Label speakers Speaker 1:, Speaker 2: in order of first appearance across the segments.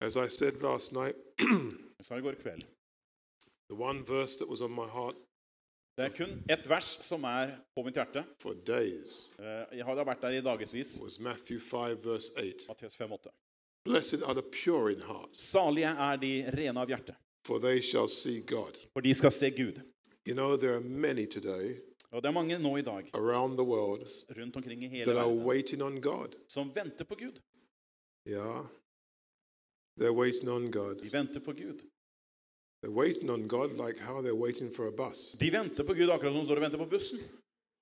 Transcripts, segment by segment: Speaker 1: As I said last night,
Speaker 2: Jeg sa i går kveld.
Speaker 1: the one verse that was on my heart
Speaker 2: Det er kun ett vers som er på mitt hjerte.
Speaker 1: for days
Speaker 2: Eh, Jeg har da vært der i dagevis.
Speaker 1: was Matthew 5, verse 8.
Speaker 2: Matteus 5,8.
Speaker 1: Blessed are the pure in heart,
Speaker 2: Salige er de rene av hjerte,
Speaker 1: for they shall see God.
Speaker 2: for de skal se Gud.
Speaker 1: You know, there are many today
Speaker 2: Og det er mange nå i dag
Speaker 1: around the world
Speaker 2: rundt omkring i hele
Speaker 1: that are
Speaker 2: verden
Speaker 1: waiting on God.
Speaker 2: som venter på Gud.
Speaker 1: Yeah. They're waiting on God.
Speaker 2: De venter på Gud.
Speaker 1: They're waiting on God like how they're waiting for a bus,
Speaker 2: De venter på Gud akkurat som de står og venter på bussen.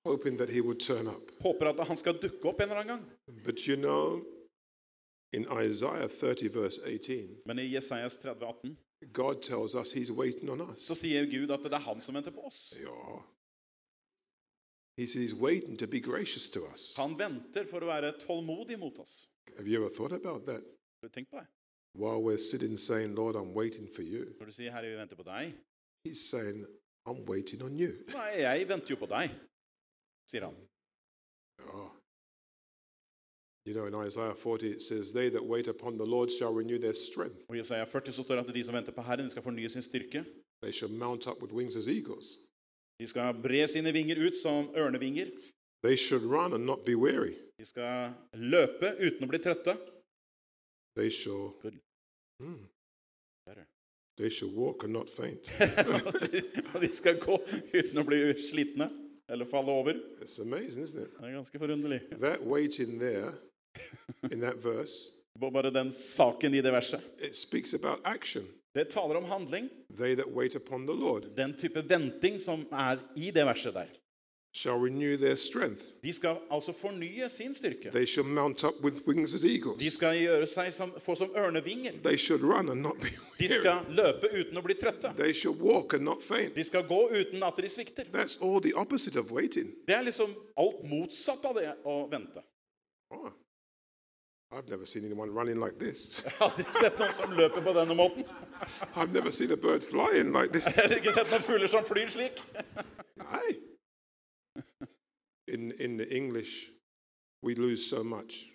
Speaker 1: hoping that He will turn up.
Speaker 2: Håper at han skal dukke opp en eller annen gang.
Speaker 1: But you know, in Isaiah 30, verse 18,
Speaker 2: Men i Jesajas 30, 18
Speaker 1: God tells us He's waiting on us.
Speaker 2: så sier Gud at det er han som venter på oss.
Speaker 1: Ja. He says he's waiting to be gracious to us.
Speaker 2: Han venter for å være tålmodig mot oss.
Speaker 1: Have you ever thought about that?
Speaker 2: Tenk på det.
Speaker 1: While we're sitting saying, Lord, I'm waiting for you,
Speaker 2: Når du sier 'Herre, vi venter på deg',
Speaker 1: he's saying, I'm waiting on you.
Speaker 2: Nei, jeg venter jo på deg, sier han.
Speaker 1: Ja. Ah. You know, in Isaiah 40, it says, They that wait upon the Lord shall renew their strength.
Speaker 2: Og I Jesaja 40 så står det at de som venter på Herren, de skal fornye sin styrke.
Speaker 1: They shall mount up with wings as eagles.
Speaker 2: De skal bre sine vinger ut som ørnevinger.
Speaker 1: They should run and not be weary.
Speaker 2: De skal løpe uten å bli trøtte.
Speaker 1: They shall,
Speaker 2: Good.
Speaker 1: Hmm.
Speaker 2: Der, ja.
Speaker 1: they shall walk and not faint.
Speaker 2: Og de skal gå uten å bli slitne eller falle over.
Speaker 1: It's amazing, isn't it?
Speaker 2: Det er ganske forunderlig.
Speaker 1: That waiting there, in that verse,
Speaker 2: B- Bare den saken i det verset.
Speaker 1: it speaks about action.
Speaker 2: Det taler om handling.
Speaker 1: They that wait upon the Lord
Speaker 2: Den type venting som er i det verset der.
Speaker 1: shall renew their strength.
Speaker 2: De skal altså fornye sin styrke.
Speaker 1: They shall mount up with wings as eagles.
Speaker 2: De skal gjøre seg som, få som ørnevinger.
Speaker 1: They should run and not be
Speaker 2: De
Speaker 1: weary.
Speaker 2: skal løpe uten å bli trøtte.
Speaker 1: They shall walk and not faint.
Speaker 2: De skal gå uten at de svikter.
Speaker 1: That's all the opposite of waiting.
Speaker 2: Det er liksom alt motsatt av det å vente.
Speaker 1: Oh. I've never seen anyone running like this.
Speaker 2: Jeg hadde ikke sett noen som løper på denne måten.
Speaker 1: I've never seen a bird flying like this.
Speaker 2: Jeg hadde ikke sett noen fugler som flyr slik.
Speaker 1: Aye. In in the English, we lose so much.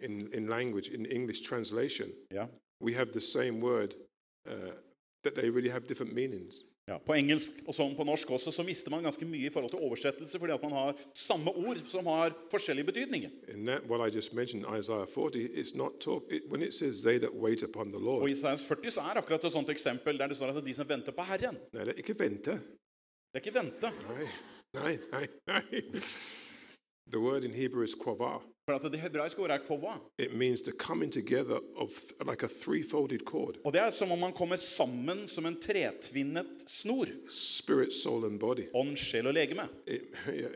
Speaker 1: In in language, in English translation,
Speaker 2: Ja.
Speaker 1: we have the same word uh, that they really have different meanings.
Speaker 2: ja. På engelsk og sånn på norsk også så mister man ganske mye i forhold til oversettelse fordi at man har samme ord som har forskjellige betydninger.
Speaker 1: In that, what I just mentioned, Isaiah 40, it's not talk. It, when it says "they that wait upon the
Speaker 2: Og
Speaker 1: Lord,"
Speaker 2: i Isaias 40 så er akkurat et sånt eksempel der det står at de som venter på Herren.
Speaker 1: nei, det er ikke vente.
Speaker 2: Det er ikke vente.
Speaker 1: Nei, nei, nei, nei. The word in Hebrew is "kavah."
Speaker 2: For at det hebraiske ordet er kova.
Speaker 1: It means the coming together of th- like a three-folded cord:
Speaker 2: Og det er som om man kommer sammen som en tretvinnet snor.
Speaker 1: spirit, soul, and body.
Speaker 2: Ånd, sjel og legeme.
Speaker 1: It, yeah,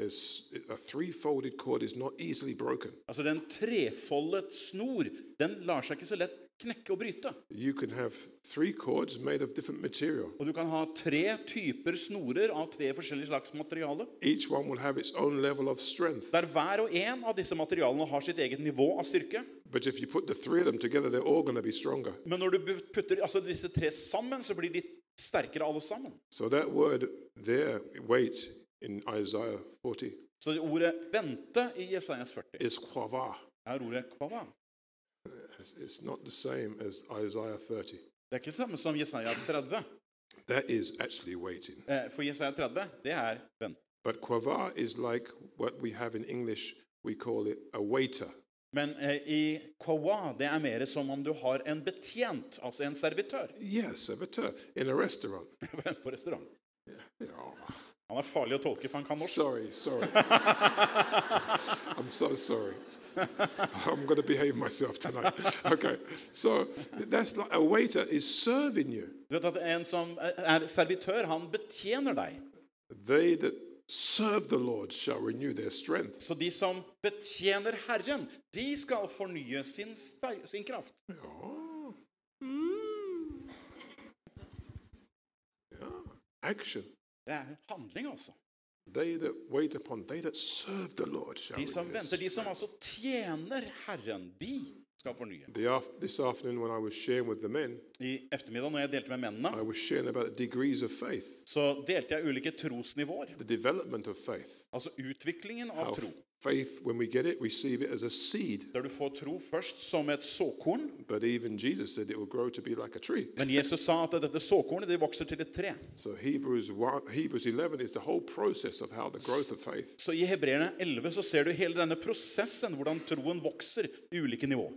Speaker 1: there's a three-folded cord is not easily broken.
Speaker 2: Altså Den trefoldet snor den lar seg ikke så lett knekke og bryte.
Speaker 1: You can have three cords made of different material.
Speaker 2: Og du kan ha tre typer snorer av tre forskjellige slags materiale,
Speaker 1: Each one will have its own level of strength.
Speaker 2: der hver og en av disse materialene har sitt eget nivå av styrke.
Speaker 1: But if you put the three of them together, they're all going to be stronger.
Speaker 2: Men når du bu- putter altså disse tre sammen, så blir de sterkere alle sammen.
Speaker 1: So that word there, wait, in Isaiah 40,
Speaker 2: Så det ordet 'vente' i Jesajas 40
Speaker 1: is quava.
Speaker 2: er ordet 'kvava'.
Speaker 1: It's, it's not the same as Isaiah 30.
Speaker 2: Det er ikke det samme som Jesajas 30.
Speaker 1: That is actually waiting.
Speaker 2: Eh, For Jesaja 30, det er 'vente'.
Speaker 1: But quava is like what we have in English, we call it a waiter.
Speaker 2: Men eh, i kvawa, det er mer som om du har en betjent, altså en servitør,
Speaker 1: Yes, servitor in a restaurant.
Speaker 2: på restaurant.
Speaker 1: Yeah.
Speaker 2: Han er farlig å tolke, for han kan norsk.
Speaker 1: Sorry, sorry. I'm so sorry. I'm going to behave myself tonight. Okay, so that's like a waiter is serving you.
Speaker 2: Du vet at En som er servitør, han betjener deg.
Speaker 1: They that serve the Lord shall renew their strength.
Speaker 2: Så de som betjener Herren, de skal fornye sin, ster- sin kraft.
Speaker 1: Oh. Yeah. Action.
Speaker 2: Det er handling, altså.
Speaker 1: They that wait upon, they that serve the Lord shall
Speaker 2: De som
Speaker 1: renew their
Speaker 2: venter, de
Speaker 1: strength.
Speaker 2: som altså tjener Herren, de skal fornye.
Speaker 1: The aft- this afternoon, when I was sharing with the men,
Speaker 2: I ettermiddag når jeg delte med
Speaker 1: I
Speaker 2: mennene,
Speaker 1: was sharing about the degrees of faith,
Speaker 2: så delte jeg ulike trosnivåer.
Speaker 1: the development of faith.
Speaker 2: Altså utviklingen
Speaker 1: how
Speaker 2: av tro.
Speaker 1: Faith, when we get it, we receive it as a seed.
Speaker 2: Der du får tro først som et såkorn.
Speaker 1: But even Jesus said it will grow to be like a tree.
Speaker 2: Men Jesus sa at dette såkornet det vokser til et tre.
Speaker 1: So Hebrews, 1, Hebrews 11 is the whole process of how the growth of faith.
Speaker 2: Så I Hebreerne 11 så ser du hele denne prosessen, hvordan troen vokser i ulike nivå.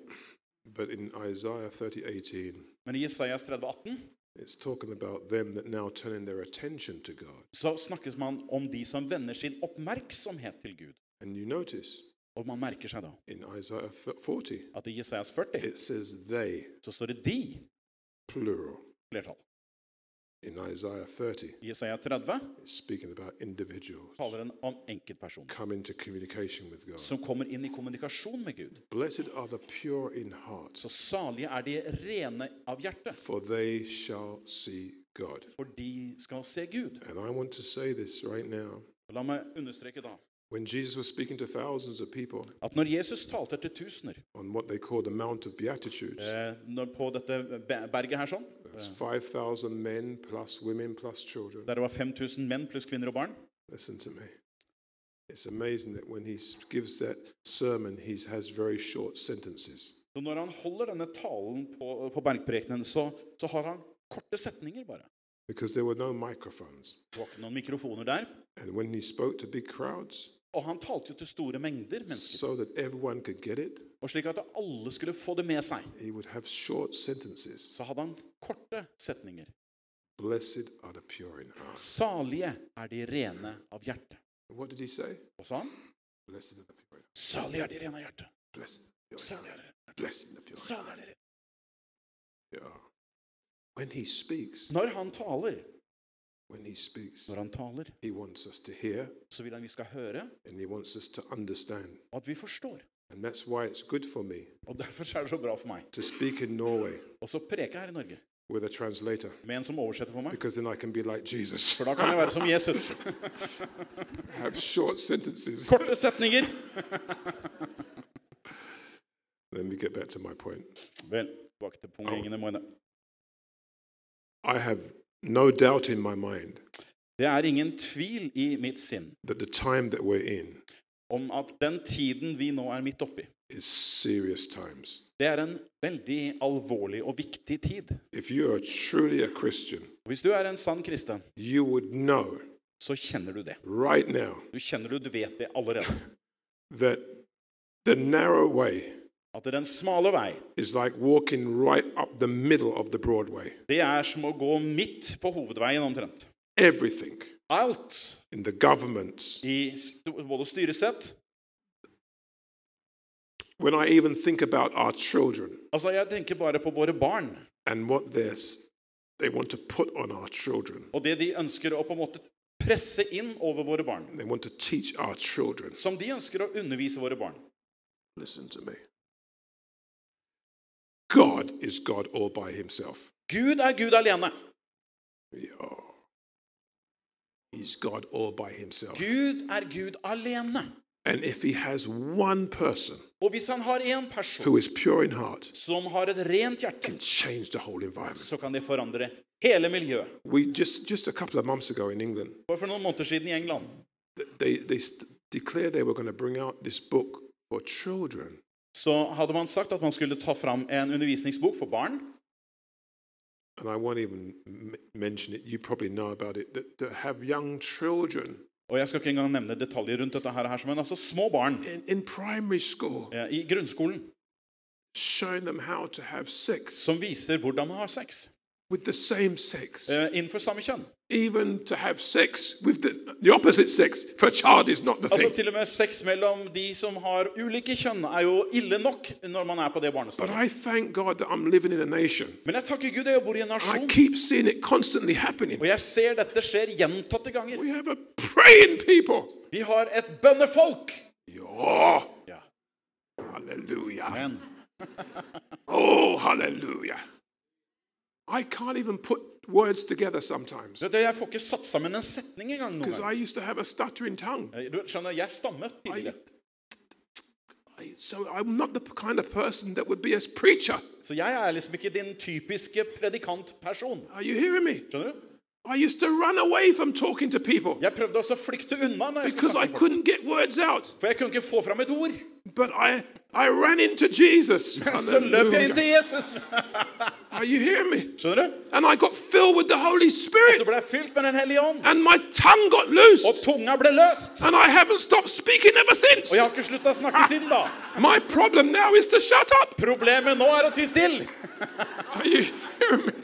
Speaker 1: But in Isaiah 30, 18,
Speaker 2: Men i Jesajas 30, 18
Speaker 1: it's talking about them that now turning their attention to God.
Speaker 2: så snakkes man om de som vender sin oppmerksomhet til Gud.
Speaker 1: And you notice
Speaker 2: Og man merker seg da
Speaker 1: in Isaiah th- 40,
Speaker 2: at i Jesajas 40
Speaker 1: it says they,
Speaker 2: så står det 'de'
Speaker 1: plural.
Speaker 2: flertall.
Speaker 1: In Isaiah 30,
Speaker 2: I Jesaja 30
Speaker 1: it's speaking about individuals
Speaker 2: taler en om enkeltpersoner
Speaker 1: come into communication with God.
Speaker 2: som kommer inn i kommunikasjon med Gud.
Speaker 1: Blessed are the pure in heart,
Speaker 2: Så salige er de rene av hjerte,
Speaker 1: for they shall see God.
Speaker 2: for de skal se Gud.
Speaker 1: And I want to say this right now.
Speaker 2: Og la meg understreke da
Speaker 1: When Jesus was speaking to thousands of people
Speaker 2: at når Jesus talte til tusener
Speaker 1: on what they call the Mount of Beatitudes,
Speaker 2: eh, når, på dette be- berget her sånn,
Speaker 1: that's 5,000 men plus women plus children.
Speaker 2: der det var 5000 menn pluss kvinner og barn
Speaker 1: Listen to me. It's amazing that when he s- gives that sermon, he has very short sentences.
Speaker 2: Så når han holder denne talen på, på bergprekenen, så, så har han korte setninger bare.
Speaker 1: because there were no microphones.
Speaker 2: Det var ikke noen mikrofoner der.
Speaker 1: And when he spoke to big crowds,
Speaker 2: Og han talte jo til store mengder mennesker.
Speaker 1: so that everyone could get it,
Speaker 2: Og slik at alle skulle få det med seg,
Speaker 1: he would have short sentences.
Speaker 2: så hadde han korte setninger.
Speaker 1: Blessed are the pure in heart.
Speaker 2: Salige er de rene av hjerte.
Speaker 1: What did he say?
Speaker 2: Og sa han?
Speaker 1: Blessed are the pure in heart.
Speaker 2: Salige er de rene av hjerte.
Speaker 1: Blessed are the pure in
Speaker 2: Salige
Speaker 1: heart.
Speaker 2: er de,
Speaker 1: Blessed are the pure in heart.
Speaker 2: salige er de rene.
Speaker 1: Yeah. When he speaks,
Speaker 2: Når han taler,
Speaker 1: when he speaks,
Speaker 2: når han taler,
Speaker 1: he wants us to hear
Speaker 2: så vil han vi skal høre,
Speaker 1: and he wants us to understand.
Speaker 2: og at vi forstår.
Speaker 1: And that's why it's good for me
Speaker 2: Og derfor så er det så bra for meg.
Speaker 1: to speak in Norway
Speaker 2: Og så preke her i Norge
Speaker 1: with a translator
Speaker 2: med en som oversetter for meg.
Speaker 1: because then I can be like Jesus.
Speaker 2: For da kan jeg være som Jesus.
Speaker 1: Have short sentences.
Speaker 2: Korte setninger.
Speaker 1: Let me get back to my point.
Speaker 2: Vel, tilbake til punktgjengene, Moine.
Speaker 1: I have no doubt in my mind
Speaker 2: Det er ingen tvil i mitt sinn
Speaker 1: that the time that we're in
Speaker 2: om at den tiden vi nå er midt oppi,
Speaker 1: is serious times.
Speaker 2: det er en veldig alvorlig og viktig tid.
Speaker 1: If you are truly a Christian,
Speaker 2: Hvis du er en sann kristen,
Speaker 1: you would know
Speaker 2: så kjenner du det.
Speaker 1: right now
Speaker 2: Du kjenner du, du vet det allerede.
Speaker 1: that the narrow way
Speaker 2: At den smale vei,
Speaker 1: is like walking right up the middle of the Broadway.
Speaker 2: det er som å gå midt på hovedveien omtrent.
Speaker 1: Everything
Speaker 2: Alt
Speaker 1: in the government.
Speaker 2: i st- både styresett
Speaker 1: When I even think about our children
Speaker 2: Altså, jeg tenker bare på våre barn
Speaker 1: and what they're, s- they want to put on our children,
Speaker 2: og det de ønsker å på en måte presse inn over våre barn.
Speaker 1: they want to teach our children.
Speaker 2: Som de ønsker å undervise våre barn.
Speaker 1: Listen to me. God is God all by himself.
Speaker 2: Gud er Gud alene.
Speaker 1: Yeah. He's God all by himself.
Speaker 2: Gud er Gud alene.
Speaker 1: And if he has one person
Speaker 2: Og hvis han har én person
Speaker 1: who is pure in heart,
Speaker 2: som har et rent hjerte,
Speaker 1: can change the whole environment.
Speaker 2: så kan det forandre hele miljøet.
Speaker 1: We just, just a couple of months ago in England,
Speaker 2: For for noen måneder siden i England
Speaker 1: th- they, they st- declared they were going to bring out this book for children.
Speaker 2: så hadde man sagt at man skulle ta fram en undervisningsbok for barn.
Speaker 1: And I won't even m- mention it. You probably know about it. That, that have young children
Speaker 2: Og jeg skal ikke engang nevne detaljer rundt dette her, her men altså små barn
Speaker 1: in, in primary school
Speaker 2: eh, i grunnskolen
Speaker 1: showing them how to have sex.
Speaker 2: som viser hvordan man har sex
Speaker 1: with the same sex,
Speaker 2: eh, innenfor samme kjønn.
Speaker 1: even to have sex with the, the opposite sex for a child is not the
Speaker 2: Altså
Speaker 1: thing.
Speaker 2: Til og med sex mellom de som har ulike kjønn, er jo ille nok når man er på det
Speaker 1: But
Speaker 2: barnestadiet.
Speaker 1: I thank God that I'm living in a nation.
Speaker 2: Men jeg takker Gud jeg bor i en
Speaker 1: I
Speaker 2: nasjon,
Speaker 1: keep seeing it constantly happening.
Speaker 2: og jeg ser dette skjer gjentatte ganger.
Speaker 1: We have a praying people.
Speaker 2: Vi har et bønnefolk!
Speaker 1: Yeah.
Speaker 2: Ja,
Speaker 1: Hallelujah.
Speaker 2: men
Speaker 1: Oh, hallelujah. I can't even put words together sometimes
Speaker 2: Vet du, Jeg får ikke satt sammen en setning engang. noen
Speaker 1: because I
Speaker 2: gang. Eh,
Speaker 1: used to have a stuttering tongue.
Speaker 2: Du skjønner, Jeg stammet
Speaker 1: I,
Speaker 2: tidligere,
Speaker 1: I, so I'm not the kind of person that would be a preacher.
Speaker 2: så jeg er liksom ikke din typiske predikantperson.
Speaker 1: Are you hearing me?
Speaker 2: Skjønner du?
Speaker 1: I used to run away from talking to people
Speaker 2: Jeg prøvde også å flykte unna, når jeg
Speaker 1: because I
Speaker 2: skulle snakke med folk,
Speaker 1: couldn't get words out.
Speaker 2: for jeg kunne ikke få fram et ord.
Speaker 1: But I, I ran into Jesus.
Speaker 2: Så løp jeg
Speaker 1: Hallelujah.
Speaker 2: inn til Jesus.
Speaker 1: Are you hearing me?
Speaker 2: Skjønner du?
Speaker 1: And I got filled with the Holy
Speaker 2: Så
Speaker 1: Spirit.
Speaker 2: ble jeg fylt med Den hellige ånd,
Speaker 1: And my tongue got loose.
Speaker 2: og tunga ble løst.
Speaker 1: And I haven't stopped speaking ever since.
Speaker 2: Og jeg har ikke slutta å snakke siden da.
Speaker 1: My problem now is to shut up.
Speaker 2: Problemet nå er å ty stille.
Speaker 1: Are you hearing me?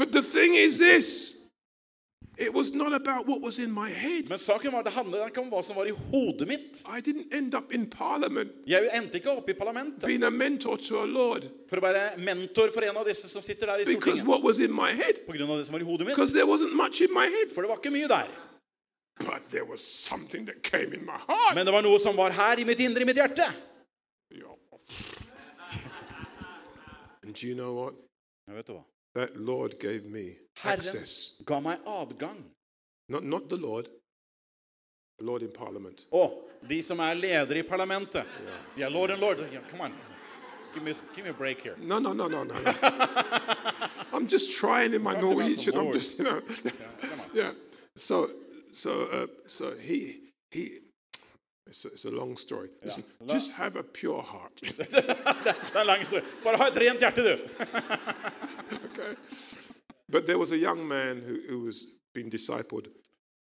Speaker 1: But the thing is this it was not about what was in my head.
Speaker 2: Men saken var at det handlet ikke om hva som var i hodet mitt.
Speaker 1: I didn't end up in parliament
Speaker 2: Jeg endte ikke opp i parlamentet
Speaker 1: being a mentor to a Lord
Speaker 2: for å være mentor for en av disse som sitter der i
Speaker 1: because
Speaker 2: Stortinget.
Speaker 1: what was in my head.
Speaker 2: På grunn av det som var i hodet mitt.
Speaker 1: Because there wasn't much in my head.
Speaker 2: For det var ikke mye der.
Speaker 1: But there was something that came in my heart.
Speaker 2: Men det var noe som var her i mitt indre, i mitt hjerte.
Speaker 1: And do you know what?
Speaker 2: Jeg vet du hva?
Speaker 1: That Lord gave me
Speaker 2: Herren
Speaker 1: access.
Speaker 2: ga meg adgang.
Speaker 1: Not, not the Lord, the Lord in Parliament.
Speaker 2: Å, de som er ledere i parlamentet. Yeah, lord and lord. Yeah, come on. Give me, give me a break here.
Speaker 1: No, no, no, no, no. no. I'm just trying in my
Speaker 2: Talking about the
Speaker 1: Norwegian. I'm
Speaker 2: Lord.
Speaker 1: just, you know. yeah. So, so, uh, so he, he. It's a, it's a long story. Listen, just have a pure heart.
Speaker 2: Det er en lang historie. Bare ha et rent hjerte, du.
Speaker 1: okay. But there was a young man who, who was being discipled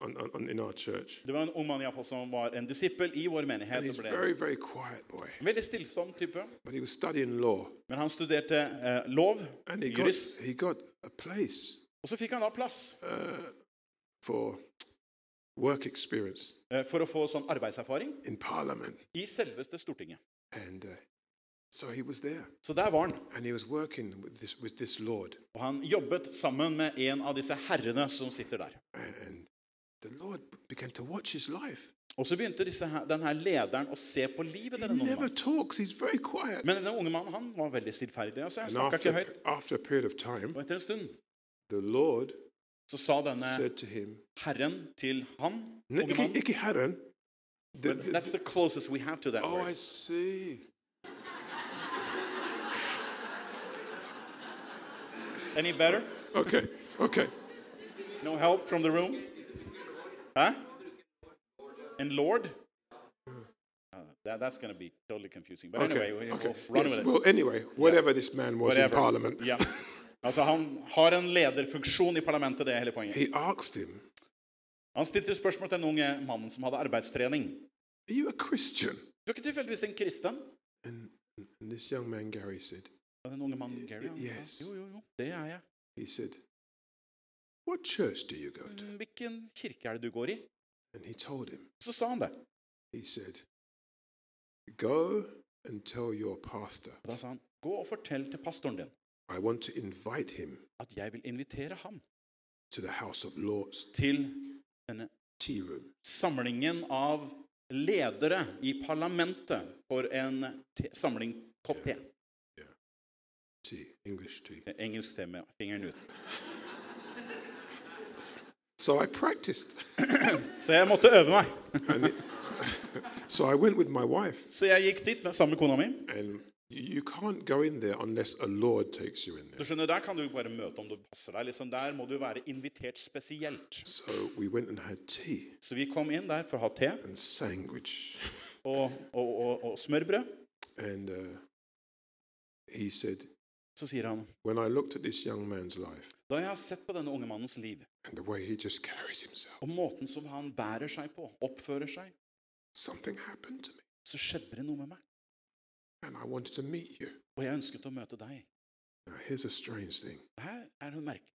Speaker 1: on, on, on, in our church.
Speaker 2: Det var en ung mann i hvert fall som var en disippel i vår menighet.
Speaker 1: And
Speaker 2: og
Speaker 1: he's a
Speaker 2: ble
Speaker 1: very, very quiet boy.
Speaker 2: en Veldig stillsom type.
Speaker 1: But he was studying law.
Speaker 2: Men han studerte eh, lov,
Speaker 1: And he got,
Speaker 2: juris,
Speaker 1: he got a place
Speaker 2: og så fikk han da plass
Speaker 1: for work experience
Speaker 2: eh, for å få sånn arbeidserfaring
Speaker 1: in Parliament.
Speaker 2: i selveste Stortinget.
Speaker 1: And uh, so he was there.
Speaker 2: Så der var han.
Speaker 1: And he was working with this, with this Lord.
Speaker 2: Og han jobbet sammen med en av disse herrene som sitter der.
Speaker 1: And the Lord began to watch his life.
Speaker 2: Og så begynte disse, her- den her lederen å se på livet
Speaker 1: He
Speaker 2: til den unge
Speaker 1: never
Speaker 2: mannen.
Speaker 1: talks, he's very quiet.
Speaker 2: Men den unge mannen han var veldig stillferdig. Altså, jeg
Speaker 1: And
Speaker 2: snakker
Speaker 1: after,
Speaker 2: ikke høyt.
Speaker 1: after a period of time,
Speaker 2: Og etter en stund
Speaker 1: the Lord
Speaker 2: så sa denne
Speaker 1: said to him,
Speaker 2: herren til han
Speaker 1: "Ne-
Speaker 2: unge
Speaker 1: ikke-
Speaker 2: mannen
Speaker 1: ikke Herren." The-
Speaker 2: But
Speaker 1: the-
Speaker 2: That's the closest we have to that
Speaker 1: Oh, I
Speaker 2: word.
Speaker 1: see.
Speaker 2: Any better?
Speaker 1: Okay, okay.
Speaker 2: No help from the room? Hæ? And Lord? Uh, that, that's going to be totally confusing. But
Speaker 1: Mm. Okay,
Speaker 2: anyway, we,
Speaker 1: okay.
Speaker 2: we'll run
Speaker 1: Yes,
Speaker 2: with it.
Speaker 1: well, anyway, whatever this man was in
Speaker 2: Whatever.
Speaker 1: Parliament,
Speaker 2: Ja. Altså, han har en lederfunksjon i parlamentet, det er hele poenget.
Speaker 1: he asked him,
Speaker 2: Han stilte spørsmål til den unge mannen som hadde arbeidstrening.
Speaker 1: Are you a Christian?
Speaker 2: Du er ikke tilfeldigvis en kristen?
Speaker 1: And, and this young man, Gary, said,
Speaker 2: Og Den unge mannen Gary? han, ja,
Speaker 1: Yes.
Speaker 2: Jo, jo, jo, det er jeg.
Speaker 1: He said, What church do you go to?
Speaker 2: «Mm, Hvilken kirke er det du går i?
Speaker 1: And he told him,
Speaker 2: Så sa han det.
Speaker 1: He said, Go and tell your pastor,
Speaker 2: Og da sa han, gå og fortell til pastoren din
Speaker 1: I want to invite him
Speaker 2: at jeg vil invitere ham
Speaker 1: to the House of Lords
Speaker 2: til denne
Speaker 1: tea room.
Speaker 2: samlingen av ledere i parlamentet for en te samling kopp te.
Speaker 1: Tea, English tea.
Speaker 2: Engelsk te med fingeren ut.
Speaker 1: So I practiced.
Speaker 2: Så jeg måtte øve meg.
Speaker 1: and it- so I went with my wife.
Speaker 2: Så jeg gikk dit med, sammen med kona mi.
Speaker 1: And you, you can't go in there unless a Lord takes you in
Speaker 2: Du
Speaker 1: there.
Speaker 2: skjønner, Der kan du bare møte om du passer deg. liksom Der må du være invitert spesielt.
Speaker 1: So we went and had tea
Speaker 2: Så vi kom inn der for å ha te
Speaker 1: and sandwich.
Speaker 2: og, og, og, og smørbrød.
Speaker 1: And uh, he said,
Speaker 2: Så sier han
Speaker 1: When I looked at this young man's life
Speaker 2: Da jeg har sett på denne unge mannens liv,
Speaker 1: and the way he just carries himself,
Speaker 2: og måten som han bærer seg på, oppfører seg,
Speaker 1: something happened to me.
Speaker 2: så skjedde det noe med meg.
Speaker 1: And I wanted to meet you.
Speaker 2: Og jeg ønsket å møte deg.
Speaker 1: Now, here's a strange thing.
Speaker 2: Her er hun merkelig.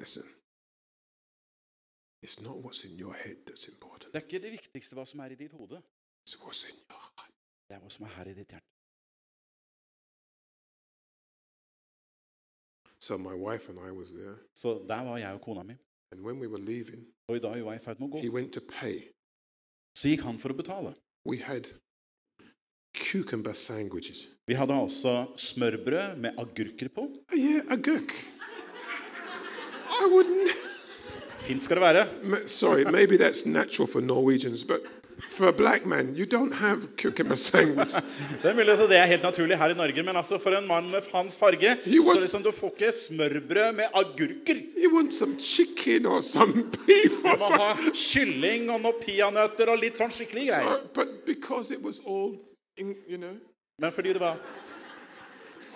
Speaker 1: Listen, it's not what's in your head that's important,
Speaker 2: Det er ikke det viktigste hva som er i ditt hode.
Speaker 1: it's what's in your heart.
Speaker 2: Det er hva som er her i ditt hjerte.
Speaker 1: So, my wife and I was there.
Speaker 2: Så der var jeg og kona mi.
Speaker 1: And when we were leaving,
Speaker 2: Og i dag vi var i ferd med å
Speaker 1: he
Speaker 2: gå,
Speaker 1: went to pay.
Speaker 2: så gikk han for å betale.
Speaker 1: We had cucumber sandwiches.
Speaker 2: Vi hadde altså smørbrød med agurker på.
Speaker 1: Yeah, a gook. I wouldn't.
Speaker 2: Fint skal det være.
Speaker 1: Ma- Sorry, maybe that's natural for Norwegians, but For a black man, you don't have cucumber sandwich.
Speaker 2: Det er mulig at det er helt naturlig her i Norge, men altså for en mann med hans farge
Speaker 1: You
Speaker 2: så
Speaker 1: want-
Speaker 2: liksom du får ikke smørbrød med agurker.
Speaker 1: You want some chicken or some beef
Speaker 2: Du
Speaker 1: or
Speaker 2: må ha
Speaker 1: something.
Speaker 2: kylling og noen peanøtter og litt sånn skikkelig greier.
Speaker 1: So, but because it was all, in, you know,
Speaker 2: Men fordi det var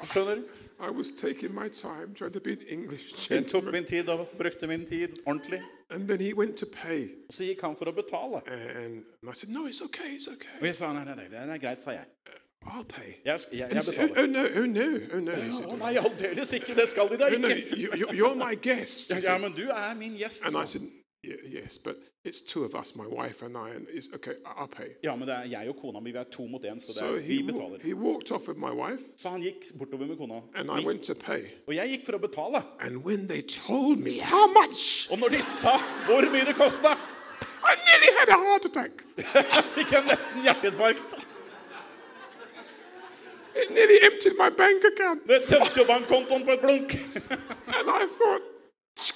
Speaker 2: Skjønner?
Speaker 1: I was taking my time trying to be an English
Speaker 2: Jeg tok
Speaker 1: gentleman.
Speaker 2: min tid og brukte min tid ordentlig.
Speaker 1: And then he went to pay.
Speaker 2: Og så gikk han for å betale.
Speaker 1: And I said, no, it's okay, it's okay.
Speaker 2: Og jeg sa nei, nei, nei, det er greit, sa jeg.
Speaker 1: I'll pay.
Speaker 2: Jeg, sk- jeg,
Speaker 1: He
Speaker 2: jeg
Speaker 1: said, oh,
Speaker 2: betaler.
Speaker 1: oh, no, oh, no, oh, no. He said,
Speaker 2: Å nei, aldeles ikke. Det skal de da
Speaker 1: oh, no,
Speaker 2: ikke.
Speaker 1: you, you, you're my guest. He
Speaker 2: Ja,
Speaker 1: said.
Speaker 2: men du er min gjest.
Speaker 1: And
Speaker 2: sa
Speaker 1: I
Speaker 2: han.
Speaker 1: said, "Ye- yes, but it's two of us, my wife and I, and it's okay, I- I'll pay.
Speaker 2: Ja, men det er jeg og kona mi. Vi er to mot én, så det
Speaker 1: So
Speaker 2: er, vi
Speaker 1: he, wa-
Speaker 2: betaler.
Speaker 1: he walked off with my wife,
Speaker 2: Så han gikk bortover med kona.
Speaker 1: and I went to pay.
Speaker 2: Og jeg gikk for å betale.
Speaker 1: And when they told me how much,
Speaker 2: Og når de sa hvor mye det kosta,
Speaker 1: I nearly had a heart attack.
Speaker 2: fikk jeg nesten hjerteinfarkt.
Speaker 1: It nearly emptied my bank account.
Speaker 2: Det tømte jo bankkontoen på et blunk.
Speaker 1: And I thought,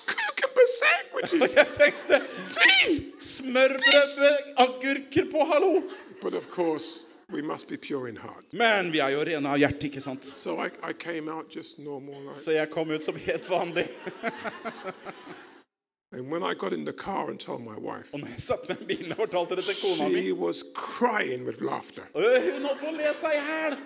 Speaker 1: cucumber sandwiches.
Speaker 2: Jeg tenkte
Speaker 1: Tea!
Speaker 2: smørbrød med agurker på, hallo!
Speaker 1: But of course, we must be pure in heart.
Speaker 2: Men vi er jo rene av hjerte, ikke sant?
Speaker 1: So I, I came out just normal. Like,
Speaker 2: Så jeg kom ut som helt vanlig.
Speaker 1: and when I got in the car and told my wife,
Speaker 2: Og når jeg satt med bilen og fortalte det til kona mi
Speaker 1: she was crying with laughter.
Speaker 2: øh, Hun holdt på å le seg i hjel!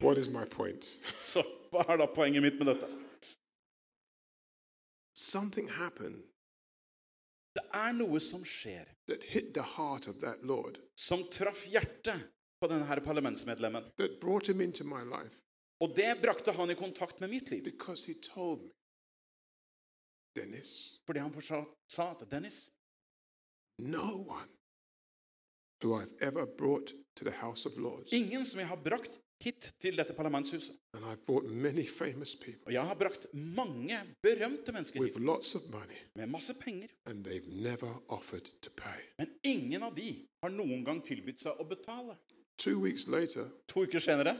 Speaker 1: What is my point?
Speaker 2: Så hva er da poenget mitt med dette?
Speaker 1: Something happened
Speaker 2: Det er noe som skjer,
Speaker 1: that hit the heart of that Lord,
Speaker 2: som traff hjertet på denne her parlamentsmedlemmen.
Speaker 1: that brought him into my life
Speaker 2: Og det brakte han i kontakt med mitt liv.
Speaker 1: because he told me, Dennis,
Speaker 2: Fordi han forsa, sa at Dennis,
Speaker 1: no one who I've ever brought to the house of Lords,
Speaker 2: ingen som jeg har brakt hit til dette parlamentshuset
Speaker 1: and I've brought many famous people
Speaker 2: Og jeg har brakt mange berømte mennesker
Speaker 1: with
Speaker 2: hit
Speaker 1: lots of money,
Speaker 2: med masse penger,
Speaker 1: and they've never offered to pay.
Speaker 2: men ingen av de har noen gang tilbudt seg å betale.
Speaker 1: Two weeks later,
Speaker 2: To uker senere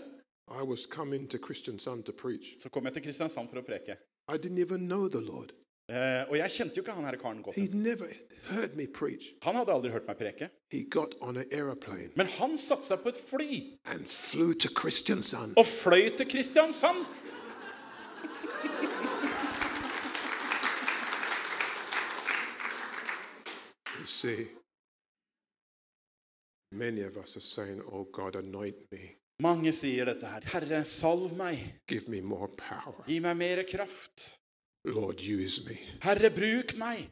Speaker 1: I was coming to Christian Sun to preach.
Speaker 2: så kom jeg til Kristiansand for å preke.
Speaker 1: I didn't even know the Lord.
Speaker 2: Eh, og jeg kjente jo ikke han her karen godt.
Speaker 1: He'd never heard me preach.
Speaker 2: Han hadde aldri hørt meg preke.
Speaker 1: He got on an aeroplane
Speaker 2: Men han satte seg på et fly
Speaker 1: and flew to Christian Sun.
Speaker 2: og fløy til Kristiansand.
Speaker 1: You see, many of us are saying, Oh God, anoint me,
Speaker 2: Mange sier dette her. Herre, salv meg.
Speaker 1: give me more power.
Speaker 2: Gi meg mer kraft.
Speaker 1: Lord, use me.
Speaker 2: Herre, bruk meg.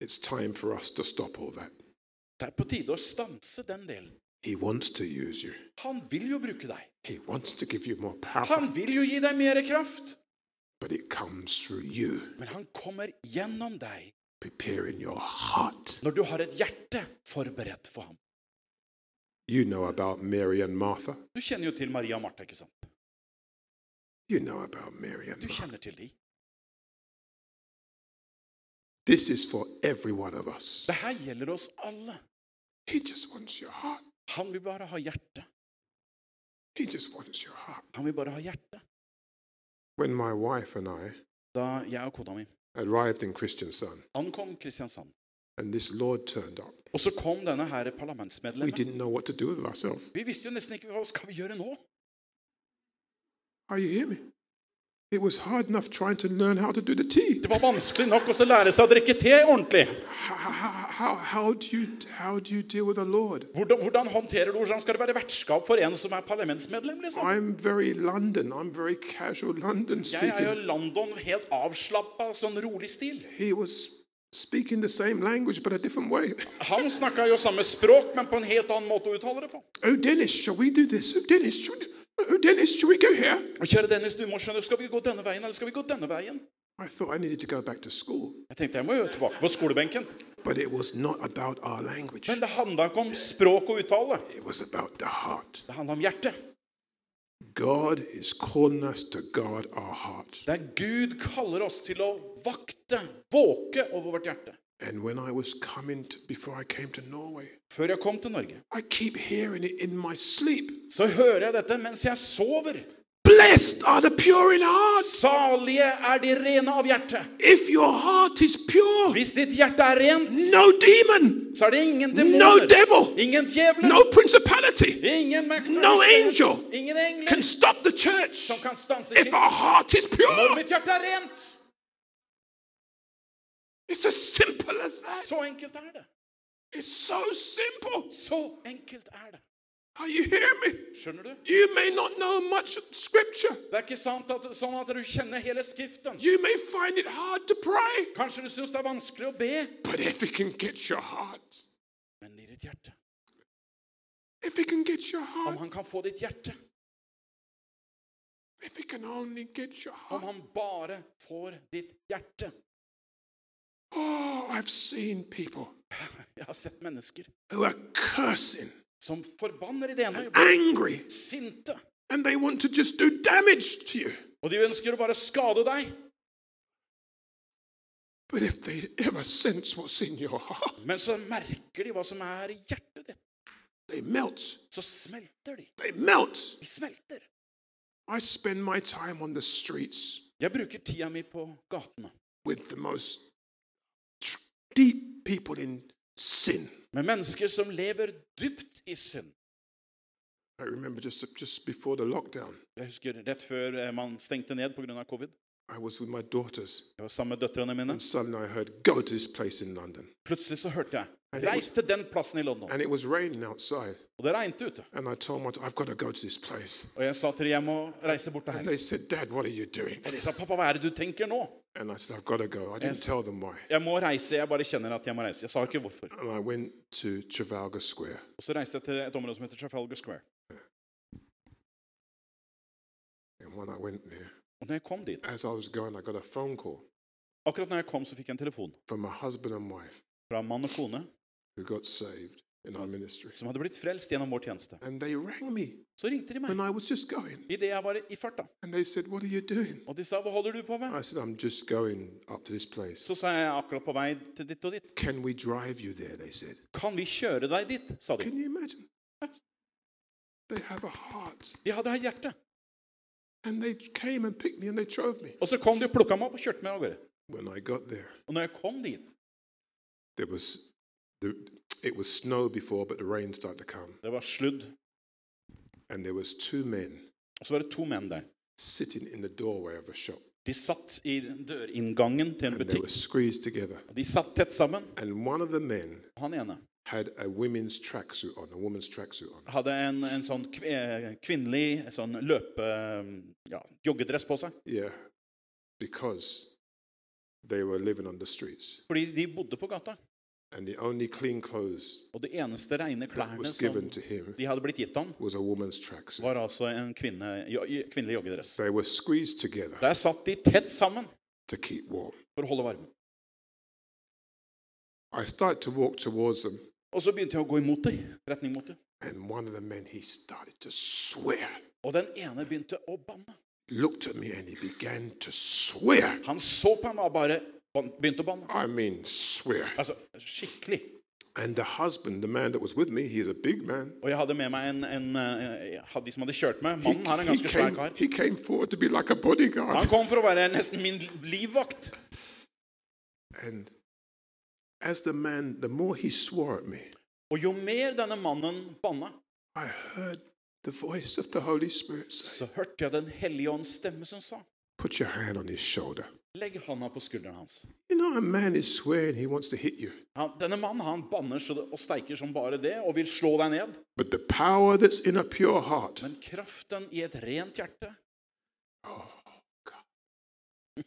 Speaker 1: It's time for us to stop all that.
Speaker 2: Det er på tide å stanse den delen.
Speaker 1: He wants to use you,
Speaker 2: Han vil jo bruke deg.
Speaker 1: He wants to give you more power,
Speaker 2: Han vil jo gi deg mer kraft.
Speaker 1: but it comes through you
Speaker 2: Men han kommer gjennom deg
Speaker 1: preparing your heart.
Speaker 2: når du har et hjerte forberedt for ham.
Speaker 1: You know about Mary and Martha.
Speaker 2: Du kjenner jo til Maria og Martha, ikke sant?
Speaker 1: You know about Mary and
Speaker 2: Du
Speaker 1: Martha.
Speaker 2: kjenner til de.
Speaker 1: This is for every one of us.
Speaker 2: Det her gjelder oss alle.
Speaker 1: He just wants your heart.
Speaker 2: Han vil bare ha hjerte.
Speaker 1: He just wants your heart.
Speaker 2: Han vil bare ha hjerte.
Speaker 1: When my wife and I
Speaker 2: Da jeg og kona mi
Speaker 1: arrived in Christian Sun
Speaker 2: ankom Kristiansand,
Speaker 1: and this Lord turned up,
Speaker 2: og så kom denne her
Speaker 1: we
Speaker 2: parlamentsmedlemmen
Speaker 1: didn't know what to do with ourselves.
Speaker 2: Vi visste jo nesten ikke hva skal vi gjøre nå.
Speaker 1: Are you hearing me? It was hard enough trying to learn how to do the tea.
Speaker 2: Det var vanskelig nok også å lære seg å drikke te ordentlig.
Speaker 1: How, how, how, how, do, you, how do you deal with the Lord?
Speaker 2: Hvordan, hvordan håndterer du Hvordan skal det være vertskap for en som er parlamentsmedlem? liksom?
Speaker 1: I'm very London. I'm very casual London
Speaker 2: Jeg er jo
Speaker 1: speaking.
Speaker 2: London helt avslappa, sånn rolig stil.
Speaker 1: He was speaking the same language but a different way.
Speaker 2: Han snakka jo samme språk, men på en helt annen måte å uttale det på.
Speaker 1: Oh, Dennis, shall we do this? Oh, Dennis, shall we do... oh, Dennis, should we go here?
Speaker 2: Og kjære Dennis, du må skjønne, skal vi gå denne veien, eller skal vi gå denne veien?
Speaker 1: I thought I needed to go back to school,
Speaker 2: Jeg tenkte jeg må jo tilbake på skolebenken.
Speaker 1: but it was not about our language.
Speaker 2: Men det handla ikke om språk og uttale.
Speaker 1: It was about the heart.
Speaker 2: Det handla om hjertet.
Speaker 1: God is calling us to guard our heart.
Speaker 2: Der Gud kaller oss til å vakte, våke over vårt hjerte.
Speaker 1: And when I was coming to, before I came to Norway,
Speaker 2: Før jeg kom til Norge,
Speaker 1: I keep hearing it in my sleep.
Speaker 2: så hører jeg dette mens jeg sover.
Speaker 1: Blessed are the pure in heart.
Speaker 2: Salige er de rene av hjerte.
Speaker 1: If your heart is pure,
Speaker 2: Hvis ditt hjerte er rent,
Speaker 1: no demon,
Speaker 2: så er det ingen
Speaker 1: no
Speaker 2: demoner,
Speaker 1: devil,
Speaker 2: ingen djevler,
Speaker 1: no principality
Speaker 2: ingen makter,
Speaker 1: No angel
Speaker 2: ingen engler
Speaker 1: can stop the church.
Speaker 2: som kan stanse
Speaker 1: If
Speaker 2: kirken.
Speaker 1: our heart is
Speaker 2: Når
Speaker 1: pure,
Speaker 2: mitt hjerte er rent,
Speaker 1: it's as simple as that.
Speaker 2: så enkelt er det.
Speaker 1: It's so simple.
Speaker 2: Så enkelt er det.
Speaker 1: Are you hearing me?
Speaker 2: Skjønner du?
Speaker 1: You may not know much scripture.
Speaker 2: Det er ikke sant at, sånn at du kjenner hele Skriften.
Speaker 1: You may find it hard to pray.
Speaker 2: Kanskje du syns det er vanskelig å be,
Speaker 1: But if it can get your heart,
Speaker 2: men i ditt hjerte.
Speaker 1: if it can get your
Speaker 2: Om
Speaker 1: heart,
Speaker 2: han kan få ditt hjerte.
Speaker 1: if it can only get your
Speaker 2: Om
Speaker 1: heart.
Speaker 2: han bare får ditt hjerte.
Speaker 1: Oh, I've seen people
Speaker 2: Jeg har sett mennesker
Speaker 1: who are cursing,
Speaker 2: som forbanner i det ene øyeblikket.
Speaker 1: angry,
Speaker 2: Sinte.
Speaker 1: and they want to just do damage to you.
Speaker 2: Og de ønsker å bare skade deg.
Speaker 1: But if they ever sense what's in your heart,
Speaker 2: Men så merker de hva som er i hjertet ditt.
Speaker 1: they melt.
Speaker 2: Så smelter de.
Speaker 1: They melt.
Speaker 2: De smelter.
Speaker 1: I spend my time on the streets
Speaker 2: Jeg bruker tida mi på gatene.
Speaker 1: with the most tr- deep people in sin.
Speaker 2: Med mennesker som lever dypt i synd.
Speaker 1: I remember just, just before the lockdown,
Speaker 2: Jeg husker rett før eh, man stengte ned pga. covid.
Speaker 1: I was with my daughters,
Speaker 2: Jeg var sammen med døtrene mine.
Speaker 1: and suddenly I heard, Go to this place in London.
Speaker 2: Plutselig så hørte jeg
Speaker 1: det var-
Speaker 2: Reis til den plassen i London.
Speaker 1: And it was raining outside.
Speaker 2: Og det regnet ute.
Speaker 1: And I told my, da- I've got to go to this place.
Speaker 2: Og jeg sa til dem jeg må reise bort
Speaker 1: And
Speaker 2: her.
Speaker 1: they said, Dad, what are you doing?
Speaker 2: Og de sa pappa, hva er det du tenker nå?
Speaker 1: And I said, I've got to go. I didn't
Speaker 2: Yes.
Speaker 1: tell them why.
Speaker 2: Jeg må reise, jeg bare kjenner at jeg må reise. Jeg sa ikke hvorfor.
Speaker 1: And I went to Trafalgar Square.
Speaker 2: Og så reiste jeg til et område som heter Trafalgar Square.
Speaker 1: And when I went there,
Speaker 2: Og når jeg kom dit,
Speaker 1: as I was going, I got a phone call
Speaker 2: akkurat når jeg kom, så fikk jeg en telefon
Speaker 1: from a husband and wife
Speaker 2: fra en mann og kone
Speaker 1: who got saved in our ministry.
Speaker 2: som hadde blitt frelst gjennom vår tjeneste.
Speaker 1: And they rang me
Speaker 2: Så ringte de meg
Speaker 1: when I was just going.
Speaker 2: idet jeg var i farta.
Speaker 1: And they said, What are you doing?
Speaker 2: Og de sa hva holder du på med?
Speaker 1: I said, I'm just going up to this place.
Speaker 2: Så sa jeg akkurat på vei til ditt og ditt.
Speaker 1: Can we drive you there? They said.
Speaker 2: Kan vi kjøre deg dit? sa de.
Speaker 1: Can you imagine? They have a heart.
Speaker 2: De hadde her hjerte.
Speaker 1: And they came and picked me and they drove me.
Speaker 2: Og så kom de og plukka meg opp og kjørte meg av gårde.
Speaker 1: When I got there,
Speaker 2: Og når jeg kom dit
Speaker 1: there was the, it was snow before, but the rain started to come,
Speaker 2: Det var sludd.
Speaker 1: and there was two men
Speaker 2: Og så var det to menn der.
Speaker 1: sitting in the doorway of a shop,
Speaker 2: De satt i dørinngangen til
Speaker 1: and
Speaker 2: en
Speaker 1: they were
Speaker 2: butikk.
Speaker 1: squeezed together.
Speaker 2: De satt tett sammen.
Speaker 1: And one of the men
Speaker 2: Han ene
Speaker 1: had a women's tracksuit on, a woman's tracksuit on,
Speaker 2: hadde en, en sånn kv- eh, kvinnelig sånn løpe... Ja, joggedress på seg.
Speaker 1: yeah, because they were living on the streets,
Speaker 2: Fordi de bodde på gata.
Speaker 1: and the only clean clothes
Speaker 2: Og det eneste rene
Speaker 1: that
Speaker 2: klærne
Speaker 1: was
Speaker 2: som
Speaker 1: given to him
Speaker 2: de hadde blitt gitt han,
Speaker 1: was a woman's tracksuit.
Speaker 2: var altså en kvinne, jo, i- kvinnelig joggedress.
Speaker 1: They were squeezed together
Speaker 2: Der satt de tett sammen
Speaker 1: to keep warm.
Speaker 2: for å holde varmen.
Speaker 1: I started to walk towards them,
Speaker 2: Og så begynte jeg å gå imot dem. Retning mot dem.
Speaker 1: and one of the men he started to swear.
Speaker 2: Og den ene begynte å banne.
Speaker 1: looked at me and he began to swear.
Speaker 2: Han så på meg og bare ban- begynte å banne.
Speaker 1: I mean, swear.
Speaker 2: Altså, skikkelig.
Speaker 1: And the husband, the man that was with me, he's a big man.
Speaker 2: Og jeg hadde med meg en, en eh, jeg hadde- De som hadde kjørt meg.
Speaker 1: He,
Speaker 2: Mannen her er en
Speaker 1: he
Speaker 2: ganske svær
Speaker 1: came,
Speaker 2: kar.
Speaker 1: he came forward to be like a
Speaker 2: Han
Speaker 1: bodyguard.
Speaker 2: kom for å være nesten min livvakt.
Speaker 1: And as the man, the more he swore at me,
Speaker 2: Og jo mer denne mannen banna,
Speaker 1: I heard the voice of the Holy Spirit say,
Speaker 2: så hørte jeg Den hellige ånds stemme som sa
Speaker 1: Put your hand on his shoulder.
Speaker 2: Legg handa på skulderen hans.
Speaker 1: You know, a man is swearing he wants to hit you.
Speaker 2: Han, denne mannen han banner så det, og steiker som bare det og vil slå deg ned.
Speaker 1: But the power that's in a pure heart,
Speaker 2: Men kraften i et rent hjerte
Speaker 1: oh God.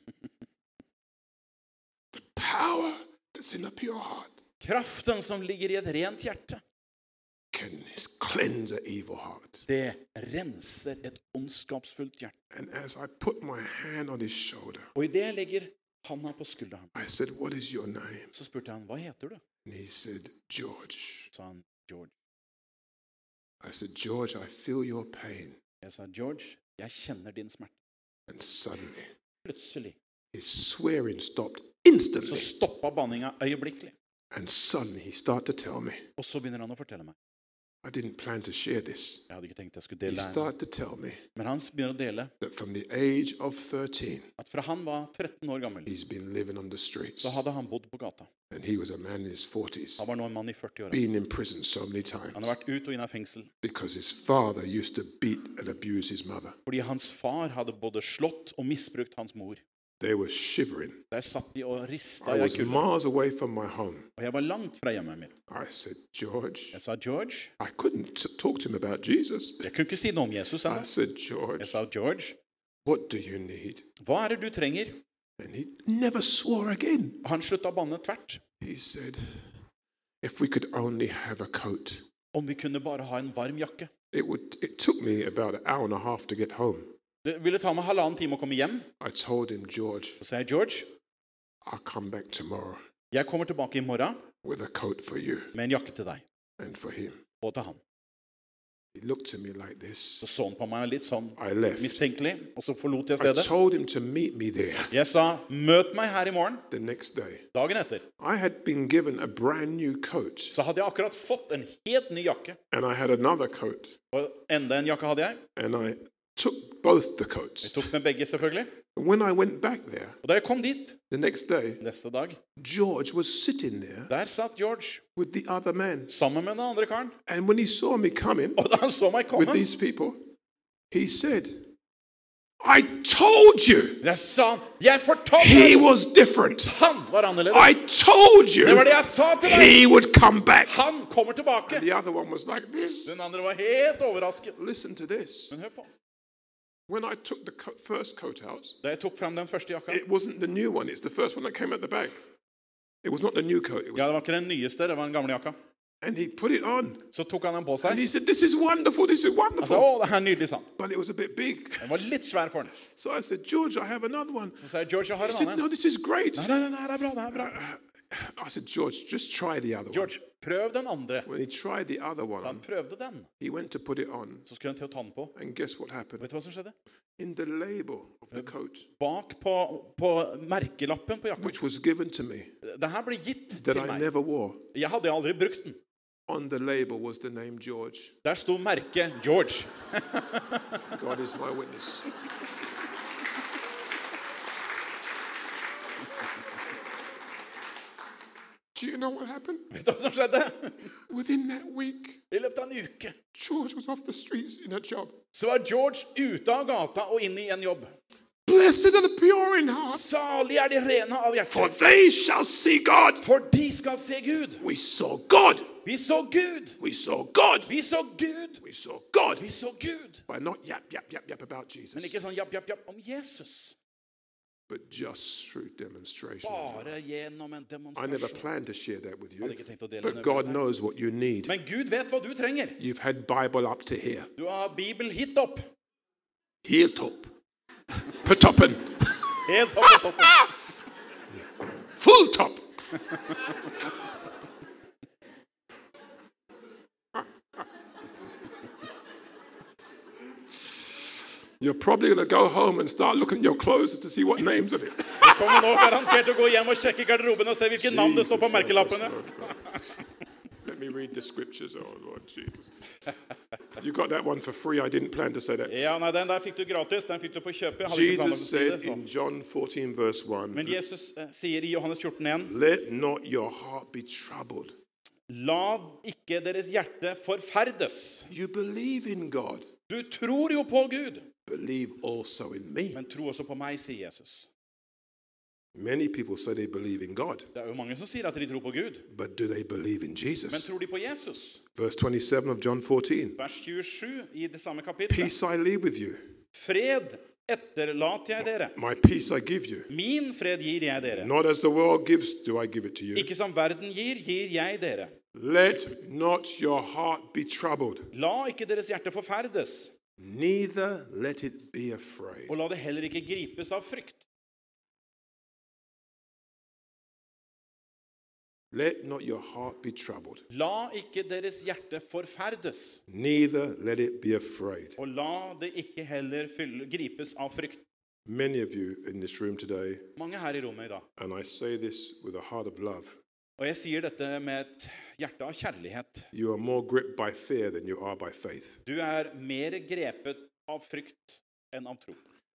Speaker 1: the power that's in a pure heart.
Speaker 2: Kraften som ligger i et rent hjerte,
Speaker 1: can cleanse an evil heart.
Speaker 2: det renser et ondskapsfullt hjerte.
Speaker 1: And as I put my hand on his shoulder,
Speaker 2: Og idet jeg legger handa på skulderen,
Speaker 1: I said, What is your name?
Speaker 2: så spurte jeg han, hva heter du?
Speaker 1: And he said, George.
Speaker 2: sa han George.
Speaker 1: I said, George, I feel your pain.
Speaker 2: Jeg sa George, jeg kjenner din smerte.
Speaker 1: And suddenly,
Speaker 2: Plutselig
Speaker 1: his swearing stopped
Speaker 2: så
Speaker 1: instantly.
Speaker 2: stoppa banninga øyeblikkelig.
Speaker 1: And suddenly, he started to tell me,
Speaker 2: Og så begynner han å fortelle meg.
Speaker 1: I didn't plan to share this.
Speaker 2: Jeg hadde ikke tenkt jeg skulle
Speaker 1: He
Speaker 2: dele det her.
Speaker 1: started to tell me
Speaker 2: Men han begynner å dele
Speaker 1: that from the age of 13,
Speaker 2: at fra han var 13 år gammel,
Speaker 1: he's been living on the streets.
Speaker 2: så hadde han bodd på gata.
Speaker 1: And he was a man in his 40s,
Speaker 2: Han var nå en mann i 40-åra.
Speaker 1: been in prison so many
Speaker 2: Han har
Speaker 1: times
Speaker 2: vært ut og inn av fengsel
Speaker 1: because his father used to beat and abuse his mother.
Speaker 2: fordi hans far hadde både slått og misbrukt hans mor.
Speaker 1: They were shivering.
Speaker 2: Der satt de og
Speaker 1: I
Speaker 2: rista i ei
Speaker 1: was
Speaker 2: kule.
Speaker 1: miles away from my home.
Speaker 2: Og jeg var langt fra hjemmet mitt.
Speaker 1: I said, George,
Speaker 2: Jeg sa, 'George'
Speaker 1: I couldn't t- talk to him about Jesus.
Speaker 2: Jeg kunne ikke si noe om Jesus
Speaker 1: I
Speaker 2: ennå.
Speaker 1: said,
Speaker 2: Jeg
Speaker 1: George,
Speaker 2: sa, 'George,
Speaker 1: what do you need?
Speaker 2: hva er det du trenger?'
Speaker 1: And he never swore again.
Speaker 2: Og han slutta å banne tvert.
Speaker 1: He said, if we could only have a coat.
Speaker 2: Om vi kunne bare ha en varm jakke.
Speaker 1: It, would, it took me about an hour and a half to get home.
Speaker 2: Det ville ta meg halvannen time å komme hjem.
Speaker 1: I told him, George,
Speaker 2: Så sa jeg, 'George,
Speaker 1: I'll come back tomorrow
Speaker 2: jeg kommer tilbake i morgen
Speaker 1: with a coat for you
Speaker 2: med en jakke til deg
Speaker 1: and for him.
Speaker 2: og til han.
Speaker 1: He looked at me like this.
Speaker 2: Så så han på meg litt sånn
Speaker 1: I left.
Speaker 2: mistenkelig, og så forlot jeg
Speaker 1: I
Speaker 2: stedet.
Speaker 1: told him to meet me there
Speaker 2: Jeg sa, 'Møt meg her i morgen.'
Speaker 1: the next day.
Speaker 2: Dagen etter
Speaker 1: I had been given a brand new coat,
Speaker 2: så hadde jeg akkurat fått en helt ny jakke.
Speaker 1: and I had another coat,
Speaker 2: Og enda en jakke hadde jeg.
Speaker 1: and I took both the
Speaker 2: Jeg
Speaker 1: coats.
Speaker 2: tok med begge, selvfølgelig.
Speaker 1: When I went back there
Speaker 2: Og da jeg kom dit
Speaker 1: the next day,
Speaker 2: neste dag,
Speaker 1: George was sitting there
Speaker 2: der satt George
Speaker 1: with the other man.
Speaker 2: sammen med den andre karen.
Speaker 1: And when he saw me coming
Speaker 2: Og da han så meg
Speaker 1: with
Speaker 2: komme
Speaker 1: these people, he said, I told you
Speaker 2: Jeg sa Jeg fortalte
Speaker 1: he
Speaker 2: deg!
Speaker 1: was different.
Speaker 2: Han var
Speaker 1: I
Speaker 2: annerledes.
Speaker 1: told
Speaker 2: Det var
Speaker 1: you
Speaker 2: det jeg sa til deg!
Speaker 1: he would come back.
Speaker 2: Han kommer tilbake!
Speaker 1: The other one was like this.
Speaker 2: Den andre var helt overrasket.
Speaker 1: Listen to this.
Speaker 2: Men hør på.
Speaker 1: When I took the co- first coat out,
Speaker 2: Da jeg tok fram den første jakka
Speaker 1: it wasn't the new one, it's the first one that came at the back. It was not the new coat. It was,
Speaker 2: Ja, det var ikke den nyeste, det var den gamle jakka.
Speaker 1: And he put it on.
Speaker 2: Så tok han den på
Speaker 1: And
Speaker 2: seg.
Speaker 1: he said, This is wonderful, this is
Speaker 2: Han sa
Speaker 1: wonderful.
Speaker 2: å, det her er nydelig, sa han.
Speaker 1: But it was a bit big.
Speaker 2: Den var litt svær for han.
Speaker 1: So I said, George, I have another one.
Speaker 2: Så sa jeg George, jeg har
Speaker 1: He
Speaker 2: en
Speaker 1: said,
Speaker 2: annen.
Speaker 1: No, this is great.
Speaker 2: Nei, nei, nei, det her er bra, det her er bra.
Speaker 1: I said, George, just try the other one.
Speaker 2: George, prøv den andre.
Speaker 1: When he tried the other one
Speaker 2: Han
Speaker 1: on,
Speaker 2: prøvde den.
Speaker 1: he went to put it on.
Speaker 2: Så skulle han til å ta den på.
Speaker 1: And guess what happened?
Speaker 2: Vet du hva som skjedde?
Speaker 1: In the label of the coat,
Speaker 2: Bak på, på merkelappen på jakka
Speaker 1: which was given to me,
Speaker 2: Det her ble gitt
Speaker 1: that
Speaker 2: til
Speaker 1: I
Speaker 2: meg.
Speaker 1: never wore,
Speaker 2: Jeg hadde aldri brukt den.
Speaker 1: on the label was the name George.
Speaker 2: Der sto merket George.
Speaker 1: God is my witness. Do you know what happened?
Speaker 2: Vet du hva som skjedde?
Speaker 1: Within that week,
Speaker 2: I løpet av en uke
Speaker 1: George was off the streets in a job.
Speaker 2: så var George ute av gata og inne i en jobb.
Speaker 1: Blessed are the pure in heart,
Speaker 2: Salig er de rene av
Speaker 1: for
Speaker 2: hjerte,
Speaker 1: they shall see God.
Speaker 2: for de skal se Gud.
Speaker 1: We saw God.
Speaker 2: Vi så Gud.
Speaker 1: We saw God.
Speaker 2: Vi så Gud.
Speaker 1: We saw God.
Speaker 2: Vi så Gud.
Speaker 1: By not yap, yap, yap, yap about
Speaker 2: Men
Speaker 1: Jesus,
Speaker 2: ikke sånn japp, japp, japp om Jesus.
Speaker 1: but just through demonstration.
Speaker 2: Bare gjennom en
Speaker 1: I never
Speaker 2: demonstrasjon.
Speaker 1: planned to share that with you,
Speaker 2: hadde ikke tenkt å dele
Speaker 1: but
Speaker 2: det med
Speaker 1: God
Speaker 2: deg.
Speaker 1: knows what you need.
Speaker 2: Men Gud vet hva du trenger.
Speaker 1: You've had Bible up to here.
Speaker 2: Du har Bibel hit opp.
Speaker 1: Helt opp. På toppen.
Speaker 2: Helt opp i toppen.
Speaker 1: Full topp. You're probably going to go home and start looking at your clothes to see what names on it.
Speaker 2: Du kommer nå garantert til å gå hjem og sjekke garderoben og se hvilke navn det står på
Speaker 1: Jesus, help us,
Speaker 2: merkelappene.
Speaker 1: Lord God. Let me read the scriptures. Oh, Lord Jesus. You got that one for free. I didn't plan to say that.
Speaker 2: Ja, nei, Den der fikk du gratis. Den fikk du på kjøpet. Jeg hadde ikke
Speaker 1: Jesus
Speaker 2: planlagt å
Speaker 1: said
Speaker 2: si det,
Speaker 1: in John 14, verse
Speaker 2: så. Men
Speaker 1: 1,
Speaker 2: Jesus eh, sier i Johannes 14 igjen
Speaker 1: Let not your heart be troubled.
Speaker 2: La ikke deres hjerte forferdes.
Speaker 1: You believe in God,
Speaker 2: Du tror jo på Gud,
Speaker 1: believe also in me.
Speaker 2: men tro også på meg, sier Jesus.
Speaker 1: Many people say they believe in God,
Speaker 2: Det er jo mange som sier at de tror på Gud,
Speaker 1: but do they believe in
Speaker 2: men
Speaker 1: Jesus?
Speaker 2: tror de på Jesus?
Speaker 1: Verse 27 of John 14
Speaker 2: Vers 27 i det samme kapittelet.
Speaker 1: Peace I leave with you,
Speaker 2: Fred etterlater jeg dere.
Speaker 1: my peace I give you.
Speaker 2: Min fred gir jeg dere.
Speaker 1: Not as the world gives, do I give it to you.
Speaker 2: Ikke som verden gir, gir jeg dere.
Speaker 1: Let not your heart be troubled,
Speaker 2: La ikke deres hjerte forferdes,
Speaker 1: neither let it be afraid.
Speaker 2: og la det heller ikke gripes av frykt.
Speaker 1: Let not your heart be troubled,
Speaker 2: La ikke deres hjerte forferdes,
Speaker 1: neither let it be afraid.
Speaker 2: og la det ikke heller fylle, gripes av frykt.
Speaker 1: Many of you in this room today,
Speaker 2: Mange her i rommet i dag,
Speaker 1: and I say this with a heart of love,
Speaker 2: Og jeg sier dette med et hjerte av kjærlighet.
Speaker 1: You are more gripped by fear than you are by faith.
Speaker 2: Du er mer grepet av frykt enn av tro.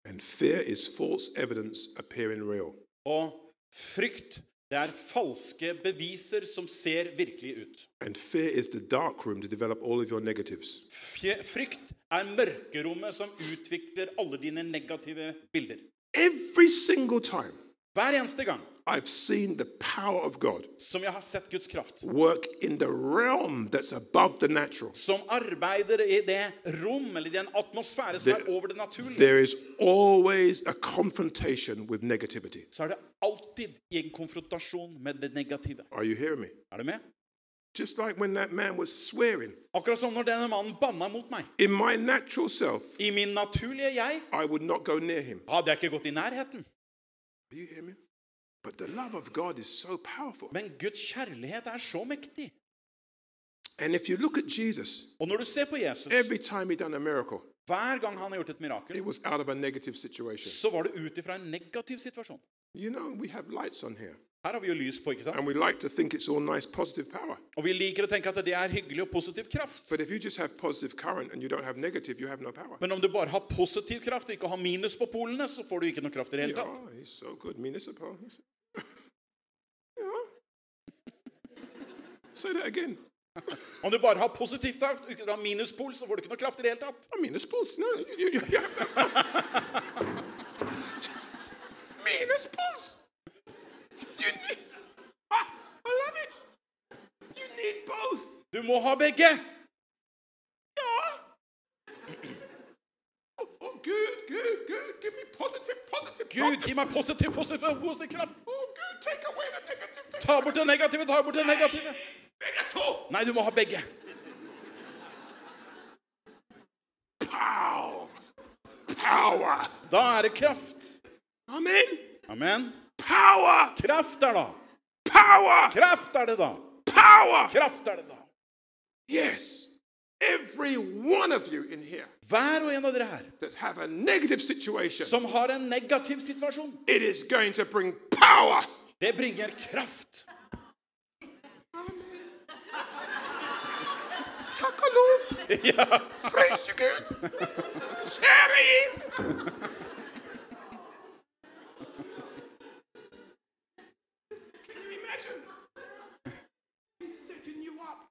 Speaker 1: And fear is false evidence appearing real.
Speaker 2: Og frykt, det er falske beviser som ser virkelig ut.
Speaker 1: And fear is the dark room to develop all of your negatives.
Speaker 2: Fje- Frykt er mørkerommet som utvikler alle dine negative bilder.
Speaker 1: Every single time
Speaker 2: Hver eneste gang
Speaker 1: I've seen the power of God
Speaker 2: som jeg har sett Guds kraft,
Speaker 1: work in the realm that's above the natural,
Speaker 2: som arbeider i det rom eller den atmosfære som er over det naturlige,
Speaker 1: there is always a confrontation with negativity.
Speaker 2: så er det alltid i en konfrontasjon med det negative.
Speaker 1: Are you hearing me?
Speaker 2: Er du med?
Speaker 1: Just like when that man was swearing,
Speaker 2: Akkurat som når denne mannen banna mot meg.
Speaker 1: in my natural self,
Speaker 2: I min naturlige jeg
Speaker 1: I would not go near him.
Speaker 2: hadde jeg ikke gått i nærheten.
Speaker 1: Do you hear me? But the love of God is so powerful.
Speaker 2: Men Guds kjærlighet er så mektig.
Speaker 1: And if you look at Jesus,
Speaker 2: Og når du ser på Jesus,
Speaker 1: every time he done a miracle,
Speaker 2: hver gang han har gjort et mirakel,
Speaker 1: it was out of a negative situation.
Speaker 2: så var det ut ifra en negativ situasjon.
Speaker 1: You know, we have lights on here,
Speaker 2: Her har vi jo lys på, ikke sant?
Speaker 1: and we like to think it's all nice, positive power.
Speaker 2: Og vi liker å tenke at det er hyggelig og positiv kraft.
Speaker 1: But if you just have positive current and you don't have negative, you have no power.
Speaker 2: Men om du bare har positiv kraft og ikke har minus på polene, så får du ikke noe kraft i det hele tatt.
Speaker 1: Oh, he's so good, municipal. He's- yeah. Say that again.
Speaker 2: Om du bare har positiv kraft og ikke har minuspol, så får du ikke noe kraft i det hele tatt.
Speaker 1: I mean, it's pulse. No, you, you, you have mean, it's pulse. You need. Ah, I love it. You need both.
Speaker 2: Du må ha begge!
Speaker 1: Oh, oh, good, good, good. Give me positive, positive.
Speaker 2: Gud, gi meg positiv, positiv, positiv kraft!
Speaker 1: Oh, good. Take away the negative. Take
Speaker 2: Ta bort det negative, ta bort det negative!
Speaker 1: Negative.
Speaker 2: Nei, du må ha begge.
Speaker 1: Pow. Power.
Speaker 2: Da er det kraft.
Speaker 1: Amen.
Speaker 2: Amen.
Speaker 1: Power.
Speaker 2: Kraft er da.
Speaker 1: Power.
Speaker 2: Kraft er det da.
Speaker 1: Power.
Speaker 2: Kraft er det da.
Speaker 1: Yes. Every one of you in here
Speaker 2: Hver og en av dere her
Speaker 1: that have a negative situation,
Speaker 2: som har en negativ situasjon,
Speaker 1: it is going to bring power.
Speaker 2: det bringer kraft.
Speaker 1: Takalov.
Speaker 2: Ja.
Speaker 1: Praise you, good. Cherries. Can you imagine? He's setting you up.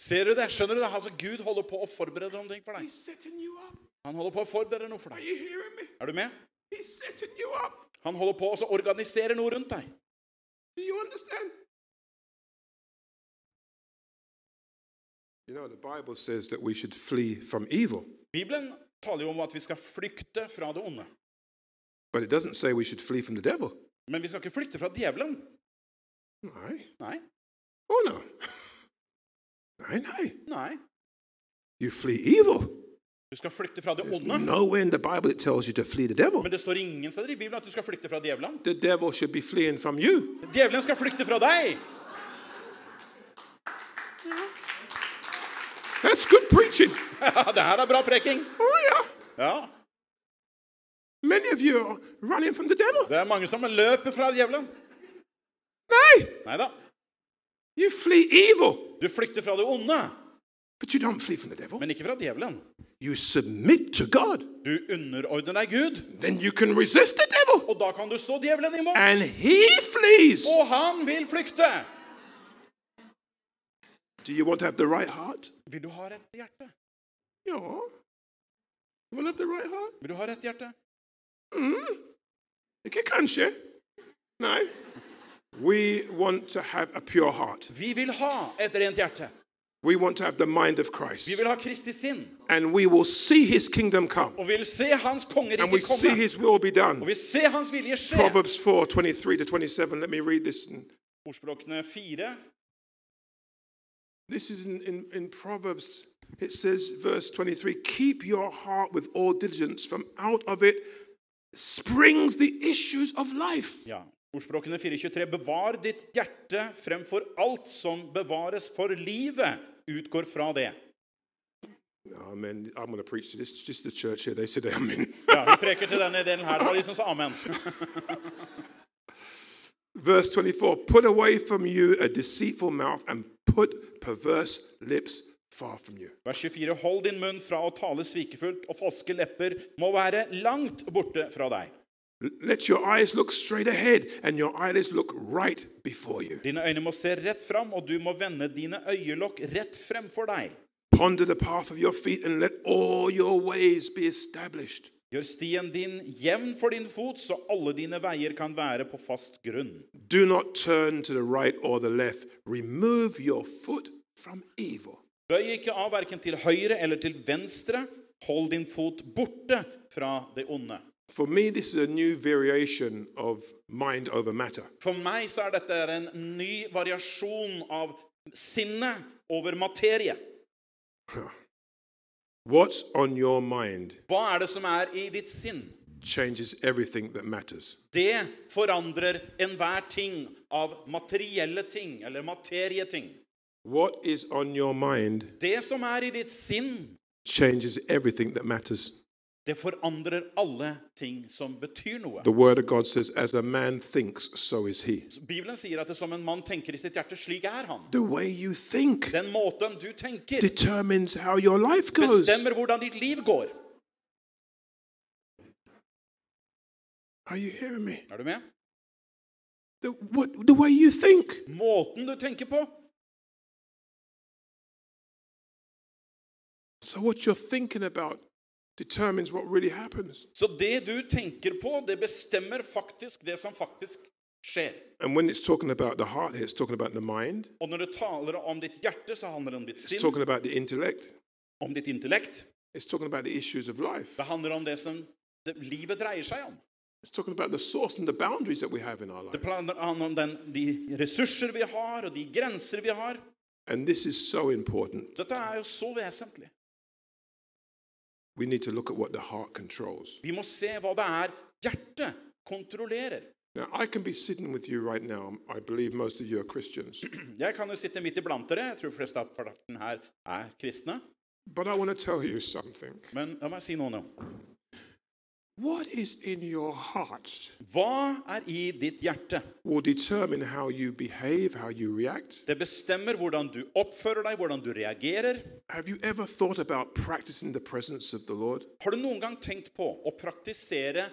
Speaker 2: Ser du det? Skjønner du det? Altså, Gud holder på å forberede noen ting for deg.
Speaker 1: He's setting you up.
Speaker 2: Han holder på å forberede noe for
Speaker 1: Are
Speaker 2: deg.
Speaker 1: you hearing me?
Speaker 2: Er du med?
Speaker 1: He's setting you up.
Speaker 2: Han holder på å også organisere noe rundt deg.
Speaker 1: Do you understand? You know, the Bible says that we should flee from evil,
Speaker 2: Bibelen taler jo om at vi skal flykte fra det onde.
Speaker 1: but it doesn't say we should flee from the devil.
Speaker 2: Men vi skal ikke flykte fra djevelen.
Speaker 1: Nei.
Speaker 2: Nei.
Speaker 1: Oh, no. Nei, nei.
Speaker 2: Nei.
Speaker 1: You flee evil.
Speaker 2: Du skal flykte fra det
Speaker 1: There's
Speaker 2: onde.
Speaker 1: nowhere in the Bible it tells you to flee the devil.
Speaker 2: Men det står ingen steder i Bibelen at du skal flykte fra djevelen.
Speaker 1: The devil should be fleeing from you.
Speaker 2: Djevelen skal flykte fra deg!
Speaker 1: That's good preaching.
Speaker 2: det her er bra preking.
Speaker 1: Oh,
Speaker 2: Ja.
Speaker 1: yeah. Many of you are running from the devil.
Speaker 2: Det er mange som løper fra djevelen.
Speaker 1: Nay,
Speaker 2: Nei da.
Speaker 1: you flee evil,
Speaker 2: Du flykter fra det onde,
Speaker 1: but you don't flee from the devil.
Speaker 2: men ikke fra djevelen.
Speaker 1: You submit to God.
Speaker 2: Du underordner deg Gud,
Speaker 1: Then you can resist the devil.
Speaker 2: og da kan du stå djevelen imot.
Speaker 1: and he flees.
Speaker 2: Og han vil flykte!
Speaker 1: Do you want to have the right heart?
Speaker 2: Vil du ha rett hjerte?
Speaker 1: Yeah. You want to have the right heart?
Speaker 2: Vil du ha rett hjerte?
Speaker 1: You can't No. We want to have a pure heart.
Speaker 2: Vi vil ha et rent hjerte.
Speaker 1: We want to have the mind of Christ.
Speaker 2: Vi vil ha Kristi sinn.
Speaker 1: And we will see his kingdom come.
Speaker 2: Og vi vil se Hans
Speaker 1: And we
Speaker 2: kongerike
Speaker 1: see
Speaker 2: komme.
Speaker 1: his will be
Speaker 2: Og
Speaker 1: done.
Speaker 2: vi ser Hans vilje skje.
Speaker 1: Proverbs 4 23 to 27. Let me read this. And
Speaker 2: Ordspråkene fire.
Speaker 1: This is in, in, in Proverbs. It says, verse 23 Keep your heart with all diligence, from out of it springs the issues of life.
Speaker 2: Ja. Ordspråkene 4.23. Bevar ditt hjerte fremfor alt som bevares for livet, utgår fra det.
Speaker 1: Amen. I'm going to preach to this. It's just the church here. They said amen.
Speaker 2: sånn Ja, Vi preker til denne delen her. Det var de som sa amen.
Speaker 1: Verse 24 Put away from you a deceitful mouth and put perverse lips far from you.
Speaker 2: Vers 24. Hold din munn fra å tale svikefullt, og falske lepper må være langt borte fra deg.
Speaker 1: L- Let your eyes look straight ahead and your eyelids look right before you.
Speaker 2: Dine øyne må se rett fram, og du må vende dine øyelokk rett fremfor deg.
Speaker 1: Ponder the path of your feet and let all your ways be established.
Speaker 2: Gjør stien din jevn for din fot, så alle dine veier kan være på fast grunn.
Speaker 1: Do not turn to the right or the left. Remove your foot from evil.
Speaker 2: Bøy ikke av verken til høyre eller til venstre. Hold din fot borte fra det onde.
Speaker 1: For me, this is a new variation of mind over matter.
Speaker 2: For meg så er dette en ny variasjon av sinnet over materie.
Speaker 1: What's on your mind
Speaker 2: Hva er det som er i ditt sinn?
Speaker 1: changes everything that matters.
Speaker 2: Det forandrer enhver ting av materielle ting, eller materieting.
Speaker 1: What is on your mind
Speaker 2: Det som er i ditt sinn,
Speaker 1: changes everything that matters.
Speaker 2: det forandrer alle ting som betyr noe.
Speaker 1: The Word of God says, As a man thinks, so is he.
Speaker 2: Bibelen sier at det som en mann tenker i sitt hjerte, slik er han.
Speaker 1: The way you think
Speaker 2: Den måten du tenker,
Speaker 1: determines how your life goes.
Speaker 2: bestemmer hvordan ditt liv går.
Speaker 1: Are you hearing me?
Speaker 2: Er du med?
Speaker 1: The, what, the way you think.
Speaker 2: Måten du tenker på.
Speaker 1: So, what you're thinking about determines what really happens.
Speaker 2: Så det du tenker på, det bestemmer faktisk det som faktisk skjer.
Speaker 1: And when it's talking about the heart, here, it's talking about the mind,
Speaker 2: Og når du taler om ditt hjerte, så handler det om ditt
Speaker 1: it's
Speaker 2: sinn,
Speaker 1: talking about the intellect,
Speaker 2: om ditt intellekt.
Speaker 1: it's talking about the issues of life,
Speaker 2: Det handler om det som det, livet dreier seg om.
Speaker 1: it's talking about the source and the boundaries that we have in our life.
Speaker 2: Det handler om den, de ressurser vi har, og de grenser vi har.
Speaker 1: And this is so important.
Speaker 2: Dette er jo så vesentlig.
Speaker 1: We need to look at what the heart controls.
Speaker 2: Vi må se hva det er hjertet kontrollerer.
Speaker 1: Now, I can be sitting with you right now. I believe most of you are Christians.
Speaker 2: Jeg kan jo sitte midt iblant dere. Jeg tror flest av parten her er kristne.
Speaker 1: But I want to tell you something.
Speaker 2: Men la meg si noe nå.
Speaker 1: What is in your heart
Speaker 2: Hva er i ditt hjerte?
Speaker 1: will determine how you behave, how you react.
Speaker 2: Det bestemmer hvordan du oppfører deg, hvordan du reagerer.
Speaker 1: Have you ever thought about practicing the presence of the Lord?
Speaker 2: Har du noen gang tenkt på å praktisere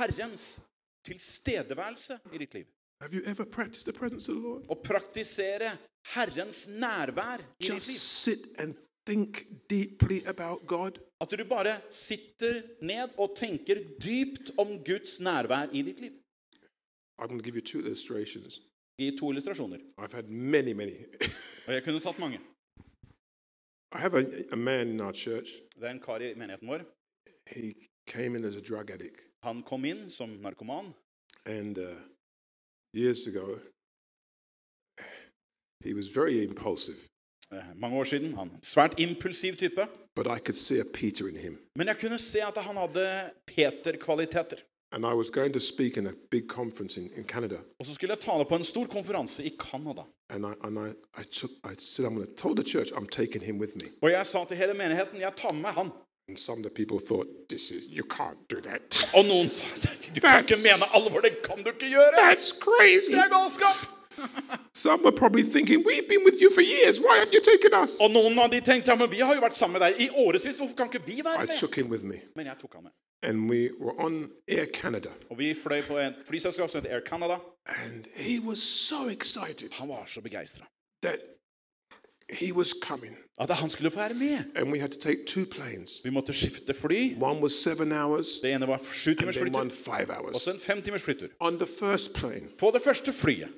Speaker 2: Herrens tilstedeværelse i ditt liv?
Speaker 1: Have you ever practiced the presence of the Lord?
Speaker 2: Å praktisere Herrens nærvær i ditt
Speaker 1: Just
Speaker 2: liv?
Speaker 1: sit and think deeply about God.
Speaker 2: At du bare sitter ned og tenker dypt om Guds nærvær i ditt liv.
Speaker 1: I'm going to give you two illustrations.
Speaker 2: I to illustrasjoner.
Speaker 1: I've had many, many.
Speaker 2: Og jeg kunne tatt mange.
Speaker 1: I have a, a man in our church.
Speaker 2: Det er en kar i menigheten vår.
Speaker 1: He came in as a drug addict.
Speaker 2: Han kom inn som narkoman.
Speaker 1: And uh, years ago, he was very impulsive,
Speaker 2: Eh, mange år siden. Han Svært impulsiv type.
Speaker 1: but I could see a Peter in him.
Speaker 2: Men jeg kunne se at han hadde Peter-kvaliteter.
Speaker 1: And I was going to speak in a big conference in, in Canada.
Speaker 2: Og så skulle jeg tale på en stor konferanse i Canada.
Speaker 1: And I, and I, I, took, I said, I'm going to tell the church I'm taking him with me.
Speaker 2: Og jeg sa til hele menigheten jeg tar med meg han.
Speaker 1: And some of the people thought, this is, you can't do that.
Speaker 2: Og noen sa du kan ikke mene alvor, det kan du ikke gjøre!
Speaker 1: That's crazy.
Speaker 2: Det er galskap!
Speaker 1: Some were probably thinking, we've been with you for years. Why aren't you taking us?
Speaker 2: Og noen av de tenkte ja, men vi har jo vært sammen med deg i årevis, hvorfor kan ikke vi
Speaker 1: I
Speaker 2: være med?
Speaker 1: took him with me.
Speaker 2: Men jeg tok han med.
Speaker 1: And we were on Air Canada.
Speaker 2: Og vi fløy på et flyselskap som heter Air Canada.
Speaker 1: And he was so excited.
Speaker 2: Han var så begeistra.
Speaker 1: that he was coming.
Speaker 2: At han skulle få være med.
Speaker 1: And we had to take two planes.
Speaker 2: Vi måtte skifte fly.
Speaker 1: One was seven hours,
Speaker 2: Det ene var sju
Speaker 1: and
Speaker 2: timers
Speaker 1: then one
Speaker 2: flytur,
Speaker 1: five
Speaker 2: og
Speaker 1: hours.
Speaker 2: så en fem timers flytur.
Speaker 1: On the first plane,
Speaker 2: På det første flyet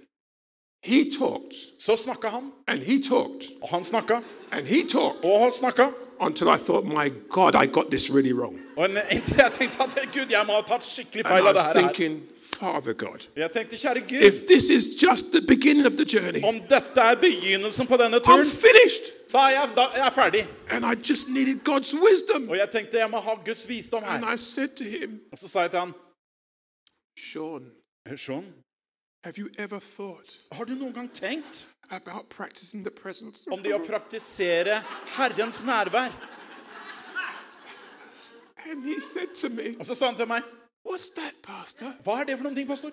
Speaker 1: he talked
Speaker 2: så snakka han,
Speaker 1: and he talked
Speaker 2: og han snakka,
Speaker 1: and he talked
Speaker 2: og han snakka.
Speaker 1: until I thought, my God, I got this really wrong.
Speaker 2: Og en, inntil jeg tenkte at gud, jeg må ha tatt skikkelig
Speaker 1: And
Speaker 2: feil
Speaker 1: I
Speaker 2: av det
Speaker 1: was
Speaker 2: her. her.
Speaker 1: thinking, Father God,
Speaker 2: Jeg tenkte, kjære Gud,
Speaker 1: if this is just the beginning of the journey,
Speaker 2: om dette er begynnelsen på denne
Speaker 1: I'm
Speaker 2: turen,
Speaker 1: finished.
Speaker 2: så er jeg, da, jeg er ferdig.
Speaker 1: And I just needed God's wisdom.
Speaker 2: Og jeg tenkte, jeg må ha Guds visdom
Speaker 1: And
Speaker 2: her.
Speaker 1: I said to him,
Speaker 2: Og så sa jeg til han,
Speaker 1: Sean,
Speaker 2: Eh, Sean,
Speaker 1: have you ever thought
Speaker 2: har du noen gang tenkt
Speaker 1: about practicing the presence
Speaker 2: om
Speaker 1: of
Speaker 2: det å
Speaker 1: God?
Speaker 2: praktisere Herrens nærvær?
Speaker 1: And he said to me,
Speaker 2: Og så sa han til meg,
Speaker 1: What's that, Pastor?
Speaker 2: hva er det for noen ting, pastor?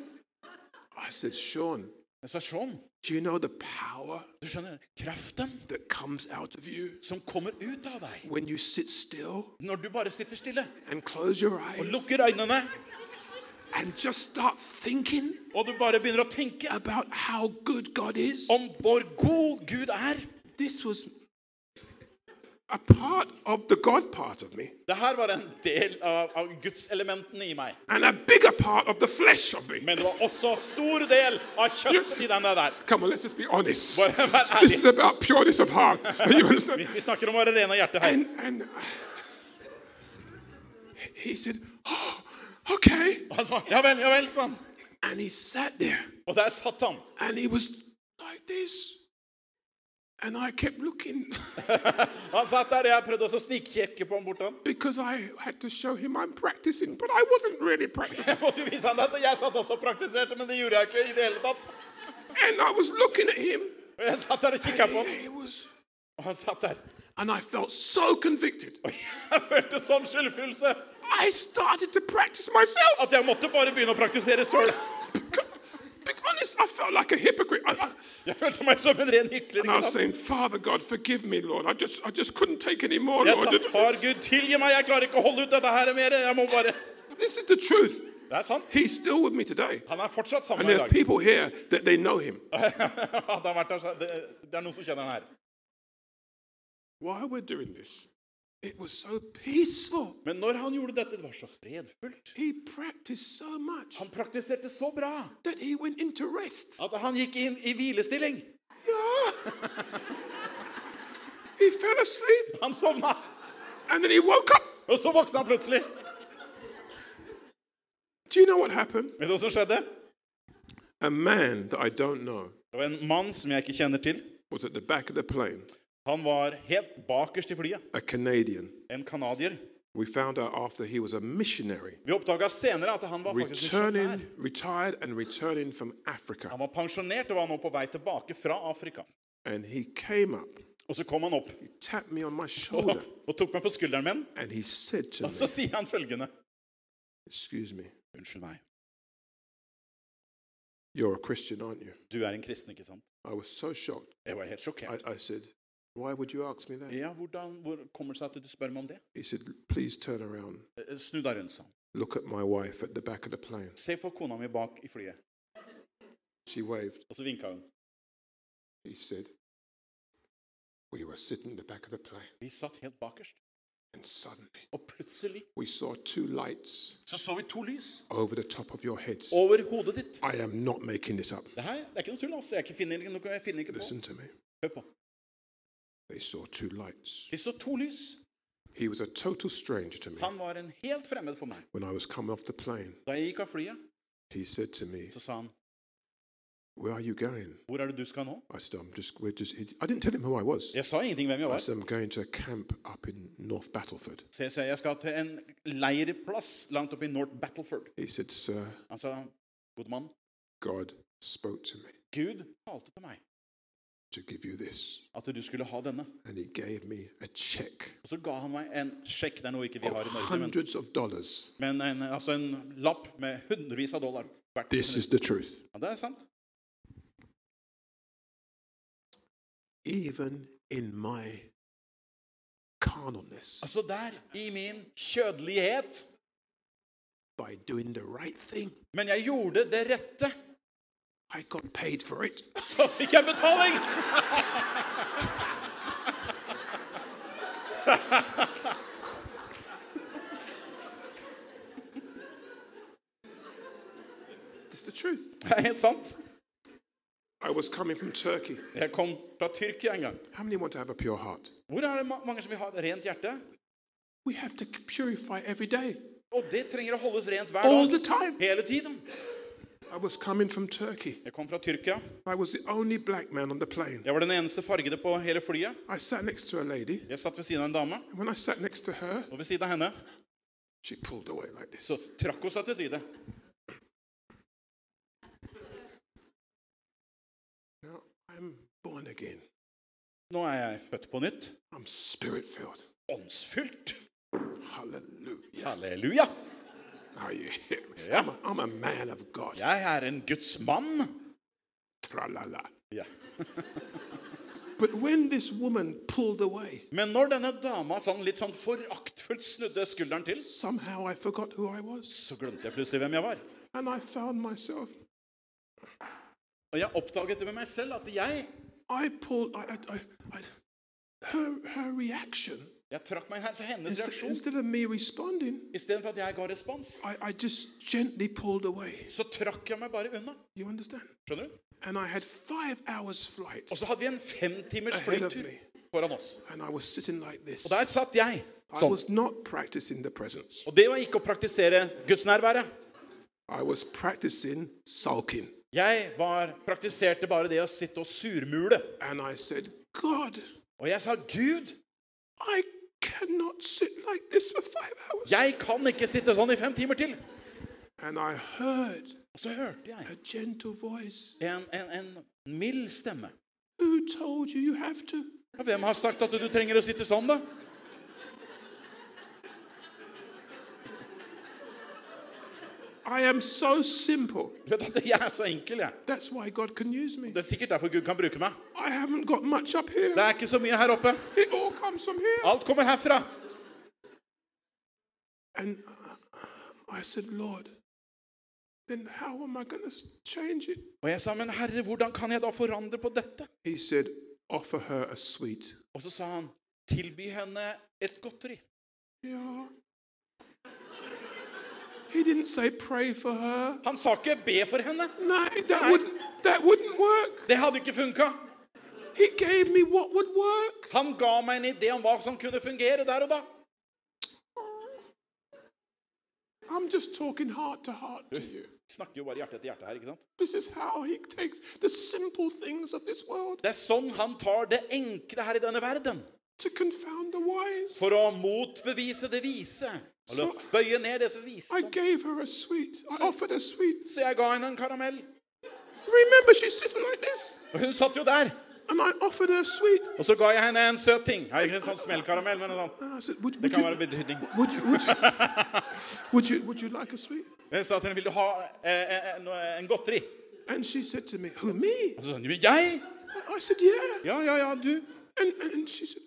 Speaker 1: I said, Sean,
Speaker 2: Jeg sa Sean,
Speaker 1: do you know the power
Speaker 2: du skjønner, kraften
Speaker 1: that comes out of you
Speaker 2: som kommer ut av deg
Speaker 1: when you sit still
Speaker 2: når du bare sitter stille
Speaker 1: and close your
Speaker 2: og
Speaker 1: eyes
Speaker 2: lukker øynene,
Speaker 1: and just start thinking
Speaker 2: og du bare begynner å tenke
Speaker 1: about how good God is?
Speaker 2: om hvor god Gud er.
Speaker 1: This was a part of the God part of me
Speaker 2: Det her var en del av, av gudselementene i meg.
Speaker 1: and a bigger part of the flesh of me.
Speaker 2: Men det var også stor del av kjøtt i denne der.
Speaker 1: Come on, let's just be honest.
Speaker 2: Well, I-
Speaker 1: This is about pureness of heart. You
Speaker 2: Vi,
Speaker 1: understand?
Speaker 2: vi snakker om å være ren av hjerte her.
Speaker 1: And, and uh, he said, Oh, okay.
Speaker 2: Og han sa ja vel, ja vel, sa han.
Speaker 1: And he sat there
Speaker 2: Og der satt han.
Speaker 1: and he was like this. And I kept looking
Speaker 2: Han satt der, og jeg prøvde også å snikkjekke på ham bort han.
Speaker 1: because I had to show him I'm practicing, but I wasn't really practicing.
Speaker 2: Jeg måtte jo vise han at jeg satt også og praktiserte, men det gjorde jeg ikke i det hele tatt.
Speaker 1: And I was looking at him.
Speaker 2: Og jeg satt der og kikka på
Speaker 1: And
Speaker 2: han,
Speaker 1: he was,
Speaker 2: og han satt der.
Speaker 1: and I felt so convicted.
Speaker 2: Og jeg følte sånn skyldfølelse
Speaker 1: I started to practice myself.
Speaker 2: at jeg måtte bare begynne å praktisere sjøl.
Speaker 1: Because, being honest, I felt like a hypocrite. I, I,
Speaker 2: Jeg følte meg som en ren hykler.
Speaker 1: and I
Speaker 2: ikke
Speaker 1: was
Speaker 2: sant?
Speaker 1: saying, Father God, forgive me, Lord. I just, I just couldn't take any more,
Speaker 2: Jeg sa,
Speaker 1: Lord.
Speaker 2: far Gud, tilgi meg, jeg klarer ikke å holde ut dette her mer. Jeg må bare
Speaker 1: This is the truth.
Speaker 2: Det er sant.
Speaker 1: He's still with me today.
Speaker 2: Han er fortsatt sammen
Speaker 1: And
Speaker 2: med
Speaker 1: there's
Speaker 2: meg i
Speaker 1: people here that they know him.
Speaker 2: dag. Hadde han vært der, så- det, det er noen som kjenner han her.
Speaker 1: Why we're doing this? It was so peaceful.
Speaker 2: Men når han gjorde dette, det var så fredfullt.
Speaker 1: He practiced so much
Speaker 2: Han praktiserte så bra
Speaker 1: that he went into rest.
Speaker 2: at han gikk inn i hvilestilling.
Speaker 1: Yeah. he fell asleep
Speaker 2: Han sovna,
Speaker 1: and then he woke up.
Speaker 2: og så våkna han plutselig.
Speaker 1: Do you know what happened?
Speaker 2: Vet du hva som skjedde?
Speaker 1: A man that I don't know
Speaker 2: Det var en mann som jeg ikke kjenner til.
Speaker 1: was at the back of the plane,
Speaker 2: Han var helt bakerst i flyet.
Speaker 1: a Canadian.
Speaker 2: En canadier.
Speaker 1: We found out after he was a missionary,
Speaker 2: Vi oppdaga senere at han var faktisk misjonær.
Speaker 1: returning, retired and returning from Africa.
Speaker 2: Han var pensjonert og var nå på vei tilbake fra Afrika.
Speaker 1: And he came up,
Speaker 2: Og så kom han opp
Speaker 1: he tapped me on my
Speaker 2: og,
Speaker 1: shoulder,
Speaker 2: og tok meg på skulderen min,
Speaker 1: and he said to
Speaker 2: og så
Speaker 1: me,
Speaker 2: sier han følgende
Speaker 1: Excuse me,
Speaker 2: Unnskyld meg,
Speaker 1: you're a Christian, aren't you?
Speaker 2: du er en kristen, ikke sant?
Speaker 1: I was so shocked.
Speaker 2: Jeg var helt sjokkert.
Speaker 1: I, I said, Why would you ask me that?
Speaker 2: Ja, hvordan hvor kommer det seg at du spør meg om det?
Speaker 1: He said, Please turn around.
Speaker 2: Eh, Snu deg rundt, sa han.
Speaker 1: Look at my wife at the back of the plane.
Speaker 2: Se på kona mi bak i flyet.
Speaker 1: She waved.
Speaker 2: Og så vinka hun.
Speaker 1: He said, We were sitting at the back of the plane,
Speaker 2: Vi satt helt bakerst,
Speaker 1: and suddenly
Speaker 2: og plutselig
Speaker 1: we saw two lights
Speaker 2: så så vi to lys
Speaker 1: over the top of your heads.
Speaker 2: over hodet ditt.
Speaker 1: I am not making this up.
Speaker 2: Det her det er ikke noe tull, altså. Jeg ikke finner, ikke noe- jeg finner ikke på.
Speaker 1: Listen to me.
Speaker 2: Hør på.
Speaker 1: They saw two lights.
Speaker 2: Vi så to lys.
Speaker 1: He was a total stranger to me.
Speaker 2: Han var en helt fremmed for meg.
Speaker 1: When I was coming off the plane,
Speaker 2: Da jeg gikk av flyet,
Speaker 1: he said to me,
Speaker 2: så sa han
Speaker 1: Where are you going?
Speaker 2: Hvor er det du skal nå?
Speaker 1: I said, I'm just, we're just, I didn't tell him who I was.
Speaker 2: Jeg sa ingenting hvem jeg
Speaker 1: I
Speaker 2: var.
Speaker 1: said, I'm going to a camp up in North Battleford.
Speaker 2: Så jeg sa jeg skal til en leirplass langt oppe i North Battleford.
Speaker 1: He said, Sir,
Speaker 2: Han sa, god mann,
Speaker 1: God spoke to me
Speaker 2: Gud talte til meg
Speaker 1: to give you this.
Speaker 2: at du skulle ha denne.
Speaker 1: And he gave me a check
Speaker 2: Og så ga han meg en sjekk, det er noe ikke vi
Speaker 1: of
Speaker 2: har i Norge, men,
Speaker 1: hundreds of dollars.
Speaker 2: men en, altså en lapp med hundrevis av dollar. hvert
Speaker 1: This is
Speaker 2: minutt.
Speaker 1: the truth.
Speaker 2: ja, det er sant.
Speaker 1: Even in my carnalness,
Speaker 2: Altså der, i min kjødelighet.
Speaker 1: by doing the right thing,
Speaker 2: Men jeg gjorde det rette,
Speaker 1: I got paid for it.
Speaker 2: så fikk jeg betaling!
Speaker 1: This is the truth.
Speaker 2: Det er helt sant.
Speaker 1: I was coming from Turkey.
Speaker 2: Jeg kom fra Tyrkia en gang.
Speaker 1: How many want to have a pure heart?
Speaker 2: Hvor er det ma- mange som vil ha et rent hjerte?
Speaker 1: We have to purify every day,
Speaker 2: Og det trenger å holdes rent hver
Speaker 1: all the
Speaker 2: dag.
Speaker 1: time.
Speaker 2: Hele tiden.
Speaker 1: I was coming from Turkey.
Speaker 2: Jeg kom fra Tyrkia.
Speaker 1: I was the only black man on the plane.
Speaker 2: Jeg var den eneste fargede på hele flyet.
Speaker 1: I sat next to a lady.
Speaker 2: Jeg satt ved siden av en dame,
Speaker 1: And when I sat next to her,
Speaker 2: og ved siden av henne
Speaker 1: she pulled away like this.
Speaker 2: så trakk hun seg til side.
Speaker 1: Now, I'm born again.
Speaker 2: Nå er jeg født på nytt.
Speaker 1: I'm spirit filled.
Speaker 2: Åndsfylt.
Speaker 1: Hallelujah.
Speaker 2: Halleluja.
Speaker 1: Are you hear me?
Speaker 2: Ja.
Speaker 1: I'm, a, I'm a man of God.
Speaker 2: Jeg er en Guds mann.
Speaker 1: Tra-la-la.
Speaker 2: Ja.
Speaker 1: But when this woman pulled away,
Speaker 2: Men når denne dama sånn litt sånn foraktfullt snudde skulderen til,
Speaker 1: somehow I forgot who I was.
Speaker 2: så glemte jeg plutselig hvem jeg var.
Speaker 1: And I found myself.
Speaker 2: Og jeg oppdaget det med meg selv at jeg,
Speaker 1: I pulled. I, I, I, I, her, her reaction,
Speaker 2: jeg trakk meg her. Så hennes
Speaker 1: instead,
Speaker 2: reaksjon
Speaker 1: instead of me responding,
Speaker 2: Istedenfor at jeg ga respons,
Speaker 1: I, I just gently pulled away.
Speaker 2: så trakk jeg meg bare unna.
Speaker 1: You understand?
Speaker 2: Skjønner du?
Speaker 1: And I had five hours flight,
Speaker 2: Og så hadde vi en femtimers
Speaker 1: Ahead of
Speaker 2: flytur
Speaker 1: me.
Speaker 2: foran oss.
Speaker 1: and I was sitting like this.
Speaker 2: Og der satt jeg
Speaker 1: I
Speaker 2: sånn.
Speaker 1: was not practicing the presence.
Speaker 2: Og det var ikke å praktisere gudsnærværet.
Speaker 1: I was practicing sulking.
Speaker 2: Jeg var, praktiserte bare det å sitte og surmule.
Speaker 1: And I said, God,
Speaker 2: Og jeg sa, Gud,
Speaker 1: I cannot sit like this for five hours.
Speaker 2: jeg kan ikke sitte sånn i fem timer til. Og
Speaker 1: And I heard
Speaker 2: så hørte
Speaker 1: a
Speaker 2: jeg
Speaker 1: gentle voice.
Speaker 2: en, en, en mild stemme.
Speaker 1: Who told you you have to?
Speaker 2: Ja, Hvem har sagt at du trenger å sitte sånn, da?
Speaker 1: I am so simple.
Speaker 2: Du vet at Jeg er så enkel, jeg.
Speaker 1: That's why God can use me.
Speaker 2: Det er sikkert derfor Gud kan bruke meg.
Speaker 1: I haven't got much up here.
Speaker 2: Det er ikke så mye her oppe.
Speaker 1: It all comes from here.
Speaker 2: Alt kommer herfra.
Speaker 1: And I said, Lord, then how am I going to change it?
Speaker 2: Og jeg sa, men herre, hvordan kan jeg da forandre på dette?
Speaker 1: He said, offer her a sweet.
Speaker 2: Og så sa han, tilby henne et godteri.
Speaker 1: Yeah. He didn't say pray for her.
Speaker 2: Han sa ikke be for henne.
Speaker 1: No, that wouldn't that wouldn't work.
Speaker 2: Det hadde ikke funka.
Speaker 1: He gave me what would work.
Speaker 2: Han ga meg en idé om hva som kunne fungere der og da.
Speaker 1: I'm just talking heart to heart to you.
Speaker 2: Vi snakker jo bare hjerte til hjerte her, ikke sant?
Speaker 1: This is how he takes the simple things of this world
Speaker 2: Det er sånn han tar det enkle her i denne verden.
Speaker 1: to confound the wise.
Speaker 2: For å motbevise det vise. Eller
Speaker 1: Så-
Speaker 2: bøye ned det som
Speaker 1: I
Speaker 2: viste.
Speaker 1: gave her a sweet. I offered a sweet.
Speaker 2: Så jeg ga henne en karamell.
Speaker 1: Remember, she's sitting like this,
Speaker 2: Og hun satt jo der.
Speaker 1: and I offered her a sweet.
Speaker 2: Og så ga jeg henne en søt ting. Ja, ikke en sånn smellkaramell, men en sånn.
Speaker 1: And I said, would,
Speaker 2: Det
Speaker 1: would,
Speaker 2: kan være
Speaker 1: you,
Speaker 2: betydning.
Speaker 1: would, you, would, you, would you would you like a sweet?
Speaker 2: Jeg sa til henne, vil du ha eh, eh, noe- en godteri?
Speaker 1: And she said to me, Who me?
Speaker 2: Og så sa hun, jeg?
Speaker 1: I said, Yeah.
Speaker 2: Ja, ja, ja, du.
Speaker 1: And, and, and she said,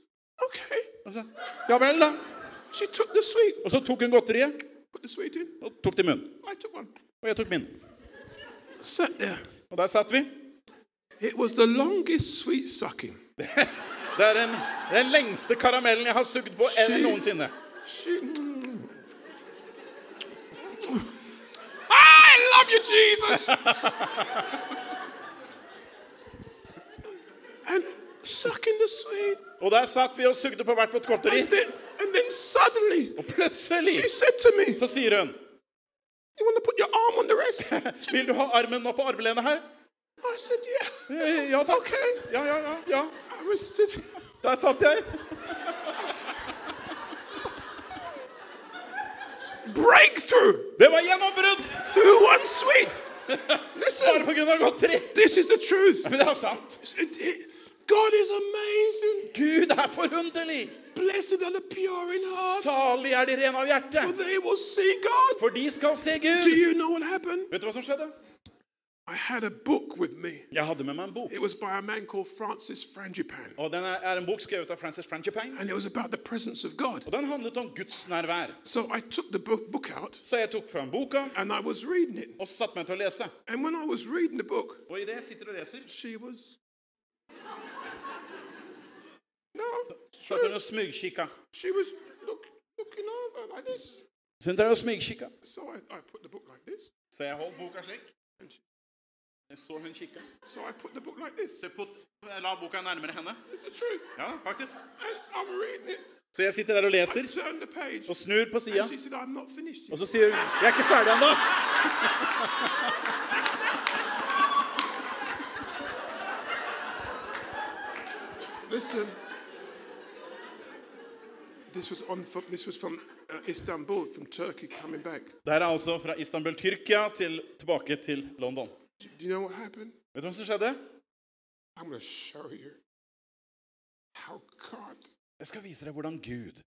Speaker 1: Okay.
Speaker 2: Og så, ja vel, da.
Speaker 1: She took the sweet,
Speaker 2: Og så tok hun godteriet
Speaker 1: put the sweet in.
Speaker 2: og tok det i munnen.
Speaker 1: I took one.
Speaker 2: Og jeg tok min.
Speaker 1: Sat there.
Speaker 2: Og der satt vi.
Speaker 1: It was the longest sweet sucking.
Speaker 2: Det er den, den lengste karamellen jeg har sugd på enn
Speaker 1: Shit.
Speaker 2: noensinne.
Speaker 1: She. mm. I love you, Jesus. and sucking the sweet,
Speaker 2: Og der satt vi og sugde på hvert vårt godteri.
Speaker 1: and then and then suddenly
Speaker 2: Og plutselig
Speaker 1: she said to me,
Speaker 2: så sier hun
Speaker 1: "You want to put your arm on the rest?"
Speaker 2: Vil du ha armen opp på armlenet her?
Speaker 1: I said, "Yeah."
Speaker 2: «Eh, Ja takk.
Speaker 1: Okay.
Speaker 2: Ja, ja, ja. ja.
Speaker 1: I was sitting.
Speaker 2: Der satt jeg.
Speaker 1: Breakthrough
Speaker 2: Det var gjennombrudd!
Speaker 1: through one sweet.
Speaker 2: Bare
Speaker 1: Listen,
Speaker 2: på grunn av godteri.
Speaker 1: this is the truth.
Speaker 2: Men det er sant.
Speaker 1: It- it- God is amazing.
Speaker 2: Gud er forunderlig.
Speaker 1: Blessed are the pure in heart,
Speaker 2: Salig er de rene av hjerte.
Speaker 1: for they will see God.
Speaker 2: For de skal se Gud.
Speaker 1: Do you know what happened?
Speaker 2: Vet du hva som skjedde?
Speaker 1: I had a book with me.
Speaker 2: Jeg hadde med meg en bok.
Speaker 1: It was by a man called Francis Frangipan,
Speaker 2: Og den er, er en bok skrevet av Francis Frangipane.
Speaker 1: and it was about the presence of God.
Speaker 2: Og den handlet om Guds nærvær.
Speaker 1: So I took the book, book out
Speaker 2: Så jeg tok fram boka
Speaker 1: and I was reading it.
Speaker 2: og satte meg til å lese.
Speaker 1: And when I was reading the book,
Speaker 2: Og idet jeg sitter og leser,
Speaker 1: she was. No,
Speaker 2: satt hun og smygkikka.
Speaker 1: she was look, looking over like this.
Speaker 2: Sitter der og smygkikka.
Speaker 1: So I, I put the book like this.
Speaker 2: Så jeg holdt boka slik. Så hun kikka.
Speaker 1: So I put the book like this.
Speaker 2: Så jeg put, jeg la boka nærmere henne.
Speaker 1: It's the truth.
Speaker 2: Ja, faktisk.
Speaker 1: And I'm reading it.
Speaker 2: Så jeg sitter der og
Speaker 1: I
Speaker 2: leser
Speaker 1: turned the page.
Speaker 2: og snur på sida.
Speaker 1: And she said, I'm not finished
Speaker 2: Og
Speaker 1: yet.
Speaker 2: så sier hun 'Jeg er ikke ferdig ennå'.
Speaker 1: Listen. This was on. From, this was from uh, Istanbul, from Turkey, coming back.
Speaker 2: Det her er altså fra Istanbul, Tyrkia, til, tilbake til London.
Speaker 1: Do do you know what happened?
Speaker 2: Vet du hva som skjedde?
Speaker 1: I'm going to show you how God
Speaker 2: Jeg skal vise deg hvordan Gud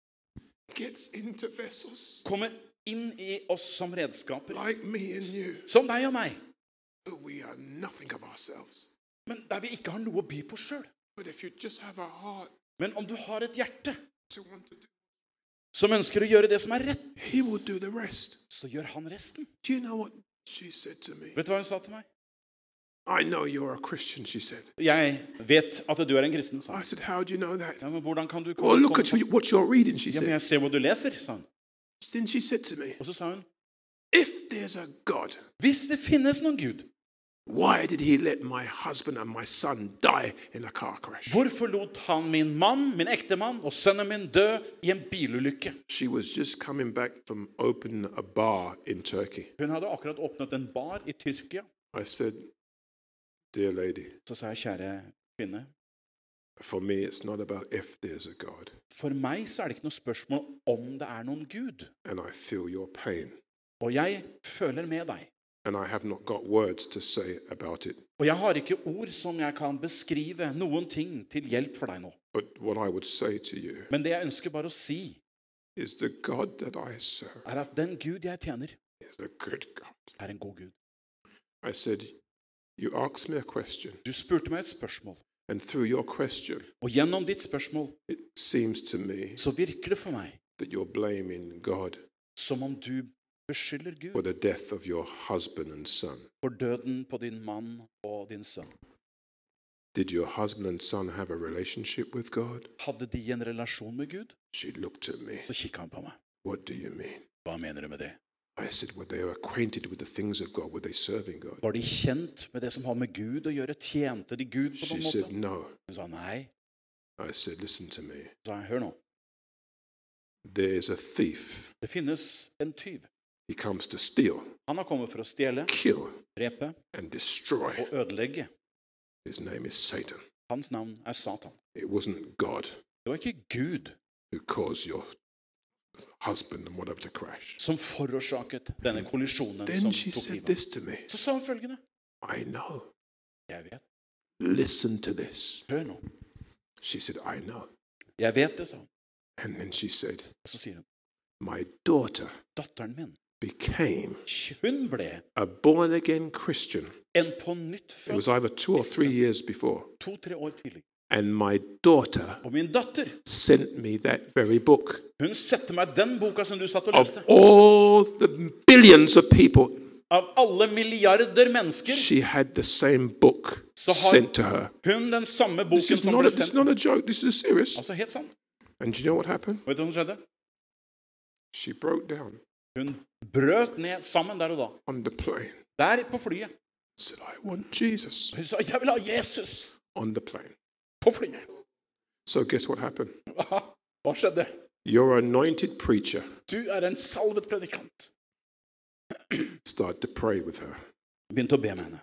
Speaker 1: gets into vessels
Speaker 2: kommer inn i oss som redskaper.
Speaker 1: Like me and you,
Speaker 2: Som deg og meg.
Speaker 1: we are nothing of ourselves.
Speaker 2: Men der vi ikke har noe å by på sjøl.
Speaker 1: But if you just have a heart
Speaker 2: Men om du har et hjerte
Speaker 1: to want to do,
Speaker 2: som ønsker å gjøre det som er rett,
Speaker 1: He will do the rest.
Speaker 2: så gjør han resten.
Speaker 1: Do you know what she said to me?
Speaker 2: Vet du hva hun sa til meg?
Speaker 1: I know you're a Christian, she said.
Speaker 2: Jeg vet at du er en kristen, sa
Speaker 1: I
Speaker 2: han.
Speaker 1: said, How do you know that?
Speaker 2: Ja, men hvordan kan du
Speaker 1: Well,
Speaker 2: komme
Speaker 1: look at you, what you're reading, she
Speaker 2: Ja, men
Speaker 1: said.
Speaker 2: jeg ser hva du leser, sa han.
Speaker 1: Then she said to me,
Speaker 2: Og så sa hun,
Speaker 1: If there's a God,
Speaker 2: hvis det finnes noen Gud,
Speaker 1: why did he let my husband and my son die in a car crash?
Speaker 2: hvorfor lot han min mann, min ektemann og sønnen min dø i en bilulykke?
Speaker 1: She was just coming back from opening a bar in Turkey.
Speaker 2: Hun hadde akkurat åpnet en bar i Tyrkia.
Speaker 1: I said, Dear lady,
Speaker 2: Så sa jeg, kjære kvinne,
Speaker 1: for me, it's not about if there's a God.
Speaker 2: for meg så er det ikke noe spørsmål om det er noen Gud.
Speaker 1: And I feel your pain.
Speaker 2: Og jeg føler med deg.
Speaker 1: And I have not got words to say about it.
Speaker 2: Og jeg har ikke ord som jeg kan beskrive noen ting til hjelp for deg nå.
Speaker 1: But what I would say to you
Speaker 2: Men det jeg ønsker bare å si,
Speaker 1: is the God that I serve
Speaker 2: er at den Gud jeg tjener,
Speaker 1: is a good God.
Speaker 2: er en god Gud.
Speaker 1: I said, You asked me a question,
Speaker 2: Du spurte meg et spørsmål,
Speaker 1: and through your question,
Speaker 2: og gjennom ditt spørsmål
Speaker 1: it seems to me
Speaker 2: så virker det for meg
Speaker 1: that you're blaming God
Speaker 2: som om du beskylder
Speaker 1: for
Speaker 2: Gud
Speaker 1: the death of your husband and son.
Speaker 2: for døden på din mann og din sønn.
Speaker 1: Did your husband and son have a relationship with God?
Speaker 2: Hadde de en relasjon med Gud?
Speaker 1: She looked at me.
Speaker 2: Så kikka han på meg.
Speaker 1: What do you mean?
Speaker 2: Hva mener du med det?
Speaker 1: I said, Were they acquainted with the things of God? Were they serving God?
Speaker 2: Var de kjent med det som har med Gud å gjøre? Tjente de Gud på
Speaker 1: She
Speaker 2: noen
Speaker 1: said,
Speaker 2: måte?
Speaker 1: No.
Speaker 2: Hun sa nei.
Speaker 1: I said, Listen to me.
Speaker 2: Så sa jeg, hør nå.
Speaker 1: There's a thief.
Speaker 2: Det finnes en tyv.
Speaker 1: He comes to steal,
Speaker 2: Han har kommet for å stjele,
Speaker 1: kill,
Speaker 2: drepe
Speaker 1: and destroy.
Speaker 2: og ødelegge.
Speaker 1: His name is Satan.
Speaker 2: Hans navn er Satan.
Speaker 1: It wasn't God
Speaker 2: Det var ikke Gud
Speaker 1: who caused your husband and whatever to crash.
Speaker 2: som forårsaket denne kollisjonen
Speaker 1: Then
Speaker 2: som
Speaker 1: she
Speaker 2: tok
Speaker 1: said
Speaker 2: livet.
Speaker 1: this to me
Speaker 2: Så sa han følgende.
Speaker 1: I know.
Speaker 2: Jeg vet.
Speaker 1: Listen to this.
Speaker 2: Hør nå.
Speaker 1: She said, I know.
Speaker 2: Jeg vet det, sa han.
Speaker 1: And then she said,
Speaker 2: Og så sier hun,
Speaker 1: My daughter
Speaker 2: datteren min,
Speaker 1: became
Speaker 2: hun ble
Speaker 1: a born again Christian.
Speaker 2: en på nytt
Speaker 1: It was
Speaker 2: født
Speaker 1: either two or three years before.
Speaker 2: to-tre år tidlig.
Speaker 1: And my daughter
Speaker 2: Og min datter,
Speaker 1: sent me that very book.
Speaker 2: hun sendte meg den boka som du satt og
Speaker 1: Of
Speaker 2: leste.
Speaker 1: all the billions of people,
Speaker 2: Av alle milliarder mennesker,
Speaker 1: she had the same book
Speaker 2: So how-
Speaker 1: sent to her.
Speaker 2: hun den samme
Speaker 1: This
Speaker 2: boken
Speaker 1: is
Speaker 2: som
Speaker 1: not a,
Speaker 2: ble
Speaker 1: this is
Speaker 2: sendt.
Speaker 1: not a joke. This is serious.
Speaker 2: Altså helt sant.
Speaker 1: And do you know what happened?
Speaker 2: Vet du hva som skjedde?
Speaker 1: She broke down
Speaker 2: Hun brøt ned sammen der og da.
Speaker 1: on the plane.
Speaker 2: Der på flyet.
Speaker 1: Said, I want Jesus
Speaker 2: Hun sa 'Jeg vil ha Jesus'
Speaker 1: on the plane.
Speaker 2: på flyet.
Speaker 1: So guess what happened?
Speaker 2: Aha. Hva skjedde?
Speaker 1: Your anointed preacher
Speaker 2: Du er en salvet predikant.
Speaker 1: started to pray with her.
Speaker 2: Begynte å be med henne.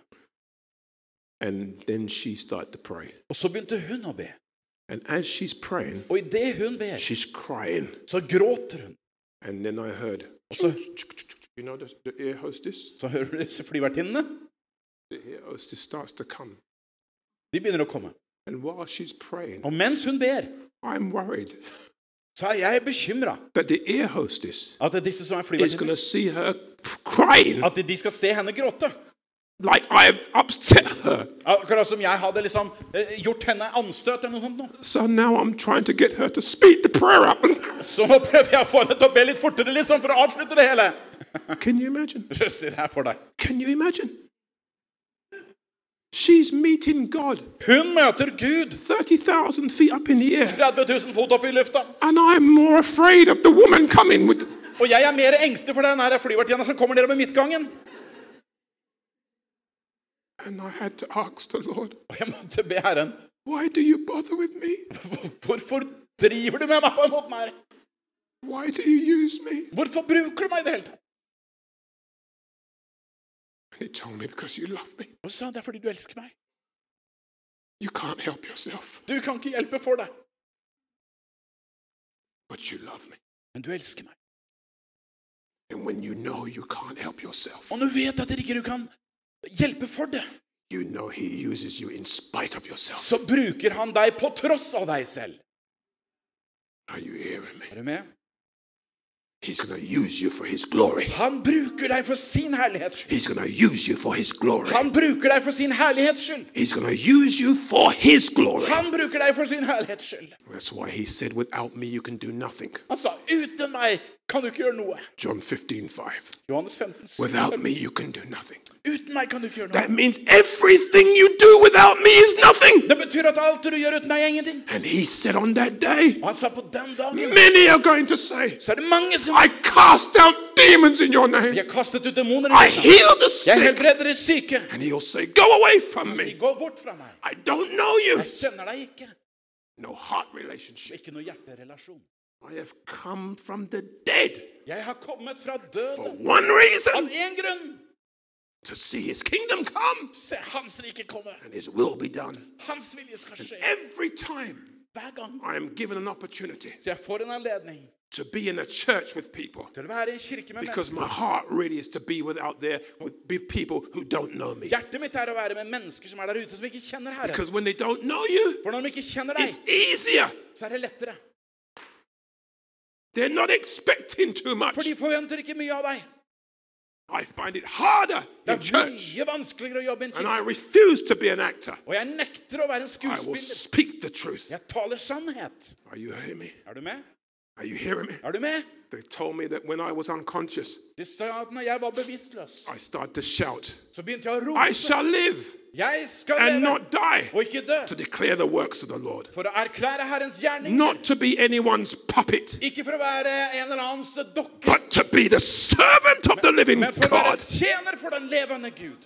Speaker 1: And then she started to pray.
Speaker 2: Og så begynte hun å be.
Speaker 1: And as she's praying,
Speaker 2: Og idet hun ber,
Speaker 1: she's crying.
Speaker 2: så gråter hun.
Speaker 1: And then I heard,
Speaker 2: Also-
Speaker 1: you know, the, the ear hostess,
Speaker 2: Så hører du disse flyvertinnene.
Speaker 1: the ear hostess starts to come.
Speaker 2: De begynner å komme.
Speaker 1: And while she's praying,
Speaker 2: Og mens hun ber,
Speaker 1: I'm worried
Speaker 2: så er jeg bekymra
Speaker 1: that the ear hostess
Speaker 2: at disse som er
Speaker 1: is going to
Speaker 2: flyvertinner,
Speaker 1: see her crying
Speaker 2: at de skal se henne gråte.
Speaker 1: like I've upset her.
Speaker 2: Akkurat som jeg hadde liksom eh, gjort henne anstøt eller noe sånt. nå.
Speaker 1: So now I'm trying to get her to speed the prayer up.
Speaker 2: Så nå prøver jeg å få henne til å be litt fortere, liksom, for å avslutte det hele.
Speaker 1: Can you imagine?
Speaker 2: Så sier jeg for deg.
Speaker 1: Can you imagine? She's meeting God
Speaker 2: Hun møter Gud
Speaker 1: 30,000 feet up in the air.
Speaker 2: 30 000 fot opp i lufta.
Speaker 1: And I'm more afraid of the woman coming with.
Speaker 2: Og jeg er mer engstelig for den her flyvertinna som kommer nedover midtgangen.
Speaker 1: And I had to ask the Lord,
Speaker 2: Og jeg måtte be Herren
Speaker 1: why do you bother with me?
Speaker 2: Hvorfor driver du med meg på den måten her?
Speaker 1: Why do you use me?
Speaker 2: Hvorfor bruker du meg i det hele tatt?
Speaker 1: And he told me, because you love me.
Speaker 2: Og så sa han det er fordi du elsker meg.
Speaker 1: You can't help yourself,
Speaker 2: Du kan ikke hjelpe for deg,
Speaker 1: but you love me.
Speaker 2: men du elsker meg.
Speaker 1: And when you know you can't help yourself,
Speaker 2: Og du vet at det ikke du kan hjelpe for det,
Speaker 1: you know he uses you in spite of yourself.
Speaker 2: så bruker han deg på tross av deg selv.
Speaker 1: Are you hearing me?
Speaker 2: Er du med?
Speaker 1: He's going to use you for his glory.
Speaker 2: Han bruker deg for sin herlighets skyld.
Speaker 1: He's going to use you for his glory.
Speaker 2: Han bruker deg for sin herlighets skyld.
Speaker 1: He's going to use you for his glory.
Speaker 2: Han bruker deg for sin herlighets skyld.
Speaker 1: That's why he said, Without me, you can do nothing.
Speaker 2: Han sa, uten meg kan du ikke gjøre noe.
Speaker 1: John 15, 5.
Speaker 2: Johannes 15.
Speaker 1: Without me, you can do nothing.
Speaker 2: Uten meg kan du ikke gjøre noe.
Speaker 1: That means everything you do without me is nothing.
Speaker 2: Det betyr at alt du gjør uten meg, er ingenting.
Speaker 1: And he said on that day,
Speaker 2: Og han sa på den dagen
Speaker 1: Many are going to say,
Speaker 2: så er det mange som
Speaker 1: I cast out demons in your name.
Speaker 2: Jeg har kastet ut demoner.
Speaker 1: I
Speaker 2: i ditt navn.
Speaker 1: heal the
Speaker 2: Jeg
Speaker 1: sick.
Speaker 2: helbreder de syke.
Speaker 1: And he'll say, Go away from me.
Speaker 2: Gå bort fra meg.
Speaker 1: I don't know you.
Speaker 2: Jeg kjenner deg ikke.
Speaker 1: No heart relationship.
Speaker 2: Ikke noe hjerterelasjon.
Speaker 1: I have come from the dead
Speaker 2: Jeg har kommet fra
Speaker 1: for
Speaker 2: døden
Speaker 1: one reason
Speaker 2: av én grunn.
Speaker 1: to see his kingdom come
Speaker 2: Se, hans rike komme.
Speaker 1: and his will be done.
Speaker 2: Hans vilje skal skje
Speaker 1: Every time
Speaker 2: hver gang.
Speaker 1: I am given an opportunity
Speaker 2: Så jeg får en anledning
Speaker 1: to be in a church with people
Speaker 2: til å være i en kirke med mennesker.
Speaker 1: because my heart really is to be without there with be people who don't know me.
Speaker 2: Hjertet mitt er å være med mennesker som er der ute, som ikke kjenner Herren.
Speaker 1: Because when they don't know you,
Speaker 2: For når de ikke kjenner deg,
Speaker 1: it's easier.
Speaker 2: så er det lettere.
Speaker 1: They're not expecting too much.
Speaker 2: For de forventer ikke mye av deg.
Speaker 1: I find it harder
Speaker 2: Det
Speaker 1: in
Speaker 2: er
Speaker 1: church.
Speaker 2: mye vanskeligere å jobbe i en
Speaker 1: And
Speaker 2: kirke.
Speaker 1: I refuse to be an actor.
Speaker 2: Og jeg nekter å være en
Speaker 1: I will
Speaker 2: skuespiller.
Speaker 1: speak the truth.
Speaker 2: Jeg taler sannhet.
Speaker 1: Are you hearing me?
Speaker 2: Er du med?
Speaker 1: Are you hearing me?
Speaker 2: Er du med?
Speaker 1: They told me that when I was unconscious,
Speaker 2: De sa at når jeg var bevisstløs,
Speaker 1: I started to shout,
Speaker 2: så begynte jeg å rope.
Speaker 1: I shall live
Speaker 2: Jeg skal
Speaker 1: and
Speaker 2: leve
Speaker 1: not die
Speaker 2: og ikke dø.
Speaker 1: to declare the works of the Lord.
Speaker 2: For å erklære Herrens gjerning.
Speaker 1: Not to be anyone's puppet,
Speaker 2: Ikke for å være en eller annens dokke,
Speaker 1: but to be the servant of the living
Speaker 2: men for å være
Speaker 1: God.
Speaker 2: tjener for den levende Gud.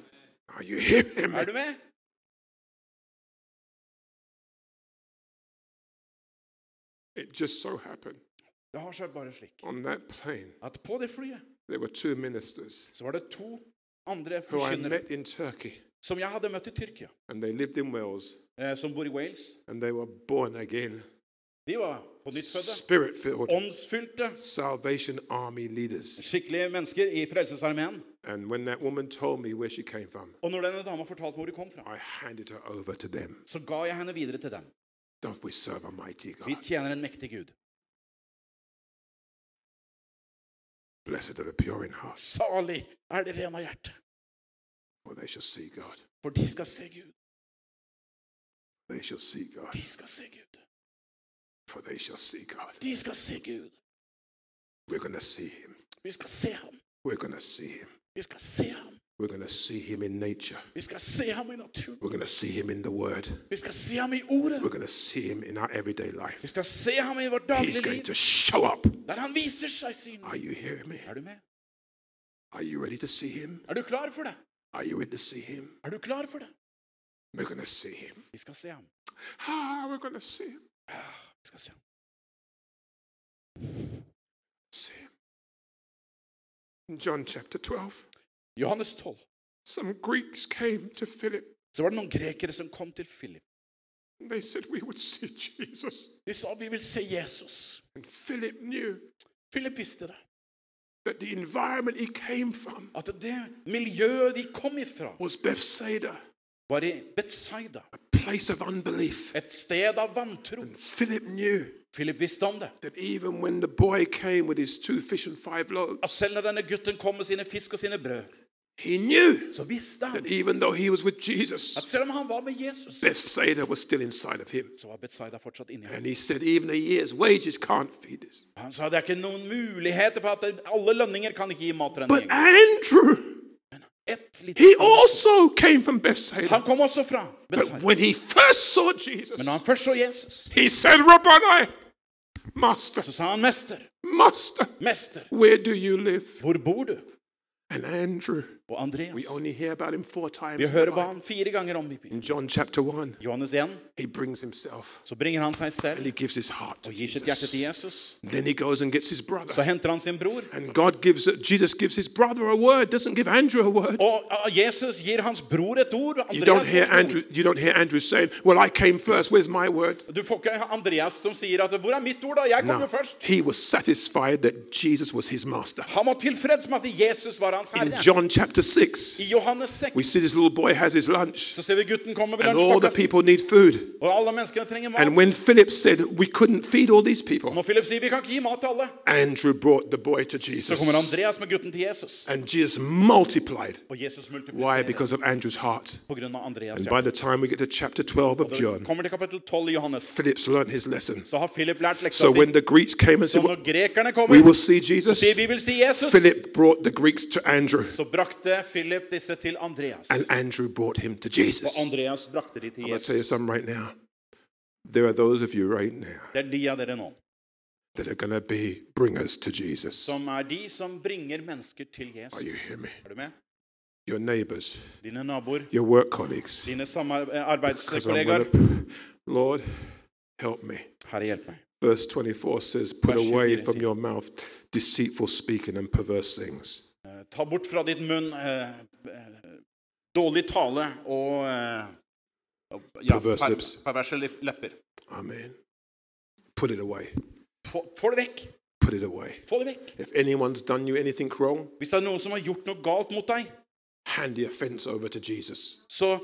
Speaker 1: Are Oh, you hearing me?
Speaker 2: Er du med?
Speaker 1: It just so happened
Speaker 2: Det har seg bare slik
Speaker 1: on that plane,
Speaker 2: at på det flyet
Speaker 1: there were two ministers
Speaker 2: så var det to andre
Speaker 1: who I
Speaker 2: forkynnere
Speaker 1: met in Turkey,
Speaker 2: som jeg hadde møtt i Tyrkia,
Speaker 1: and they lived in Wales,
Speaker 2: eh, som bor i Wales.
Speaker 1: and they were born again,
Speaker 2: De var på nytt fødte,
Speaker 1: spirit filled,
Speaker 2: åndsfylte,
Speaker 1: Salvation Army leaders.
Speaker 2: skikkelige mennesker i Frelsesarmeen.
Speaker 1: And when that woman told me where she came from,
Speaker 2: Og når denne dama fortalte hvor de kom fra,
Speaker 1: I handed her over to them.
Speaker 2: så ga jeg henne videre til dem.
Speaker 1: Don't we serve a mighty
Speaker 2: Vi
Speaker 1: God?
Speaker 2: tjener en mektig Gud.
Speaker 1: Blessed are the pure in heart,
Speaker 2: Salig er det rene av hjerte,
Speaker 1: for they shall see God.
Speaker 2: for de skal se Gud.
Speaker 1: They shall see God,
Speaker 2: De skal se Gud.
Speaker 1: for they shall see God.
Speaker 2: De skal se Gud.
Speaker 1: We're going to see Him.
Speaker 2: Vi skal se ham.
Speaker 1: We're going to see Him.
Speaker 2: Vi skal se ham.
Speaker 1: We're going to see Him in nature.
Speaker 2: Vi skal se ham i naturen.
Speaker 1: We're going to see Him in the Word.
Speaker 2: Vi skal se ham i ordet.
Speaker 1: We're going to see Him in our everyday
Speaker 2: Vi
Speaker 1: life.
Speaker 2: skal se ham i vårt
Speaker 1: He's
Speaker 2: daglige
Speaker 1: going
Speaker 2: liv,
Speaker 1: to show up.
Speaker 2: der han viser seg sin
Speaker 1: Are you hearing me?
Speaker 2: Er du med?
Speaker 1: Are you ready to see Him?
Speaker 2: Er du klar for det?
Speaker 1: Are you ready to see Him?
Speaker 2: Er du klar for det?
Speaker 1: We're going to see Him.
Speaker 2: Vi skal se ham.
Speaker 1: Ah, we're going to see Him.
Speaker 2: Ah, Vi skal se ham.
Speaker 1: See Him. In John chapter 12,
Speaker 2: Johannes 12.
Speaker 1: some Greeks came to Philip.
Speaker 2: Så var det noen grekere som kom til Philip.
Speaker 1: and They said, We would see Jesus.
Speaker 2: De sa vi vil se Jesus.
Speaker 1: And Philip knew
Speaker 2: Philip visste det.
Speaker 1: that the environment he came from
Speaker 2: At det miljøet de kom ifra,
Speaker 1: was Bethsaida,
Speaker 2: var i Betsaida.
Speaker 1: a place of unbelief.
Speaker 2: Et sted av vantro.
Speaker 1: And Philip knew
Speaker 2: Philip visste om det.
Speaker 1: that even when the boy came with his two fish and five loaves,
Speaker 2: At selv når denne gutten kom med sine fisk og sine brød,
Speaker 1: he knew
Speaker 2: så visste
Speaker 1: that
Speaker 2: han
Speaker 1: even though he was with Jesus,
Speaker 2: at selv om han var med Jesus,
Speaker 1: Bethsaida was still inside of him.
Speaker 2: så var Betsaida fortsatt inni ham.
Speaker 1: And he said, Even a year's wages can't feed us.
Speaker 2: Han sa det er ikke noen muligheter for at alle lønninger kan ikke gi mat til en
Speaker 1: But
Speaker 2: gjeng.
Speaker 1: Andrew,
Speaker 2: Et lite
Speaker 1: he also came from Bethsaida.
Speaker 2: Han kom også fra
Speaker 1: But
Speaker 2: Betsaida.
Speaker 1: when he first saw Jesus,
Speaker 2: Men når han først så Jesus,
Speaker 1: he said, Rabboni, Master,
Speaker 2: så sa han, 'Mester,
Speaker 1: Master,
Speaker 2: mester,
Speaker 1: where do you live?
Speaker 2: hvor bor du?'
Speaker 1: And Andrew,
Speaker 2: Og
Speaker 1: we
Speaker 2: Andreas
Speaker 1: only hear about him four times.
Speaker 2: Vi
Speaker 1: in the
Speaker 2: hører
Speaker 1: Bible.
Speaker 2: hva han fire ganger om i byen.
Speaker 1: In John chapter 1,
Speaker 2: Johannes 1,
Speaker 1: he brings himself
Speaker 2: så bringer han seg
Speaker 1: and
Speaker 2: selv
Speaker 1: he gives his heart to
Speaker 2: og gir sitt hjerte
Speaker 1: Jesus.
Speaker 2: til Jesus.
Speaker 1: Then he goes and gets his
Speaker 2: Så
Speaker 1: brother.
Speaker 2: henter han sin bror.
Speaker 1: And God gives, Jesus gives his brother a word, doesn't give Andrew a word.
Speaker 2: Og ah, Jesus gir hans bror et ord.
Speaker 1: You
Speaker 2: Andreas
Speaker 1: don't hear
Speaker 2: får et ord.
Speaker 1: Andrew, you don't hear Andrew saying, Well, I came first, where's my word?
Speaker 2: Du får ikke Andreas som sier at 'Hvor er mitt ord, da? Jeg
Speaker 1: No.
Speaker 2: kom jo først'.
Speaker 1: He was satisfied that Jesus was his master.
Speaker 2: Han var tilfreds med at Jesus var hans
Speaker 1: In
Speaker 2: herre.
Speaker 1: John chapter chapter 6,
Speaker 2: I Johannes
Speaker 1: we
Speaker 2: 6
Speaker 1: see this little boy has his lunch,
Speaker 2: så ser vi gutten komme med
Speaker 1: and all the
Speaker 2: lunsjpakka si,
Speaker 1: people need food.
Speaker 2: og alle menneskene trenger mat.
Speaker 1: And when Philip said, We couldn't feed all these people,
Speaker 2: Når Philip sier vi kan ikke gi mat til alle,
Speaker 1: Andrew brought the boy to
Speaker 2: så kommer
Speaker 1: Jesus.
Speaker 2: Andreas med gutten til Jesus.
Speaker 1: And Jesus multiplied.
Speaker 2: Og Jesus
Speaker 1: Why?
Speaker 2: multipliserer
Speaker 1: Because of Andrew's heart.
Speaker 2: på grunn av Andreas.
Speaker 1: And
Speaker 2: hjerte.
Speaker 1: by the time we get to chapter 12 of John,
Speaker 2: Kommer til kapittel 12 i Johannes,
Speaker 1: Philip's learned his lesson.
Speaker 2: så har Philip lært leksa
Speaker 1: So
Speaker 2: si.
Speaker 1: when the Greeks came and
Speaker 2: Så
Speaker 1: said,
Speaker 2: når grekerne
Speaker 1: We
Speaker 2: kommer
Speaker 1: will see Jesus,
Speaker 2: sier vi vil si Jesus,
Speaker 1: Philip brought the Greeks to Andrew,
Speaker 2: så brakte Philip disse til Andreas.
Speaker 1: and Andrew brought him to Jesus.
Speaker 2: Og Andreas brakte de til
Speaker 1: I'm going to
Speaker 2: Jesus.
Speaker 1: tell you something right now. There are those of you right now
Speaker 2: Det er de av dere nå
Speaker 1: that are going to be bringers to Jesus.
Speaker 2: som er de som bringer mennesker til
Speaker 1: Are
Speaker 2: Jesus.
Speaker 1: you hearing me?
Speaker 2: Er du med?
Speaker 1: Your neighbors,
Speaker 2: Dine naboer,
Speaker 1: your work colleagues.
Speaker 2: dine samar- eh,
Speaker 1: Because I'm gonna-
Speaker 2: arbeidskollegaer.
Speaker 1: Lord, help me.
Speaker 2: Herre, hjelp meg.
Speaker 1: Verse 24 says, Put
Speaker 2: Vers 24
Speaker 1: away from
Speaker 2: sier-
Speaker 1: your mouth deceitful speaking and perverse things.
Speaker 2: Eh, Ta bort fra ditt munn eh, eh, dårlig tale og eh, ja,
Speaker 1: Perverse
Speaker 2: per-
Speaker 1: lips.
Speaker 2: perverse lip- lepper.
Speaker 1: Amen. Put it away.
Speaker 2: Få, få det vekk!
Speaker 1: Put it away.
Speaker 2: Få det vekk!
Speaker 1: If anyone's done you anything wrong,
Speaker 2: Hvis det er noen som har gjort noe galt mot deg,
Speaker 1: hand the offense over to Jesus.
Speaker 2: så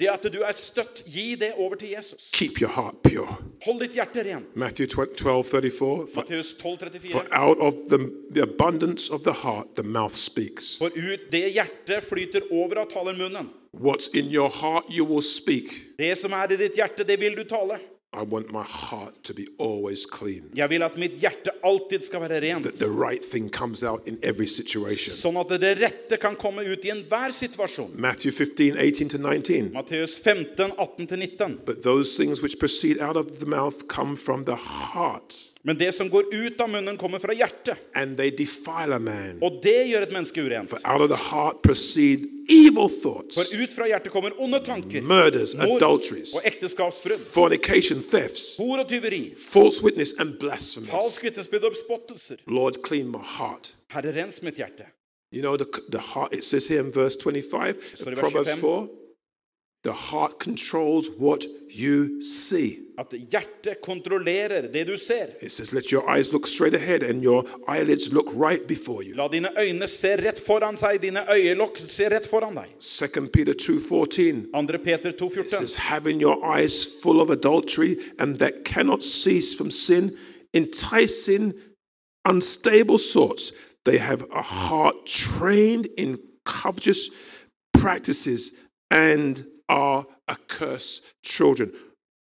Speaker 2: det at du er støtt, gi det over til Jesus.
Speaker 1: Keep your heart pure.
Speaker 2: Hold ditt hjerte rent.
Speaker 1: Matthew 12 34. For,
Speaker 2: Matteus 12, 34.
Speaker 1: for out of the, the abundance of the heart, the mouth speaks.
Speaker 2: For ut det hjertet flyter over av talermunnen.
Speaker 1: What's in your heart, you will speak.
Speaker 2: Det som er i ditt hjerte, det vil du tale.
Speaker 1: I want my heart to be always clean.
Speaker 2: Jeg vil at mitt hjerte alltid skal være
Speaker 1: that
Speaker 2: rent.
Speaker 1: the right thing comes out in every situation.
Speaker 2: Sånn at det rette kan komme ut i enhver situasjon.
Speaker 1: Matthew 15, 18 to 19.
Speaker 2: Matteus 15, 18-19.
Speaker 1: But those things which proceed out of the mouth come from the heart,
Speaker 2: Men det som går ut av munnen, kommer fra hjertet.
Speaker 1: and they defile a man.
Speaker 2: Og det gjør et menneske urent.
Speaker 1: For out of the heart proceed evil thoughts,
Speaker 2: For ut fra hjertet kommer onde tanker,
Speaker 1: murders,
Speaker 2: mord
Speaker 1: adulteries,
Speaker 2: og ekteskapsbrudd,
Speaker 1: fornication, thefts,
Speaker 2: hor og tyveri,
Speaker 1: false witness, and blasphemies.
Speaker 2: falsk vitnesbyrd og spottelser.
Speaker 1: Lord, clean my heart.
Speaker 2: Herre, rens mitt hjerte.
Speaker 1: You know, the, the heart, it says here in verse 25
Speaker 2: Står i
Speaker 1: of
Speaker 2: vers
Speaker 1: Proverbs
Speaker 2: 25.
Speaker 1: 4 the heart controls what you see.
Speaker 2: At hjertet kontrollerer det du ser.
Speaker 1: It says, Let your eyes look straight ahead and your eyelids look right before you.
Speaker 2: La dine øyne se rett foran seg, dine øyelokk se rett foran deg.
Speaker 1: 2 Peter 2.14.
Speaker 2: 2. Peter
Speaker 1: It says,
Speaker 2: 2,14.
Speaker 1: Having your eyes full of adultery and that cannot cease from sin, enticing unstable sorts, they have a heart trained in covetous practices and are accursed children.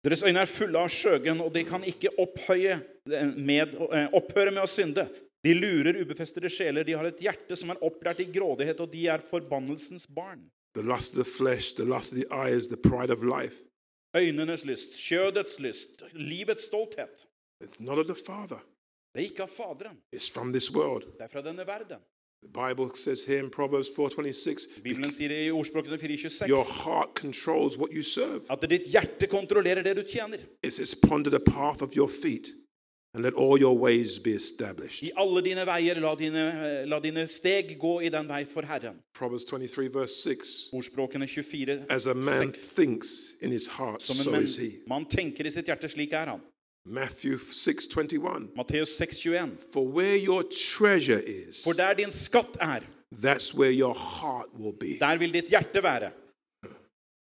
Speaker 2: Deres øyne er fulle av skjøgen, og de kan ikke opphøye med, eh, opphøre med å synde. De lurer ubefestede sjeler, de har et hjerte som er opplært i grådighet, og de er forbannelsens barn.
Speaker 1: The lust of the flesh, the lust of the eyes, the pride of life.
Speaker 2: Øynenes lyst, kjødets lyst, livets stolthet.
Speaker 1: It's not of the Father,
Speaker 2: Det er ikke av Faderen,
Speaker 1: it's from this world.
Speaker 2: det er fra denne verden.
Speaker 1: The Bible says here in Proverbs 4:26,
Speaker 2: Bibelen sier i ordspråkene
Speaker 1: your
Speaker 2: 4.26
Speaker 1: heart controls what you serve.
Speaker 2: at ditt hjerte kontrollerer det du tjener.
Speaker 1: It says, ponder the path of your feet, and let all your ways be established.
Speaker 2: I alle dine veier, la dine, eh, la dine steg gå i den vei for Herren.
Speaker 1: Proverbs 23 verse 6.
Speaker 2: Ordspråkene 24,
Speaker 1: As a man
Speaker 2: 6.
Speaker 1: thinks in his heart,
Speaker 2: Som
Speaker 1: so
Speaker 2: en
Speaker 1: is he.
Speaker 2: menn, man tenker i sitt hjerte, slik er han.
Speaker 1: Matthew 6:21.
Speaker 2: Matteus 6,21.
Speaker 1: For where your treasure is,
Speaker 2: For der din skatt er,
Speaker 1: that's where your heart will be.
Speaker 2: der vil ditt hjerte være.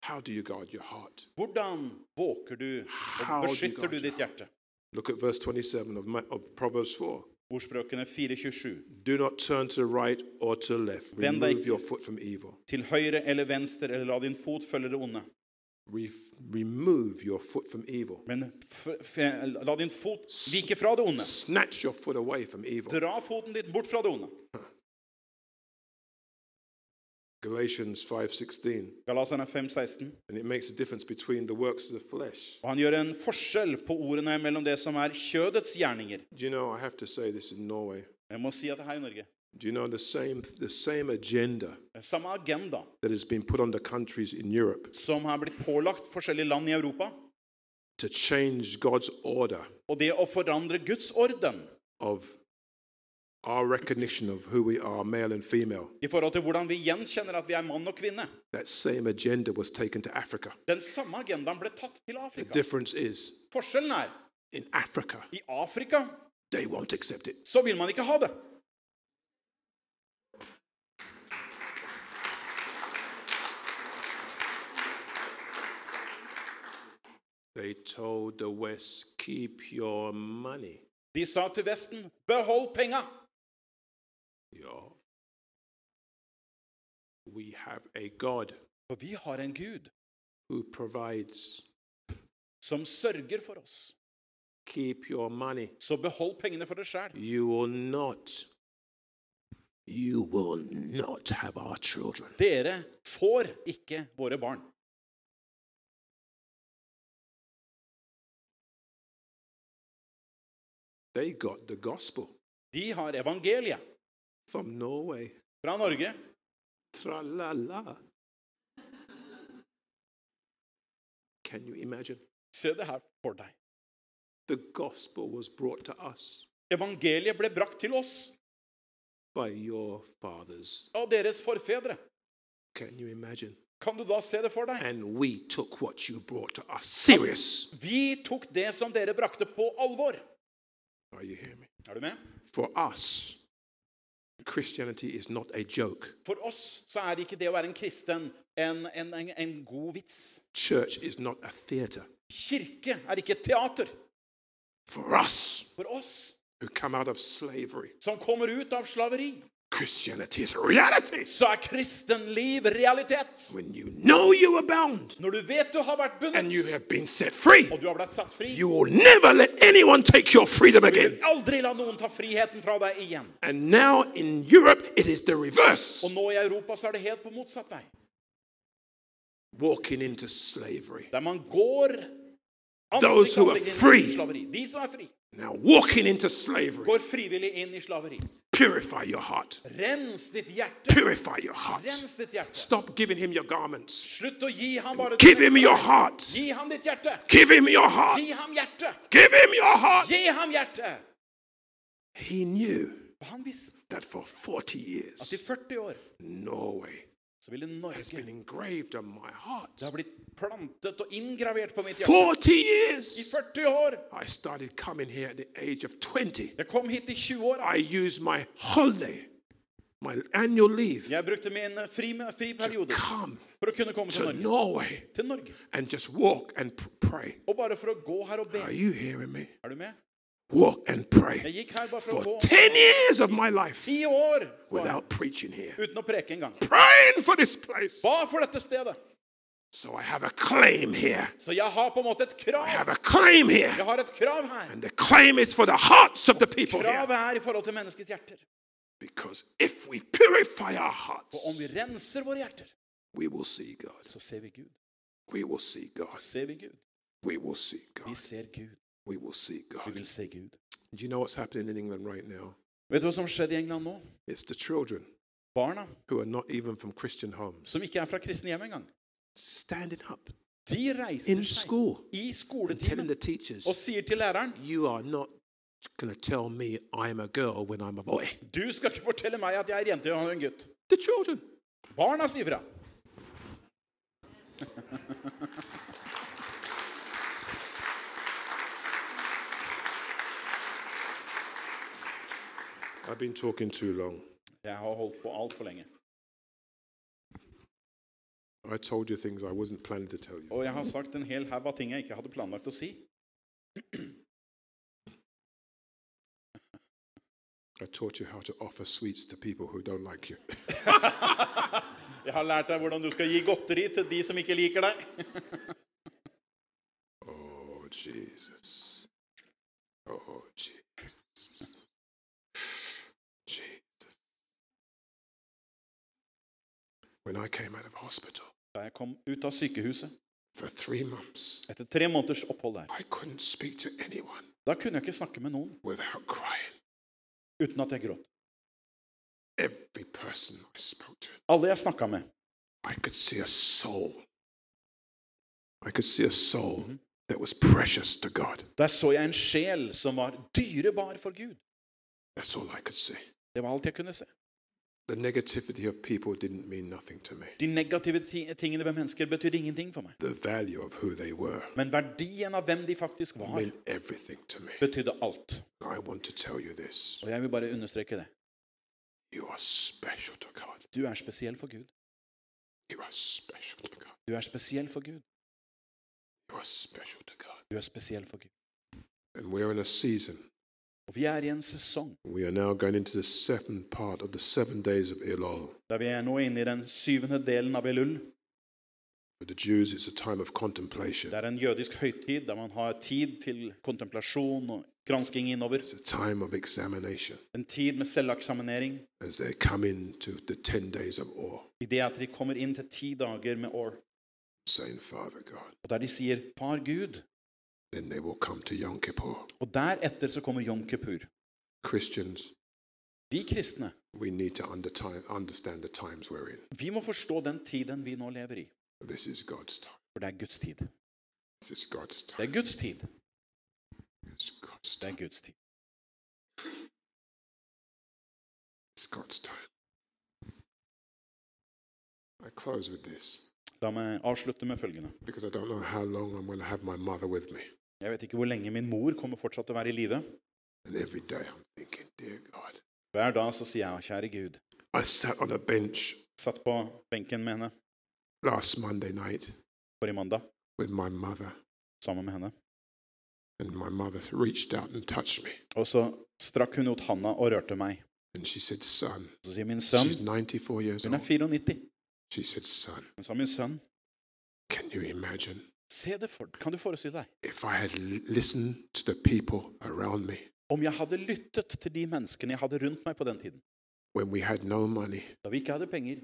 Speaker 1: How do you guard your heart?
Speaker 2: Hvordan våker du og
Speaker 1: How do you
Speaker 2: beskytter
Speaker 1: guard
Speaker 2: du
Speaker 1: your
Speaker 2: ditt hjerte?
Speaker 1: Look at verse 27 of, Ma- of Proverbs 4.
Speaker 2: Ordspråkene 4,27.
Speaker 1: Do not turn to the right or to the left.
Speaker 2: Vend deg
Speaker 1: Remove
Speaker 2: ikke.
Speaker 1: your foot from evil.
Speaker 2: Til høyre eller venstre, eller la din fot følge det onde.
Speaker 1: Re- remove your foot from evil.
Speaker 2: Men f f la din fot vike fra det onde.
Speaker 1: Snatch your foot away from evil.
Speaker 2: Dra foten ditt bort fra det onde.
Speaker 1: Galatians 5:16.
Speaker 2: Galaserne 5,16.
Speaker 1: And it makes a difference between the works of the flesh.
Speaker 2: Og han gjør en forskjell på ordene mellom det som er kjødets gjerninger.
Speaker 1: Do you know I have to say this in Norway.
Speaker 2: Jeg må si at her i Norge
Speaker 1: Do you know the same the same agenda
Speaker 2: Samme agenda
Speaker 1: that has been put on the countries in Europe
Speaker 2: som har blitt pålagt forskjellige land i Europa,
Speaker 1: to change God's order
Speaker 2: og det å forandre Guds orden
Speaker 1: of our recognition of who we are, male and female.
Speaker 2: i forhold til hvordan vi gjenkjenner at vi er mann og kvinne.
Speaker 1: That same agenda was taken to Africa.
Speaker 2: Den samme agendaen ble tatt til
Speaker 1: The
Speaker 2: Afrika.
Speaker 1: difference is
Speaker 2: Forskjellen er
Speaker 1: in Africa,
Speaker 2: i Afrika
Speaker 1: they won't accept it.
Speaker 2: så vil man ikke ha det.
Speaker 1: They told the West, keep your money.
Speaker 2: De sa til Vesten, 'Behold penga!
Speaker 1: Yo. We have a God
Speaker 2: For vi har en Gud
Speaker 1: who provides.
Speaker 2: som sørger for oss.
Speaker 1: Keep your money.
Speaker 2: Så behold pengene for deg sjæl.
Speaker 1: You will not, you will not have our children.
Speaker 2: Dere får ikke våre barn.
Speaker 1: They got the gospel
Speaker 2: De har evangeliet
Speaker 1: from Norway.
Speaker 2: fra Norge.
Speaker 1: Tra la la. Can you imagine?
Speaker 2: Se det her for deg.
Speaker 1: The gospel was brought to us
Speaker 2: Evangeliet ble brakt til oss
Speaker 1: by your fathers.
Speaker 2: av deres forfedre.
Speaker 1: Can you imagine?
Speaker 2: Kan du da se det for deg?
Speaker 1: And we took what you brought to us serious.
Speaker 2: Vi tok det som dere brakte, på alvor.
Speaker 1: Are you hearing me?
Speaker 2: Er du med?
Speaker 1: For us, Christianity is not a joke.
Speaker 2: For oss så er ikke det å være en kristen en, en, en, en god vits.
Speaker 1: Church is not a theater.
Speaker 2: Kirke er ikke teater.
Speaker 1: For us
Speaker 2: For oss
Speaker 1: who come out of slavery,
Speaker 2: som kommer ut av slaveri,
Speaker 1: Christianity is a reality.
Speaker 2: så er kristenliv realitet.
Speaker 1: When you know you are bound
Speaker 2: Når du vet du har vært
Speaker 1: and
Speaker 2: bundet,
Speaker 1: you have been set free,
Speaker 2: og du har blitt satt fri,
Speaker 1: you will never let anyone take your freedom
Speaker 2: du vil
Speaker 1: again.
Speaker 2: aldri la noen ta friheten fra deg igjen.
Speaker 1: And now in Europe, it is the
Speaker 2: Og
Speaker 1: reverse
Speaker 2: nå i Europa så er det helt på motsatt vei.
Speaker 1: walking into slavery.
Speaker 2: Der man går
Speaker 1: Those
Speaker 2: ansikt
Speaker 1: who are
Speaker 2: ansikt inn
Speaker 1: free.
Speaker 2: i slaveri. De som er fri,
Speaker 1: Now, walking into slavery,
Speaker 2: går frivillig inn i slaveri.
Speaker 1: purify your heart.
Speaker 2: Rens ditt hjerte.
Speaker 1: Purify your heart.
Speaker 2: Rens ditt hjerte.
Speaker 1: Stop giving him your garments.
Speaker 2: Slutt å gi ham bare
Speaker 1: Give him your heart.
Speaker 2: Gi ham ditt hjerte.
Speaker 1: Give him your heart.
Speaker 2: Gi ham hjertet.
Speaker 1: Give him your heart.
Speaker 2: Gi ham hjertet.
Speaker 1: He knew
Speaker 2: Han visste
Speaker 1: that for 40
Speaker 2: at i
Speaker 1: years,
Speaker 2: 40 år
Speaker 1: Norway
Speaker 2: så ville
Speaker 1: has
Speaker 2: Norge
Speaker 1: been engraved on my heart.
Speaker 2: Det har blitt plantet og inngravert på mitt hjerte.
Speaker 1: 40
Speaker 2: I
Speaker 1: years!
Speaker 2: 40 år!
Speaker 1: I started coming here at the age of 20.
Speaker 2: Jeg kom hit i 20-åra.
Speaker 1: I used my holiday, my annual leave,
Speaker 2: Jeg brukte min fri, fri
Speaker 1: to
Speaker 2: periode
Speaker 1: come
Speaker 2: for å kunne komme til
Speaker 1: to
Speaker 2: Norge.
Speaker 1: Norway
Speaker 2: Til Norge.
Speaker 1: and just walk and p- pray.
Speaker 2: Og bare for å gå her og be.
Speaker 1: Are you hearing me?
Speaker 2: Er du med?
Speaker 1: Walk and pray
Speaker 2: Jeg gikk her bare for
Speaker 1: for
Speaker 2: å gå
Speaker 1: 10 years of my life
Speaker 2: ti år var jeg,
Speaker 1: without preaching here.
Speaker 2: uten å preke engang.
Speaker 1: Praying for this place.
Speaker 2: Ba for dette stedet.
Speaker 1: So I have a claim here.
Speaker 2: Så jeg har på en måte et
Speaker 1: I
Speaker 2: krav.
Speaker 1: have a claim here.
Speaker 2: Jeg har et krav her.
Speaker 1: And the claim is for the hearts of the people here.
Speaker 2: Kravet er i forhold til menneskets hjerter.
Speaker 1: Because if we purify our hearts,
Speaker 2: Og om vi renser våre hjerter,
Speaker 1: we will see God.
Speaker 2: så ser vi Gud.
Speaker 1: We will see God.
Speaker 2: Ser vi Gud?
Speaker 1: We will see
Speaker 2: Vi
Speaker 1: God.
Speaker 2: ser Gud.
Speaker 1: We will see
Speaker 2: Vi
Speaker 1: God.
Speaker 2: vil se Gud.
Speaker 1: Do you know what's happening in England right now?
Speaker 2: Vet du hva som skjedde i England nå?
Speaker 1: It's the children
Speaker 2: Barna
Speaker 1: who are not even from Christian homes
Speaker 2: som ikke er fra kristne hjem engang,
Speaker 1: standing up
Speaker 2: de reiser
Speaker 1: in
Speaker 2: seg
Speaker 1: school
Speaker 2: i
Speaker 1: and telling
Speaker 2: skoletimen
Speaker 1: the teachers,
Speaker 2: og sier til læreren
Speaker 1: You are not going to tell me I'm a girl when I'm a boy.
Speaker 2: Du skal ikke fortelle meg at jeg er jente og han er en gutt.
Speaker 1: The children.
Speaker 2: Barna sier fra.
Speaker 1: I've been talking too long.
Speaker 2: Jeg har holdt på altfor lenge.
Speaker 1: I told you things I wasn't planning to tell you.
Speaker 2: Og jeg har sagt en hel haug av ting jeg ikke hadde planlagt å si.
Speaker 1: I taught you how to offer sweets to people who don't like you.
Speaker 2: Jeg har lært deg hvordan du skal gi godteri til de som ikke liker deg.
Speaker 1: Oh, Jesus. Oh, Jesus. Jesus. When I came out of hospital
Speaker 2: Da jeg kom ut av sykehuset
Speaker 1: for three months,
Speaker 2: etter tre måneders opphold der,
Speaker 1: I couldn't speak to anyone
Speaker 2: da kunne jeg ikke snakke med noen
Speaker 1: without crying.
Speaker 2: uten at jeg gråt.
Speaker 1: Every person I spoke to,
Speaker 2: Alle jeg snakka med,
Speaker 1: I could see a soul. I could see a soul that was precious to God.
Speaker 2: der så jeg en sjel som var dyrebar for Gud.
Speaker 1: That's all I could see.
Speaker 2: Det var alt jeg kunne se.
Speaker 1: The negativity of people didn't mean nothing to me.
Speaker 2: De negative ti- tingene ved mennesker betydde ingenting for meg.
Speaker 1: The value of who they were
Speaker 2: Men verdien av hvem de faktisk var,
Speaker 1: meant everything to me.
Speaker 2: betydde alt.
Speaker 1: I want to tell you this.
Speaker 2: Og jeg vil bare understreke det.
Speaker 1: You are special to God.
Speaker 2: Du er spesiell for Gud.
Speaker 1: You are special to God.
Speaker 2: Du er spesiell for Gud.
Speaker 1: You are special to God.
Speaker 2: Du er spesiell for Gud.
Speaker 1: And we're in a season.
Speaker 2: Og vi er i en sesong
Speaker 1: We are now going into the second part of the seven days of Elul.
Speaker 2: der vi er nå inne i den syvende delen av Elul.
Speaker 1: For the Jews, it's a time of contemplation.
Speaker 2: Det er en jødisk høytid der man har tid til kontemplasjon og gransking innover.
Speaker 1: It's a time of examination
Speaker 2: En tid med selveksaminering.
Speaker 1: as they come into the 10 days of awe,
Speaker 2: I det at de kommer inn til ti dager med år,
Speaker 1: saying, Father God.
Speaker 2: og der de sier 'Far Gud'.
Speaker 1: Then they will come to Yom Kippur.
Speaker 2: Og deretter så kommer Yom Kippur.
Speaker 1: Christians,
Speaker 2: Vi kristne
Speaker 1: we need to under time, understand the times we're in.
Speaker 2: vi må forstå den tiden vi nå lever i.
Speaker 1: This is God's time.
Speaker 2: For det er Guds tid.
Speaker 1: This is God's
Speaker 2: Det
Speaker 1: time.
Speaker 2: er Guds tid.
Speaker 1: It's God's
Speaker 2: Det
Speaker 1: time.
Speaker 2: er Guds tid.
Speaker 1: It's God's time. I close with this
Speaker 2: La meg avslutte med følgende.
Speaker 1: because I don't know how long I'm going to have my mother with me.
Speaker 2: Jeg vet ikke hvor lenge min mor kommer fortsatt til å være i live.
Speaker 1: And every day I'm thinking, dear God.
Speaker 2: Hver dag så sier jeg 'Kjære Gud'.
Speaker 1: I sat on a bench
Speaker 2: Satt på benken med henne
Speaker 1: last Monday night
Speaker 2: forrige mandag
Speaker 1: with my mother,
Speaker 2: sammen med henne.
Speaker 1: and my mother reached out and touched me.
Speaker 2: Og så strakk hun ut handa og rørte meg.
Speaker 1: And she said, son,
Speaker 2: Så sier min sønn
Speaker 1: she's 94 years
Speaker 2: Hun
Speaker 1: old.
Speaker 2: er 94.
Speaker 1: She said, son,
Speaker 2: Hun sa min sønn
Speaker 1: can you imagine
Speaker 2: Se det for Kan du forestille deg?
Speaker 1: if I had l- listened to the people around me
Speaker 2: Om jeg hadde lyttet til de menneskene jeg hadde rundt meg på den tiden,
Speaker 1: when we had no money
Speaker 2: da vi ikke hadde penger,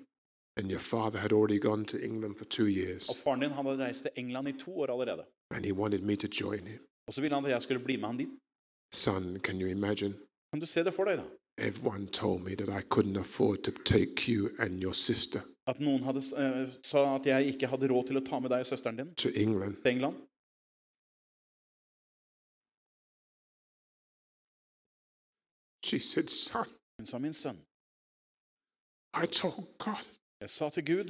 Speaker 1: and your father had already gone to England for two
Speaker 2: og
Speaker 1: years
Speaker 2: faren din hadde reist til England i to år allerede,
Speaker 1: and he wanted me to join him.
Speaker 2: og så ville han at jeg skulle bli med han dit.
Speaker 1: Son, can you imagine?
Speaker 2: Kan du se det for deg, da?
Speaker 1: Everyone told me that I couldn't afford to take you and your sister
Speaker 2: At noen hadde, s- eh, sa at jeg ikke hadde råd til å ta med deg og søsteren din
Speaker 1: to England.
Speaker 2: til England.
Speaker 1: She said, son,
Speaker 2: Hun sa, min sønn,
Speaker 1: I told God
Speaker 2: jeg sa til Gud,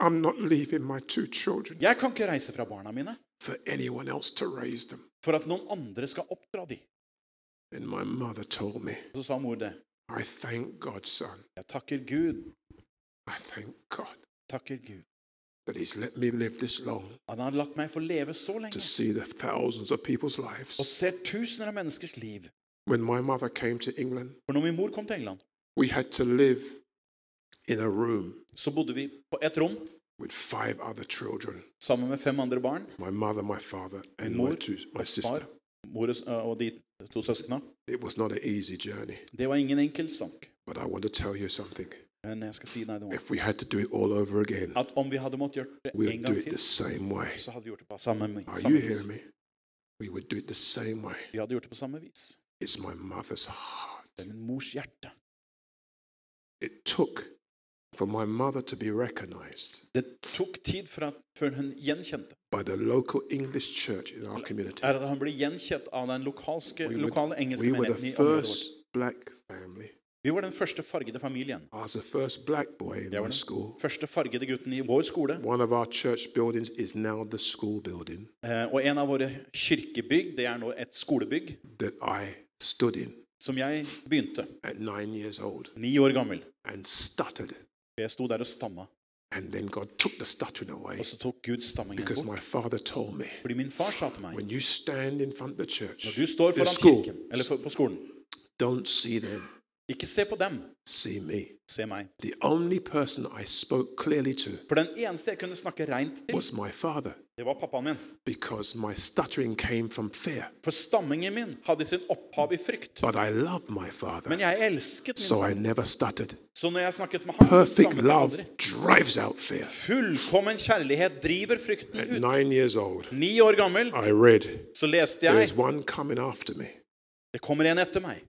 Speaker 1: I'm not leaving my two children
Speaker 2: jeg kan ikke reise fra barna mine
Speaker 1: for anyone else to raise them.
Speaker 2: for at noen andre skal oppdra de.
Speaker 1: And my mother told me,
Speaker 2: Og så sa mor det.
Speaker 1: I thank God, son.
Speaker 2: Jeg takker Gud,
Speaker 1: I thank God
Speaker 2: takker Gud.
Speaker 1: that he's let me live this long
Speaker 2: Han har latt meg få leve så lenge
Speaker 1: to see the thousands of people's
Speaker 2: og
Speaker 1: lives.
Speaker 2: ser tusener av menneskers liv.
Speaker 1: When my mother came to England,
Speaker 2: For når min mor kom til England,
Speaker 1: we had to live in a room
Speaker 2: så bodde vi på et rom
Speaker 1: with five other children
Speaker 2: sammen med fem andre barn.
Speaker 1: my mother, my father, and
Speaker 2: Mor,
Speaker 1: my, two, my
Speaker 2: Far,
Speaker 1: sister.
Speaker 2: mor og s- og de to søsknene.
Speaker 1: It was not an easy journey,
Speaker 2: Det var ingen enkel sak.
Speaker 1: but I want to tell you something.
Speaker 2: Men jeg skal si deg noe.
Speaker 1: If we had to do it all over again,
Speaker 2: At om vi hadde måttet gjøre det en
Speaker 1: we'd do
Speaker 2: gang
Speaker 1: it
Speaker 2: til,
Speaker 1: the same way.
Speaker 2: så hadde vi gjort det på samme, mi-
Speaker 1: Are
Speaker 2: samme
Speaker 1: you hearing
Speaker 2: vis.
Speaker 1: me? We would do it the same way.
Speaker 2: Vi hadde gjort det på samme vis.
Speaker 1: It's my mother's heart.
Speaker 2: Det er min mors hjerte.
Speaker 1: It took for my mother to be recognized
Speaker 2: Det tok tid fra, før hun gjenkjente.
Speaker 1: by the local English church in our community.
Speaker 2: Er at han ble gjenkjent av den lokalske,
Speaker 1: We were,
Speaker 2: lokale engelske
Speaker 1: we were the
Speaker 2: menigheten i området vårt.
Speaker 1: first black family.
Speaker 2: Vi var den første fargede familien.
Speaker 1: I was the first black boy in
Speaker 2: Jeg
Speaker 1: my
Speaker 2: var
Speaker 1: school.
Speaker 2: den første fargede gutten i vår skole.
Speaker 1: One of our church buildings is now the school building
Speaker 2: Eh, Og en av våre kirkebygg, det er nå et skolebygg,
Speaker 1: that I stood in
Speaker 2: som jeg begynte,
Speaker 1: at nine years old
Speaker 2: ni år gammel.
Speaker 1: and stuttered.
Speaker 2: Jeg sto der og stamma,
Speaker 1: And then God took the stuttering away
Speaker 2: og så tok Gud stammingen
Speaker 1: because
Speaker 2: bort.
Speaker 1: my father told me,
Speaker 2: Fordi min far sa til meg
Speaker 1: when you stand in front of the
Speaker 2: Når
Speaker 1: church,
Speaker 2: du står
Speaker 1: the
Speaker 2: foran
Speaker 1: school,
Speaker 2: kirken, eller for- på skolen,
Speaker 1: don't see them,
Speaker 2: ikke se på dem,
Speaker 1: see me.
Speaker 2: se meg.
Speaker 1: The only person I spoke clearly to
Speaker 2: For den eneste jeg kunne snakke reint til,
Speaker 1: was my father
Speaker 2: det var pappaen min.
Speaker 1: because my stuttering came from fear.
Speaker 2: For stammingen min hadde sin opphav i frykt.
Speaker 1: But I love my
Speaker 2: Men
Speaker 1: father,
Speaker 2: jeg elsket min
Speaker 1: so I
Speaker 2: far.
Speaker 1: never stuttered.
Speaker 2: Så når jeg snakket med ham, så
Speaker 1: Perfect
Speaker 2: stammet jeg
Speaker 1: love
Speaker 2: aldri.
Speaker 1: drives out fear.
Speaker 2: Fullkommen kjærlighet driver
Speaker 1: At
Speaker 2: frykten ut.
Speaker 1: nine years old,
Speaker 2: Ni år gammel
Speaker 1: I read,
Speaker 2: så leste
Speaker 1: There
Speaker 2: jeg
Speaker 1: is one coming after me
Speaker 2: Det kommer en etter meg.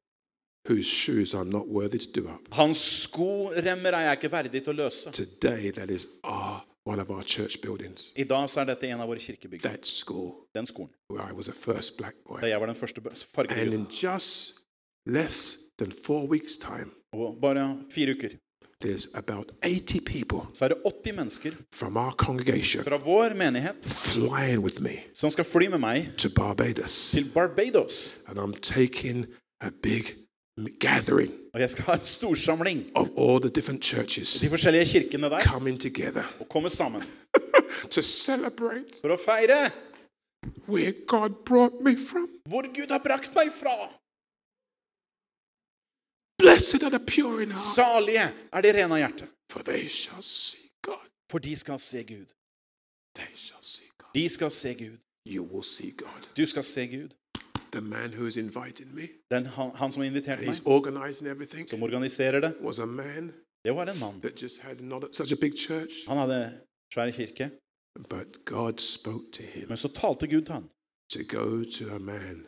Speaker 1: whose shoes I'm not worthy to do up.
Speaker 2: Hans skoremmer er jeg ikke verdig til å løse.
Speaker 1: Today, that is our, one of our church buildings.
Speaker 2: I dag så er dette en av våre kirkebygg.
Speaker 1: That school
Speaker 2: Den skolen.
Speaker 1: where I was the first black
Speaker 2: Da
Speaker 1: boy.
Speaker 2: jeg var den første
Speaker 1: And
Speaker 2: fargede.
Speaker 1: in just less than four weeks' time,
Speaker 2: Og bare fire uker
Speaker 1: there's about 80 people
Speaker 2: så er det 80 mennesker
Speaker 1: from our congregation
Speaker 2: fra vår menighet
Speaker 1: flying with me
Speaker 2: som skal fly med meg
Speaker 1: to Barbados.
Speaker 2: til Barbados.
Speaker 1: And I'm taking a big m- gathering
Speaker 2: Og jeg skal ha en storsamling.
Speaker 1: of all the different churches
Speaker 2: De forskjellige kirkene der
Speaker 1: coming together
Speaker 2: og komme sammen
Speaker 1: to celebrate
Speaker 2: for å feire
Speaker 1: where God brought me from.
Speaker 2: hvor Gud har brakt meg fra.
Speaker 1: Blessed are the pure in heart,
Speaker 2: Salige er de rene av hjerte,
Speaker 1: for they shall see God.
Speaker 2: for de skal se Gud.
Speaker 1: They shall see God.
Speaker 2: De skal se Gud.
Speaker 1: You will see God.
Speaker 2: Du skal se Gud.
Speaker 1: The man who is inviting me,
Speaker 2: Den, han, han som inviterte
Speaker 1: he's
Speaker 2: meg,
Speaker 1: organizing everything,
Speaker 2: som organiserer det,
Speaker 1: was a man
Speaker 2: det var en mann.
Speaker 1: that just had not such a big church,
Speaker 2: Han hadde svær kirke,
Speaker 1: but God spoke to him
Speaker 2: men så talte Gud til han.
Speaker 1: to go to a man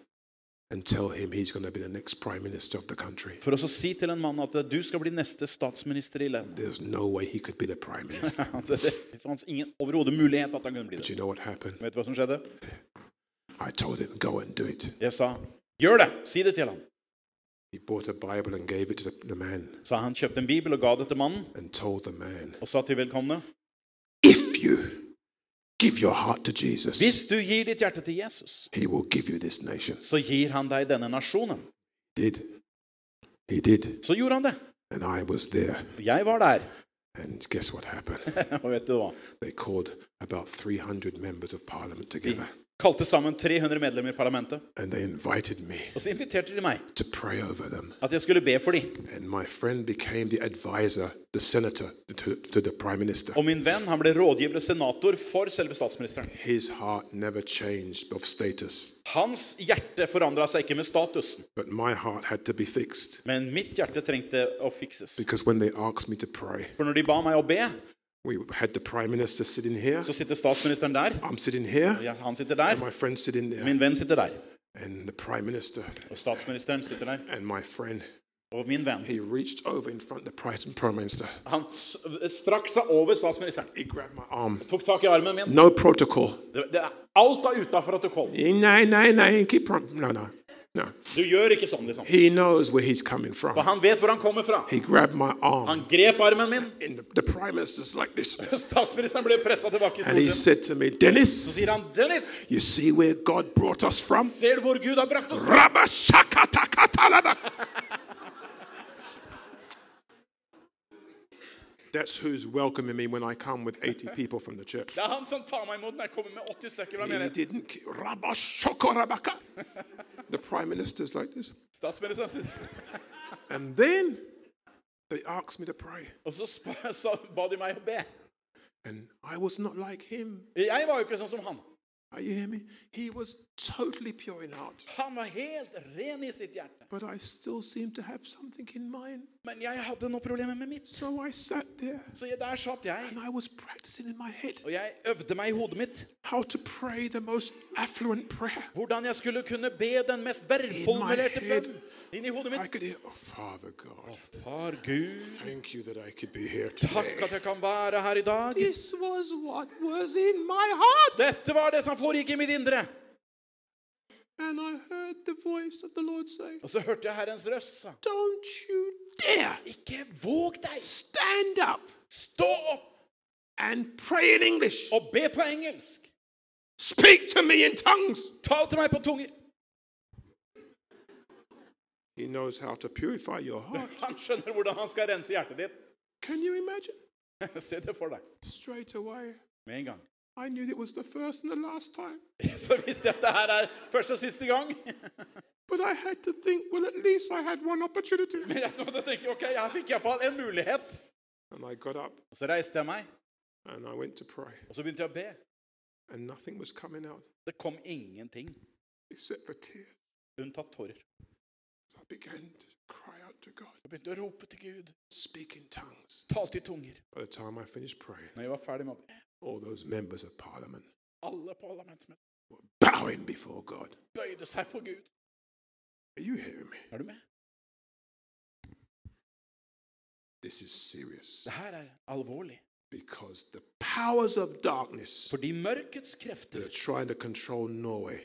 Speaker 1: and tell him he's going to be the next prime minister of the country.
Speaker 2: For å så si til en mann at du skal bli neste statsminister i landet.
Speaker 1: There's no way he could be the prime minister.
Speaker 2: Altså, det fantes ingen overhodet mulighet at han kunne bli
Speaker 1: But
Speaker 2: det.
Speaker 1: you know what happened?
Speaker 2: Vet du hva som skjedde?
Speaker 1: I told him, go and do it.
Speaker 2: Jeg sa, gjør det! Si det til ham.
Speaker 1: He bought a Bible and gave it to the- the man
Speaker 2: Så han kjøpte en bibel og ga det til mannen,
Speaker 1: and told the man,
Speaker 2: og sa til velkomne.
Speaker 1: if you give your heart to Jesus,
Speaker 2: Hvis du gir ditt hjerte til Jesus,
Speaker 1: he will give you this nation.
Speaker 2: så gir han deg denne nasjonen.
Speaker 1: Did. He did.
Speaker 2: Så gjorde han det.
Speaker 1: And I was there.
Speaker 2: Jeg var der.
Speaker 1: And guess what happened?
Speaker 2: Og vet du hva?
Speaker 1: They called about 300 members of parliament together
Speaker 2: Kalte sammen 300 medlemmer i parlamentet,
Speaker 1: and they invited me
Speaker 2: og så inviterte de meg
Speaker 1: to pray over them.
Speaker 2: at jeg skulle be for dem.
Speaker 1: And my friend became the advisor, the senator to, to the prime minister.
Speaker 2: Og min venn han ble rådgiver og senator for selve statsministeren.
Speaker 1: His heart never changed of status,
Speaker 2: Hans hjerte forandra seg ikke med statusen,
Speaker 1: but my heart had to be fixed
Speaker 2: men mitt hjerte trengte å fikses.
Speaker 1: because when they asked me to pray,
Speaker 2: For når de ba meg å be,
Speaker 1: we had the prime minister sitting here,
Speaker 2: så sitter statsministeren der.
Speaker 1: I'm sitting here,
Speaker 2: Ja, han sitter der.
Speaker 1: my friend sitting there,
Speaker 2: Min venn sitter der.
Speaker 1: and the prime minister
Speaker 2: Og statsministeren sitter der.
Speaker 1: and my friend.
Speaker 2: Og min venn.
Speaker 1: He reached over in front of the prime prime minister.
Speaker 2: Han s- strakk seg over statsministeren.
Speaker 1: He grabbed my arm.
Speaker 2: Tok tak i armen min.
Speaker 1: No protocol.
Speaker 2: Det, det, er- alt er utafor protokoll.
Speaker 1: No, no, no. Keep prom- no, no, no.
Speaker 2: Du gjør ikke sånn, liksom.
Speaker 1: He knows where he's coming
Speaker 2: For
Speaker 1: from.
Speaker 2: han vet hvor han kommer fra.
Speaker 1: He grabbed my arm.
Speaker 2: Han grep armen min.
Speaker 1: And the, the prime minister's like this.
Speaker 2: Statsministeren ble pressa tilbake i
Speaker 1: And he
Speaker 2: stolen.
Speaker 1: said to me,
Speaker 2: Så
Speaker 1: Dennis,
Speaker 2: sier han, 'Dennis,
Speaker 1: you see where God brought us from?
Speaker 2: ser du hvor Gud har brakt oss?'
Speaker 1: Rabashakatakatalaba. That's who's welcoming me when I come with 80 people from the church.
Speaker 2: Det er han som tar meg imot når jeg kommer med 80 stykker fra
Speaker 1: He
Speaker 2: menigheten.
Speaker 1: didn't. ki- Rabashokorabaka. The prime minister's like this.
Speaker 2: Statsministeren sitter
Speaker 1: And then they asked me to pray.
Speaker 2: Og så, sp- så ba de meg å be.
Speaker 1: And I was not like him.
Speaker 2: Jeg var jo ikke sånn som han.
Speaker 1: Are you hear me? He was totally pure in heart.
Speaker 2: Han var helt ren i sitt hjerte.
Speaker 1: But I still seemed to have something in mind.
Speaker 2: Men jeg hadde noen problemer med mitt.
Speaker 1: So I sat there
Speaker 2: Så jeg, der satt jeg,
Speaker 1: and I was practicing in my head
Speaker 2: og jeg øvde meg i hodet mitt
Speaker 1: how to pray the most affluent prayer.
Speaker 2: hvordan jeg skulle kunne be den mest
Speaker 1: In
Speaker 2: velformulerte
Speaker 1: my head.
Speaker 2: bønn inni hodet
Speaker 1: I
Speaker 2: mitt.
Speaker 1: could hear, oh, Father God,
Speaker 2: Far Gud,
Speaker 1: thank you that I could be here
Speaker 2: takk
Speaker 1: today.
Speaker 2: at jeg kan være her i dag.
Speaker 1: This was what was in my heart.
Speaker 2: Dette var det som foregikk i mitt indre.
Speaker 1: And I heard the voice of the Lord say,
Speaker 2: Og så hørte jeg Herrens røst sa,
Speaker 1: Don't you dare
Speaker 2: ikke våg deg,
Speaker 1: stand up
Speaker 2: stå opp
Speaker 1: and pray in English.
Speaker 2: og be på engelsk.
Speaker 1: Speak to me in tongues.
Speaker 2: Tal til meg på tunge.
Speaker 1: He knows how to purify your heart.
Speaker 2: Han skjønner hvordan han skal rense hjertet ditt.
Speaker 1: Can you imagine?
Speaker 2: Se det for deg.
Speaker 1: Straight away,
Speaker 2: Med en gang.
Speaker 1: I knew it was the first and the last time.
Speaker 2: Så visste jeg at det her er første og siste gang.
Speaker 1: But I had to think, well, at least I had one opportunity.
Speaker 2: Men jeg måtte tenke ok, her fikk jeg iallfall en mulighet.
Speaker 1: And I got up
Speaker 2: Og så reiste jeg meg,
Speaker 1: and I went to pray,
Speaker 2: og så begynte jeg å be.
Speaker 1: and nothing was coming out
Speaker 2: Det kom ingenting
Speaker 1: except for tears.
Speaker 2: unntatt tårer.
Speaker 1: So I began to cry out to God,
Speaker 2: Jeg begynte å rope til Gud,
Speaker 1: speak in tongues.
Speaker 2: talte i tunger.
Speaker 1: By the time I finished praying,
Speaker 2: Når jeg var ferdig med å be,
Speaker 1: all those members of parliament
Speaker 2: alle parlamentsmenn
Speaker 1: were bowing before God.
Speaker 2: bøyde seg for Gud.
Speaker 1: Are you hearing me?
Speaker 2: Er du med?
Speaker 1: This is serious
Speaker 2: Det her er alvorlig.
Speaker 1: because the powers of darkness
Speaker 2: Fordi mørkets
Speaker 1: that are
Speaker 2: krefter
Speaker 1: trying to control Norway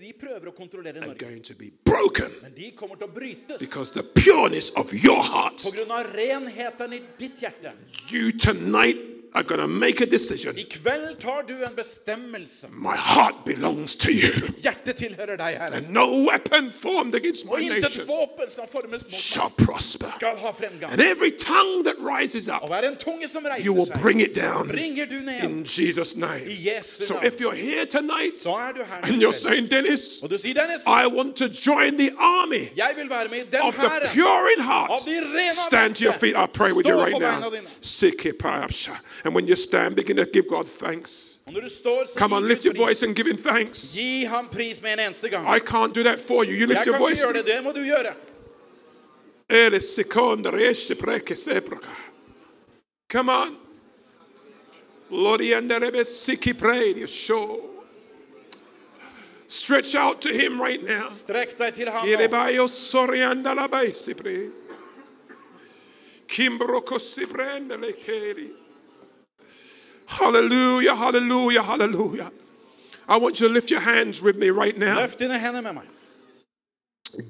Speaker 2: de prøver å kontrollere
Speaker 1: are
Speaker 2: Norge.
Speaker 1: going to be broken
Speaker 2: Men de kommer til å brytes
Speaker 1: because the pureness of your heart.
Speaker 2: pga. renheten i ditt hjerte.
Speaker 1: You tonight are going to make a decision.
Speaker 2: I kveld tar du en bestemmelse.
Speaker 1: My heart belongs to you.
Speaker 2: Hjertet tilhører deg, Herre.
Speaker 1: And no weapon formed against my
Speaker 2: Og intet
Speaker 1: nation
Speaker 2: våpen som formes mot meg,
Speaker 1: shall prosper.
Speaker 2: skal ha fremgang.
Speaker 1: And every tongue that rises
Speaker 2: Og
Speaker 1: up,
Speaker 2: hver en tunge som
Speaker 1: you
Speaker 2: reiser
Speaker 1: will
Speaker 2: seg,
Speaker 1: bring it down
Speaker 2: bringer du ned.
Speaker 1: in Jesus'
Speaker 2: I
Speaker 1: name.
Speaker 2: Jesu
Speaker 1: So
Speaker 2: navn.
Speaker 1: if you're here tonight
Speaker 2: Så er du her.
Speaker 1: and you're
Speaker 2: Dennis.
Speaker 1: saying, Dennis,
Speaker 2: Og du sier, Dennis,
Speaker 1: I want to join the army
Speaker 2: jeg vil være med i den
Speaker 1: of the
Speaker 2: hæren.
Speaker 1: pure in heart.
Speaker 2: Av de rene av
Speaker 1: Stand to your
Speaker 2: hjerte.
Speaker 1: feet. I pray with you
Speaker 2: Stå
Speaker 1: right
Speaker 2: på
Speaker 1: now.
Speaker 2: beina dine.
Speaker 1: Sikipayapsha. And when you stand, begin to give God thanks.
Speaker 2: Og når du står, så
Speaker 1: Come
Speaker 2: gir
Speaker 1: on,
Speaker 2: du
Speaker 1: lift your
Speaker 2: pris.
Speaker 1: voice and give Him thanks.
Speaker 2: Gi ham pris med en eneste gang.
Speaker 1: I can't do that for you. You lift
Speaker 2: Jeg kan
Speaker 1: your
Speaker 2: ikke
Speaker 1: voice.
Speaker 2: gjøre det. Det må du gjøre.
Speaker 1: Ele seconda riesce preke sepraka. Come on. Lori anderebe siki pray show. Stretch out to him right now.
Speaker 2: Strekk deg til ham. nå.
Speaker 1: Irebaio sori andalabai si pre. Kimbroko si prende le keri. Hallelujah, hallelujah, hallelujah. I want you to lift your hands with me right now.
Speaker 2: Løft dine hender med meg.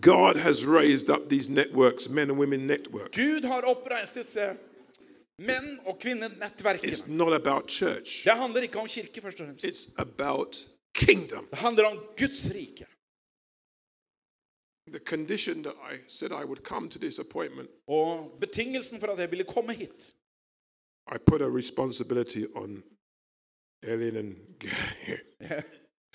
Speaker 1: God has raised up these networks, men and women network.
Speaker 2: Gud har oppreist disse menn- og
Speaker 1: It's
Speaker 2: kvinnenettverkene.
Speaker 1: not about church.
Speaker 2: Det handler ikke om kirke, først og fremst.
Speaker 1: It's about kingdom.
Speaker 2: Det handler om Guds rike.
Speaker 1: The condition that I said I would come to this appointment,
Speaker 2: Og betingelsen for at jeg ville komme hit
Speaker 1: I put a responsibility on Ellen and Gary.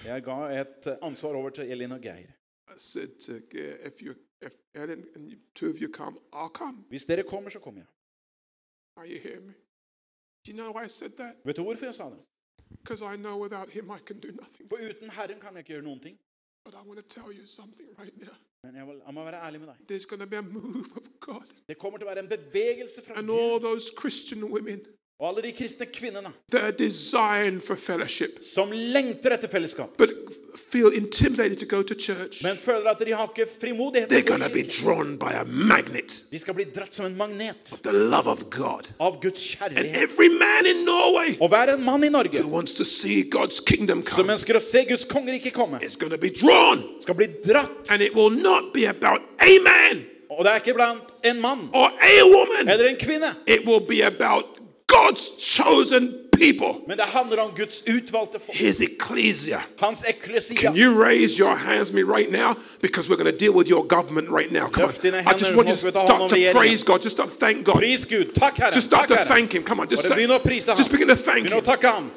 Speaker 2: Jeg ga et ansvar over til Elin og Geir.
Speaker 1: I said, to Gary, if you, if Ellen and you, two of you come, I'll come.
Speaker 2: Hvis dere kommer, så kommer jeg.
Speaker 1: Are you hearing me? Do you know why I said that?
Speaker 2: Vet du hvorfor jeg sa det?
Speaker 1: Because I know without him I can do nothing.
Speaker 2: For uten Herren kan jeg ikke gjøre noen ting.
Speaker 1: But I want to tell you something right now.
Speaker 2: Men jeg, vil, jeg må være ærlig med deg.
Speaker 1: There's going to be a move of God,
Speaker 2: Det kommer til å være en bevegelse fra
Speaker 1: and
Speaker 2: Gud
Speaker 1: all those Christian women
Speaker 2: og alle de kristne kvinnene
Speaker 1: that are designed for fellowship,
Speaker 2: som lengter etter fellesskap,
Speaker 1: but feel intimidated to go to church.
Speaker 2: men føler at de har ikke frimodighet.
Speaker 1: They're
Speaker 2: til å
Speaker 1: going to
Speaker 2: gå i
Speaker 1: be
Speaker 2: kirken.
Speaker 1: drawn by a magnet,
Speaker 2: De skal bli dratt som en magnet
Speaker 1: the love of God.
Speaker 2: av Guds
Speaker 1: And
Speaker 2: kjærlighet.
Speaker 1: every man in Norway
Speaker 2: Og hver en mann i Norge
Speaker 1: who wants to see God's kingdom
Speaker 2: som
Speaker 1: come
Speaker 2: ønsker å se Guds kongerike komme,
Speaker 1: is going to be drawn.
Speaker 2: skal bli dratt.
Speaker 1: And it will not be about a man
Speaker 2: Og det er ikke blant en mann
Speaker 1: or a woman,
Speaker 2: eller en kvinne,
Speaker 1: it will be about God's chosen people,
Speaker 2: men det handler om Guds utvalgte folk.
Speaker 1: His ecclesia.
Speaker 2: Hans eklesia.
Speaker 1: Can you raise your hands with me right now? Because we're going to deal with your government right now. Come
Speaker 2: Lift in
Speaker 1: on.
Speaker 2: the
Speaker 1: I just
Speaker 2: hand
Speaker 1: want you
Speaker 2: and
Speaker 1: to
Speaker 2: walk with the hand
Speaker 1: start
Speaker 2: of
Speaker 1: to
Speaker 2: the area.
Speaker 1: praise God. Just start to thank God.
Speaker 2: Pris Gud. Takk, Herre.
Speaker 1: Just start to
Speaker 2: Takk, Herre.
Speaker 1: thank Him. Come on. Just,
Speaker 2: Bare begynn å prise ham.
Speaker 1: just begin to thank
Speaker 2: Begynn å
Speaker 1: Him.
Speaker 2: takke ham.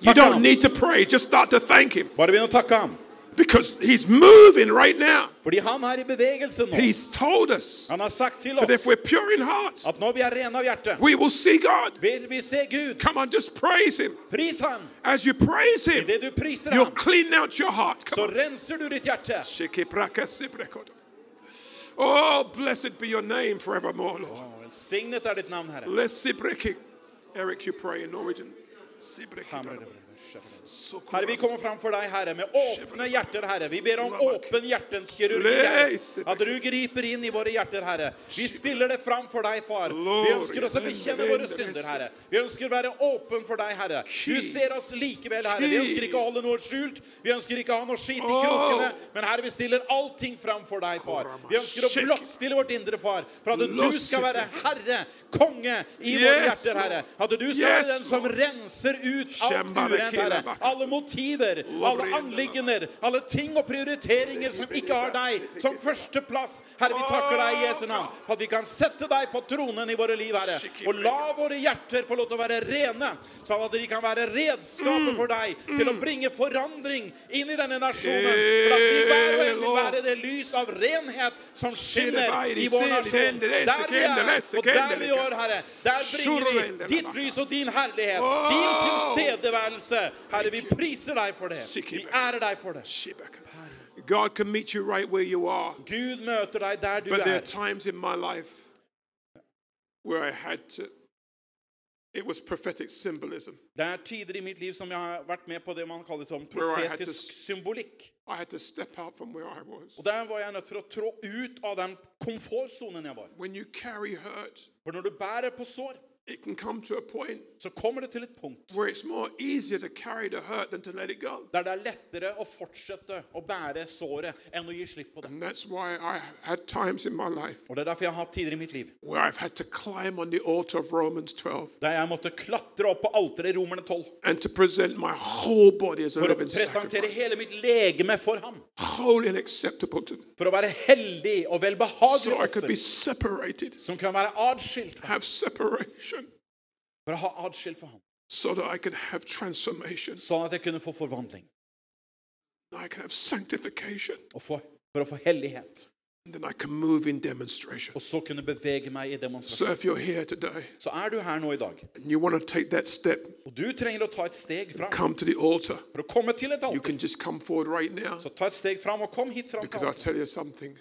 Speaker 1: You
Speaker 2: Takke
Speaker 1: don't
Speaker 2: ham.
Speaker 1: need to pray. Just start to thank Him
Speaker 2: Bare begynn å takke ham.
Speaker 1: because He's moving right now.
Speaker 2: Fordi han er i bevegelse nå.
Speaker 1: He's told us
Speaker 2: Han har sagt til
Speaker 1: that if
Speaker 2: oss
Speaker 1: we're pure in heart,
Speaker 2: at når vi er rene av hjerte,
Speaker 1: we will see God.
Speaker 2: vil vi se Gud.
Speaker 1: Come on, just praise Him.
Speaker 2: Pris ham.
Speaker 1: As you praise Him,
Speaker 2: Idet du priser
Speaker 1: you'll
Speaker 2: ham,
Speaker 1: clean out your heart. Come
Speaker 2: så
Speaker 1: on.
Speaker 2: renser du ditt hjerte.
Speaker 1: Shikiprakasikrekoto. Oh, blessed be your name forevermore, Lord.
Speaker 2: Å, Velsignet er ditt navn, Herre.
Speaker 1: Lesibreki. Eric, you pray in Norwegian. Sibreki.
Speaker 2: Herre, vi kommer fram for deg, Herre, med åpne hjerter, Herre. Vi ber om åpen hjertens kirurgi, Herre. At du griper inn i våre hjerter, Herre. Vi stiller det fram for deg, Far. Vi ønsker oss å bekjenne våre synder, Herre. Vi ønsker å være åpen for deg, Herre. Du ser oss likevel, Herre. Vi ønsker ikke å holde noe skjult. Vi ønsker ikke å ha noe skit i krokene. Men Herre, vi stiller allting fram for deg, Far. Vi ønsker å blottstille vårt indre, Far, for at du skal være Herre, konge, i våre hjerter, Herre. At du skal være den som renser ut alt urent, Herre. Alle motiver, alle anliggender, alle ting og prioriteringer som ikke har deg som førsteplass. Herre, vi takker deg i Jesu navn for at vi kan sette deg på tronen i våre liv, Herre. Og la våre hjerter få lov til å være rene, sånn at de kan være redskaper for deg til å bringe forandring inn i denne nasjonen. For at vi hver og en vil være det lys av renhet som skinner i vår nasjon. Der vi er, og der vi gjør, Herre, der bringer vi ditt lys og din herlighet, din tilstedeværelse. Herre, vi priser deg for det. Vi ærer deg for det.
Speaker 1: Shibaka. God can meet you right where you are.
Speaker 2: Gud møter deg der du
Speaker 1: But there are
Speaker 2: er.
Speaker 1: times in my life where I had to, it was prophetic symbolism.
Speaker 2: Det er tider i mitt liv som jeg har vært med på det man kaller sånn
Speaker 1: Where I had to
Speaker 2: profetisk symbolikk.
Speaker 1: I had to step out from where I was.
Speaker 2: Og der var jeg nødt for å trå ut av den komfortsonen jeg var.
Speaker 1: When you carry hurt,
Speaker 2: For når du bærer på sår,
Speaker 1: it can come to a point
Speaker 2: så kommer det til et punkt
Speaker 1: where it's more easier to carry the hurt than to let it go.
Speaker 2: der det er lettere å fortsette å bære såret enn å gi slipp på det.
Speaker 1: And that's why I had times in my life
Speaker 2: Og Det er derfor jeg har hatt tider i mitt liv
Speaker 1: where I've had to climb on the altar of Romans 12
Speaker 2: der jeg måtte klatre opp på alteret i Romerne 12
Speaker 1: and to present my whole body as a
Speaker 2: for å
Speaker 1: living
Speaker 2: presentere
Speaker 1: sacrifice,
Speaker 2: hele mitt legeme for ham.
Speaker 1: holy and acceptable to Him,
Speaker 2: For å være hellig og velbehagelig
Speaker 1: so I could
Speaker 2: offer
Speaker 1: be separated,
Speaker 2: som kan være adskilt
Speaker 1: have separation,
Speaker 2: for å ha adskilt for ham.
Speaker 1: so that I can have transformation,
Speaker 2: Sånn at jeg kunne få forvandling
Speaker 1: that I can have sanctification,
Speaker 2: og få, for å få hellighet.
Speaker 1: and then I can move in demonstration.
Speaker 2: Og så kunne bevege meg i demonstrasjon.
Speaker 1: So if you're here today
Speaker 2: Så er du her nå i dag,
Speaker 1: and you want to take that step,
Speaker 2: og du trenger å ta et steg fram
Speaker 1: come to the altar.
Speaker 2: for å komme til et
Speaker 1: You
Speaker 2: alter.
Speaker 1: can just come forward right now
Speaker 2: Så ta et steg fram og kom hit fram.
Speaker 1: because I'll tell you something.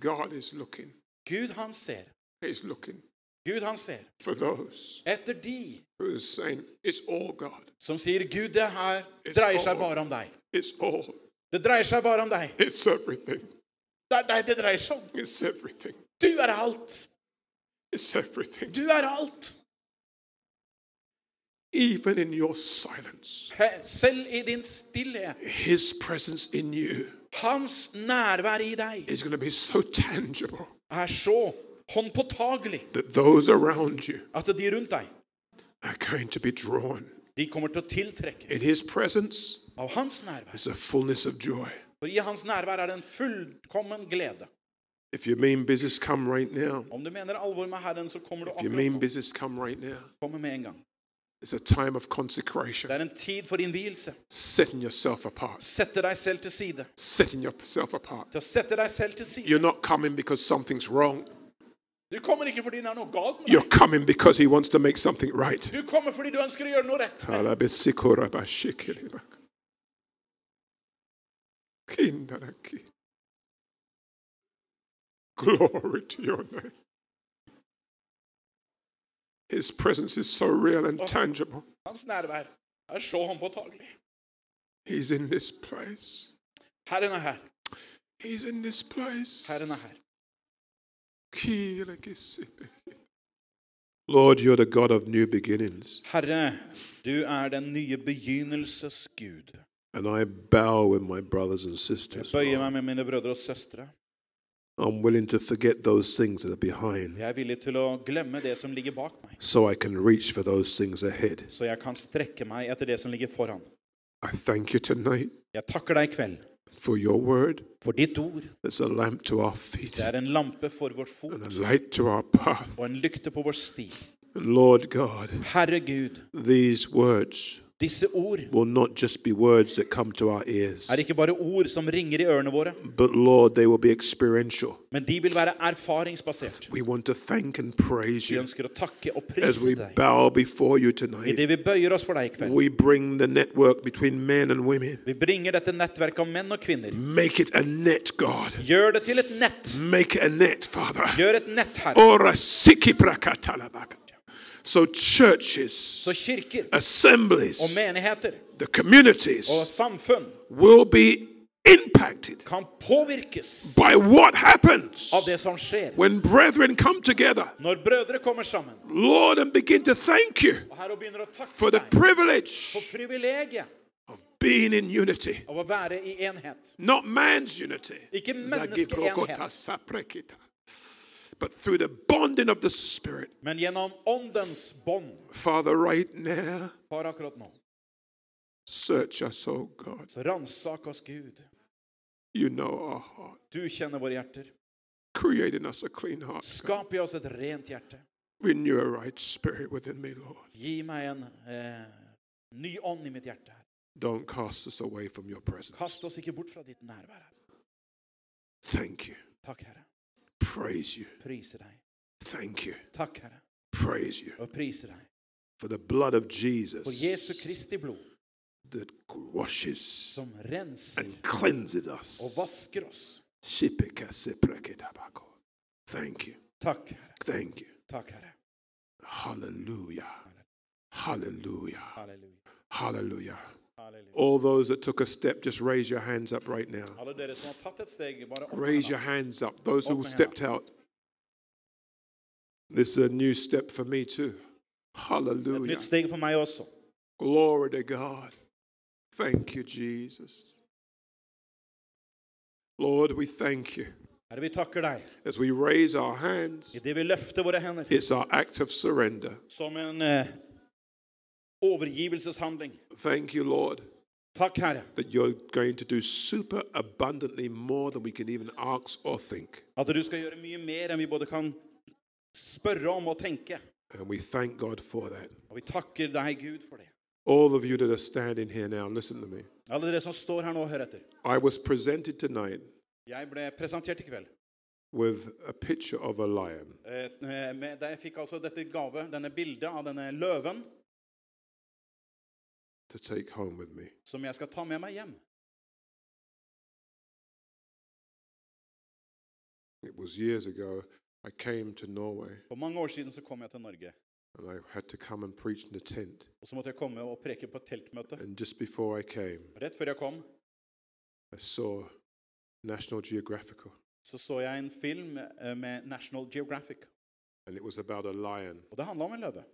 Speaker 1: God is looking.
Speaker 2: Gud, han ser.
Speaker 1: He's looking
Speaker 2: Gud, han ser.
Speaker 1: for those
Speaker 2: Etter de
Speaker 1: who are saying, It's all God.
Speaker 2: som sier 'Gud, det her dreier seg bare om deg'.
Speaker 1: It's all.
Speaker 2: Det dreier seg bare om deg.
Speaker 1: It's everything.
Speaker 2: Det er deg det dreier seg om.
Speaker 1: It's everything.
Speaker 2: Du er alt.
Speaker 1: It's everything.
Speaker 2: Du er alt.
Speaker 1: Even in your silence,
Speaker 2: He- Selv i din stillhet.
Speaker 1: His presence in you
Speaker 2: Hans nærvær i deg
Speaker 1: is going to be so tangible
Speaker 2: er så håndpåtagelig
Speaker 1: that those around you
Speaker 2: at de rundt deg
Speaker 1: are going to be drawn.
Speaker 2: de kommer til å
Speaker 1: In
Speaker 2: tiltrekkes
Speaker 1: His presence
Speaker 2: av hans nærvær.
Speaker 1: is a fullness of joy.
Speaker 2: For i hans nærvær er det en fullkommen glede.
Speaker 1: If you mean business, come right now.
Speaker 2: Om du mener alvor med Herren, så kommer du
Speaker 1: If you
Speaker 2: akkurat
Speaker 1: mean
Speaker 2: nå.
Speaker 1: business, come right now.
Speaker 2: Kommer med en gang.
Speaker 1: It's a time of
Speaker 2: Det
Speaker 1: consecration,
Speaker 2: er en tid for innvielse.
Speaker 1: setting yourself apart,
Speaker 2: Sette deg selv til side.
Speaker 1: setting yourself apart.
Speaker 2: Til å sette deg selv til side.
Speaker 1: You're not coming because something's wrong.
Speaker 2: Du kommer ikke fordi det er noe galt med
Speaker 1: You're
Speaker 2: deg.
Speaker 1: coming because He wants to make something right.
Speaker 2: Du kommer fordi du ønsker å gjøre noe rett.
Speaker 1: Alabesikora-bashikiribak. Kindaraki. Glory to your name. His presence is so real and tangible.
Speaker 2: Hans nærvær er så håndpåtagelig.
Speaker 1: He's in this place.
Speaker 2: Herren er her.
Speaker 1: He's in this place.
Speaker 2: Herren er her.
Speaker 1: Kilakisipi. Lord, you're the God of new beginnings,
Speaker 2: Herre, du er den nye begynnelses Gud.
Speaker 1: and I bow with my brothers and sisters.
Speaker 2: Bøyer meg med mine brødre og søstre.
Speaker 1: I'm willing to forget those things that are behind.
Speaker 2: Jeg er villig til å glemme det som ligger bak meg,
Speaker 1: so I can reach for those things ahead.
Speaker 2: så jeg kan strekke meg etter det som ligger foran.
Speaker 1: I thank you tonight
Speaker 2: Jeg takker deg i kveld
Speaker 1: for your word
Speaker 2: for ditt ord.
Speaker 1: that's a lamp to our feet
Speaker 2: Det er en lampe for vår fot
Speaker 1: and a light to our path.
Speaker 2: og en lykte på vår sti.
Speaker 1: And Lord God,
Speaker 2: Herre Gud,
Speaker 1: these words
Speaker 2: disse ord
Speaker 1: will not just be words that come to our ears,
Speaker 2: er ikke bare ord som ringer i ørene våre,
Speaker 1: but Lord, they will be experiential.
Speaker 2: men de vil være erfaringsbasert.
Speaker 1: We want to thank and praise
Speaker 2: Vi
Speaker 1: you
Speaker 2: ønsker å takke og
Speaker 1: as we
Speaker 2: prise deg.
Speaker 1: bow before you tonight.
Speaker 2: Idet vi bøyer oss for deg i kveld,
Speaker 1: We bring the network between men and women.
Speaker 2: vi bringer dette nettverket av menn og kvinner.
Speaker 1: Make it a net, God.
Speaker 2: Gjør det til et nett.
Speaker 1: Make it a net, Father.
Speaker 2: Gjør et nett, Herre.
Speaker 1: Ora sikiprakatalabaka. So churches,
Speaker 2: Så kirker og
Speaker 1: assemblies,
Speaker 2: menigheter
Speaker 1: the
Speaker 2: og
Speaker 1: communities
Speaker 2: samfunn
Speaker 1: will be impacted
Speaker 2: kan påvirkes
Speaker 1: by what happens
Speaker 2: av det som skjer.
Speaker 1: when brethren come together.
Speaker 2: Når brødre kommer sammen
Speaker 1: Lord, and begin to thank you
Speaker 2: og herre begynner å
Speaker 1: for
Speaker 2: takke
Speaker 1: the
Speaker 2: deg
Speaker 1: privilege
Speaker 2: for privilegiet
Speaker 1: of being in unity,
Speaker 2: av å være i enhet.
Speaker 1: not man's unity,
Speaker 2: Ikke
Speaker 1: Zagiprokota
Speaker 2: menneskeenhet,
Speaker 1: saprekita. but through the bonding of the Spirit.
Speaker 2: men gjennom åndens bånd.
Speaker 1: Father, right now,
Speaker 2: Far, akkurat nå,
Speaker 1: search us, O God.
Speaker 2: så ransak oss, Gud.
Speaker 1: You know our heart.
Speaker 2: Du kjenner våre hjerter.
Speaker 1: Create in us a clean heart. God.
Speaker 2: Skap i oss et rent hjerte.
Speaker 1: Renew a right spirit within me, Lord.
Speaker 2: Gi meg en eh, ny ånd i mitt hjerte. Herre.
Speaker 1: Don't cast us away from your presence.
Speaker 2: Kast oss ikke bort fra ditt nærvær. Herre.
Speaker 1: Thank you.
Speaker 2: Takk, Herre.
Speaker 1: Praise you.
Speaker 2: Priser deg.
Speaker 1: Thank you.
Speaker 2: Takk, Herre,
Speaker 1: Praise you.
Speaker 2: og priser deg.
Speaker 1: For the blood of
Speaker 2: For
Speaker 1: Jesus
Speaker 2: Jesu Kristi blod,
Speaker 1: that washes
Speaker 2: som renser
Speaker 1: and cleanses
Speaker 2: og
Speaker 1: us.
Speaker 2: vasker oss.
Speaker 1: Shipikasiprakidabako. Thank you.
Speaker 2: Takk, Herre.
Speaker 1: Thank you.
Speaker 2: Takk, Herre.
Speaker 1: Hallelujah. Hallelujah.
Speaker 2: Halleluja.
Speaker 1: Hallelujah.
Speaker 2: Halleluja.
Speaker 1: All those that took a step, just raise your hands up right now.
Speaker 2: Alle dere som har tatt et steg, bare opp med
Speaker 1: Raise your
Speaker 2: hendene.
Speaker 1: hands up. Those who
Speaker 2: Open it up.
Speaker 1: stepped out. This is a new step for me too.
Speaker 2: Et
Speaker 1: Hallelujah.
Speaker 2: nytt steg for meg også.
Speaker 1: Glory to God. Thank you, Jesus. Lord, we thank you.
Speaker 2: Herre, vi takker deg.
Speaker 1: As we raise our hands,
Speaker 2: Idet vi løfter våre hender
Speaker 1: it's our act of surrender.
Speaker 2: som en eh, overgivelseshandling.
Speaker 1: Thank you, Lord,
Speaker 2: Takk, Herre,
Speaker 1: that you're going to do super abundantly more than we can even ask or think.
Speaker 2: at du skal gjøre mye mer enn vi både kan spørre om og tenke.
Speaker 1: And we thank God for that.
Speaker 2: Og vi takker deg, Gud, for det.
Speaker 1: All of you that are standing here now, listen to me.
Speaker 2: Alle dere som står her nå, hør etter.
Speaker 1: I was presented tonight
Speaker 2: Jeg ble presentert i kveld.
Speaker 1: with a picture of a lion.
Speaker 2: Eh, eh, med, der jeg fikk altså dette gave, denne bildet av denne løven,
Speaker 1: to take home with me.
Speaker 2: som jeg skal ta med meg hjem.
Speaker 1: It was years ago. I came to Norway
Speaker 2: For mange år siden så kom jeg til Norge,
Speaker 1: and I had to come and preach in a tent.
Speaker 2: og så måtte jeg komme og preke på et teltmøte.
Speaker 1: And just before I came,
Speaker 2: Rett før jeg kom,
Speaker 1: I saw National Geographical
Speaker 2: så så jeg en film eh, med National Geographic,
Speaker 1: and it was about a lion
Speaker 2: og det handla om en løve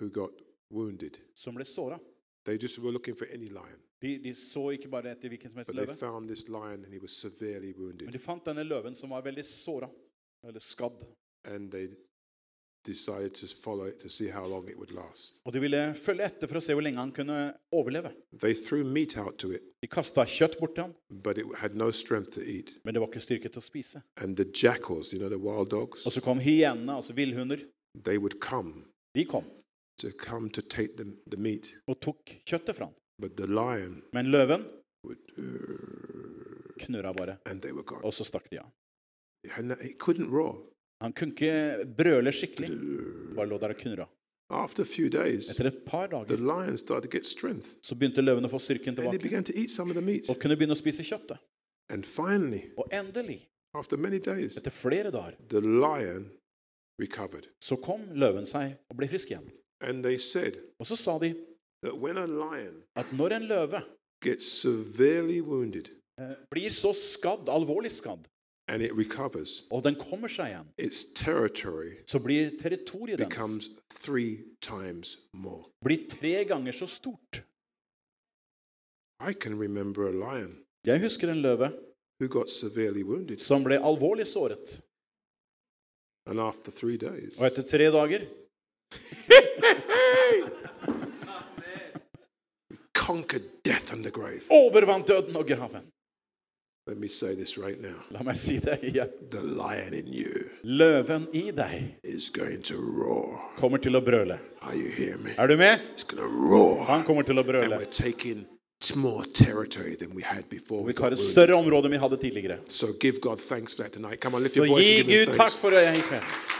Speaker 1: who got wounded.
Speaker 2: som ble såra.
Speaker 1: They just were looking for any lion,
Speaker 2: De, de så ikke bare etter hvilken som helst
Speaker 1: but they
Speaker 2: løve,
Speaker 1: found this lion and he was severely
Speaker 2: men
Speaker 1: wounded.
Speaker 2: de fant denne løven som var veldig såra, eller skadd.
Speaker 1: And they decided to follow it to see how long it would last.
Speaker 2: Og de ville følge etter for å se hvor lenge han kunne overleve.
Speaker 1: They threw meat out to it,
Speaker 2: De kasta kjøtt bort til ham,
Speaker 1: but it had no strength to eat.
Speaker 2: men det var ikke styrke til å spise.
Speaker 1: And the jackals, you know, the wild dogs,
Speaker 2: Og så kom hyenene, altså villhunder.
Speaker 1: they would come
Speaker 2: De kom
Speaker 1: to come to take the, the meat.
Speaker 2: og tok kjøttet fra ham.
Speaker 1: But the lion
Speaker 2: Men løven
Speaker 1: would, "Urgh,"
Speaker 2: knurra bare,
Speaker 1: and they were gone.
Speaker 2: og så stakk de av.
Speaker 1: And he couldn't roar.
Speaker 2: Han kunne ikke brøle skikkelig,
Speaker 1: "Urgh."
Speaker 2: bare lå der og knurra.
Speaker 1: After a few days,
Speaker 2: Etter et par
Speaker 1: the
Speaker 2: dager
Speaker 1: lion started to get strength.
Speaker 2: så begynte løven å få styrken
Speaker 1: And he
Speaker 2: tilbake
Speaker 1: began to eat some of the meat.
Speaker 2: og kunne begynne å spise kjøttet.
Speaker 1: And finally,
Speaker 2: Og endelig,
Speaker 1: after many days,
Speaker 2: etter flere dager,
Speaker 1: the lion recovered.
Speaker 2: så kom løven seg og ble frisk igjen.
Speaker 1: And they said
Speaker 2: Og så sa de
Speaker 1: that when a lion
Speaker 2: at når en løve
Speaker 1: gets severely wounded
Speaker 2: eh, blir så skadd, alvorlig skadd,
Speaker 1: and it recovers,
Speaker 2: og den kommer seg igjen,
Speaker 1: its territory
Speaker 2: så blir territoriet dens
Speaker 1: becomes three times more.
Speaker 2: blir tre ganger så stort.
Speaker 1: I can remember a lion
Speaker 2: Jeg husker en løve
Speaker 1: who got severely wounded.
Speaker 2: som ble alvorlig såret.
Speaker 1: And after three days,
Speaker 2: Og etter tre dager
Speaker 1: conquered death and the grave.
Speaker 2: overvant døden og graven.
Speaker 1: Let me say this right now.
Speaker 2: La meg si det igjen.
Speaker 1: The lion in you
Speaker 2: Løven i deg
Speaker 1: is going to roar.
Speaker 2: kommer til å brøle.
Speaker 1: Are you hearing me?
Speaker 2: Er du med?
Speaker 1: It's going to roar.
Speaker 2: Han kommer til å
Speaker 1: And
Speaker 2: brøle.
Speaker 1: we're taking t- more territory than we had before. We
Speaker 2: Vi tar
Speaker 1: got
Speaker 2: et
Speaker 1: wounded.
Speaker 2: større område enn vi hadde tidligere.
Speaker 1: So give God thanks for that tonight. Come on, lift
Speaker 2: Så
Speaker 1: your voice
Speaker 2: gi
Speaker 1: and give
Speaker 2: Gud
Speaker 1: him
Speaker 2: takk
Speaker 1: thanks.
Speaker 2: for det.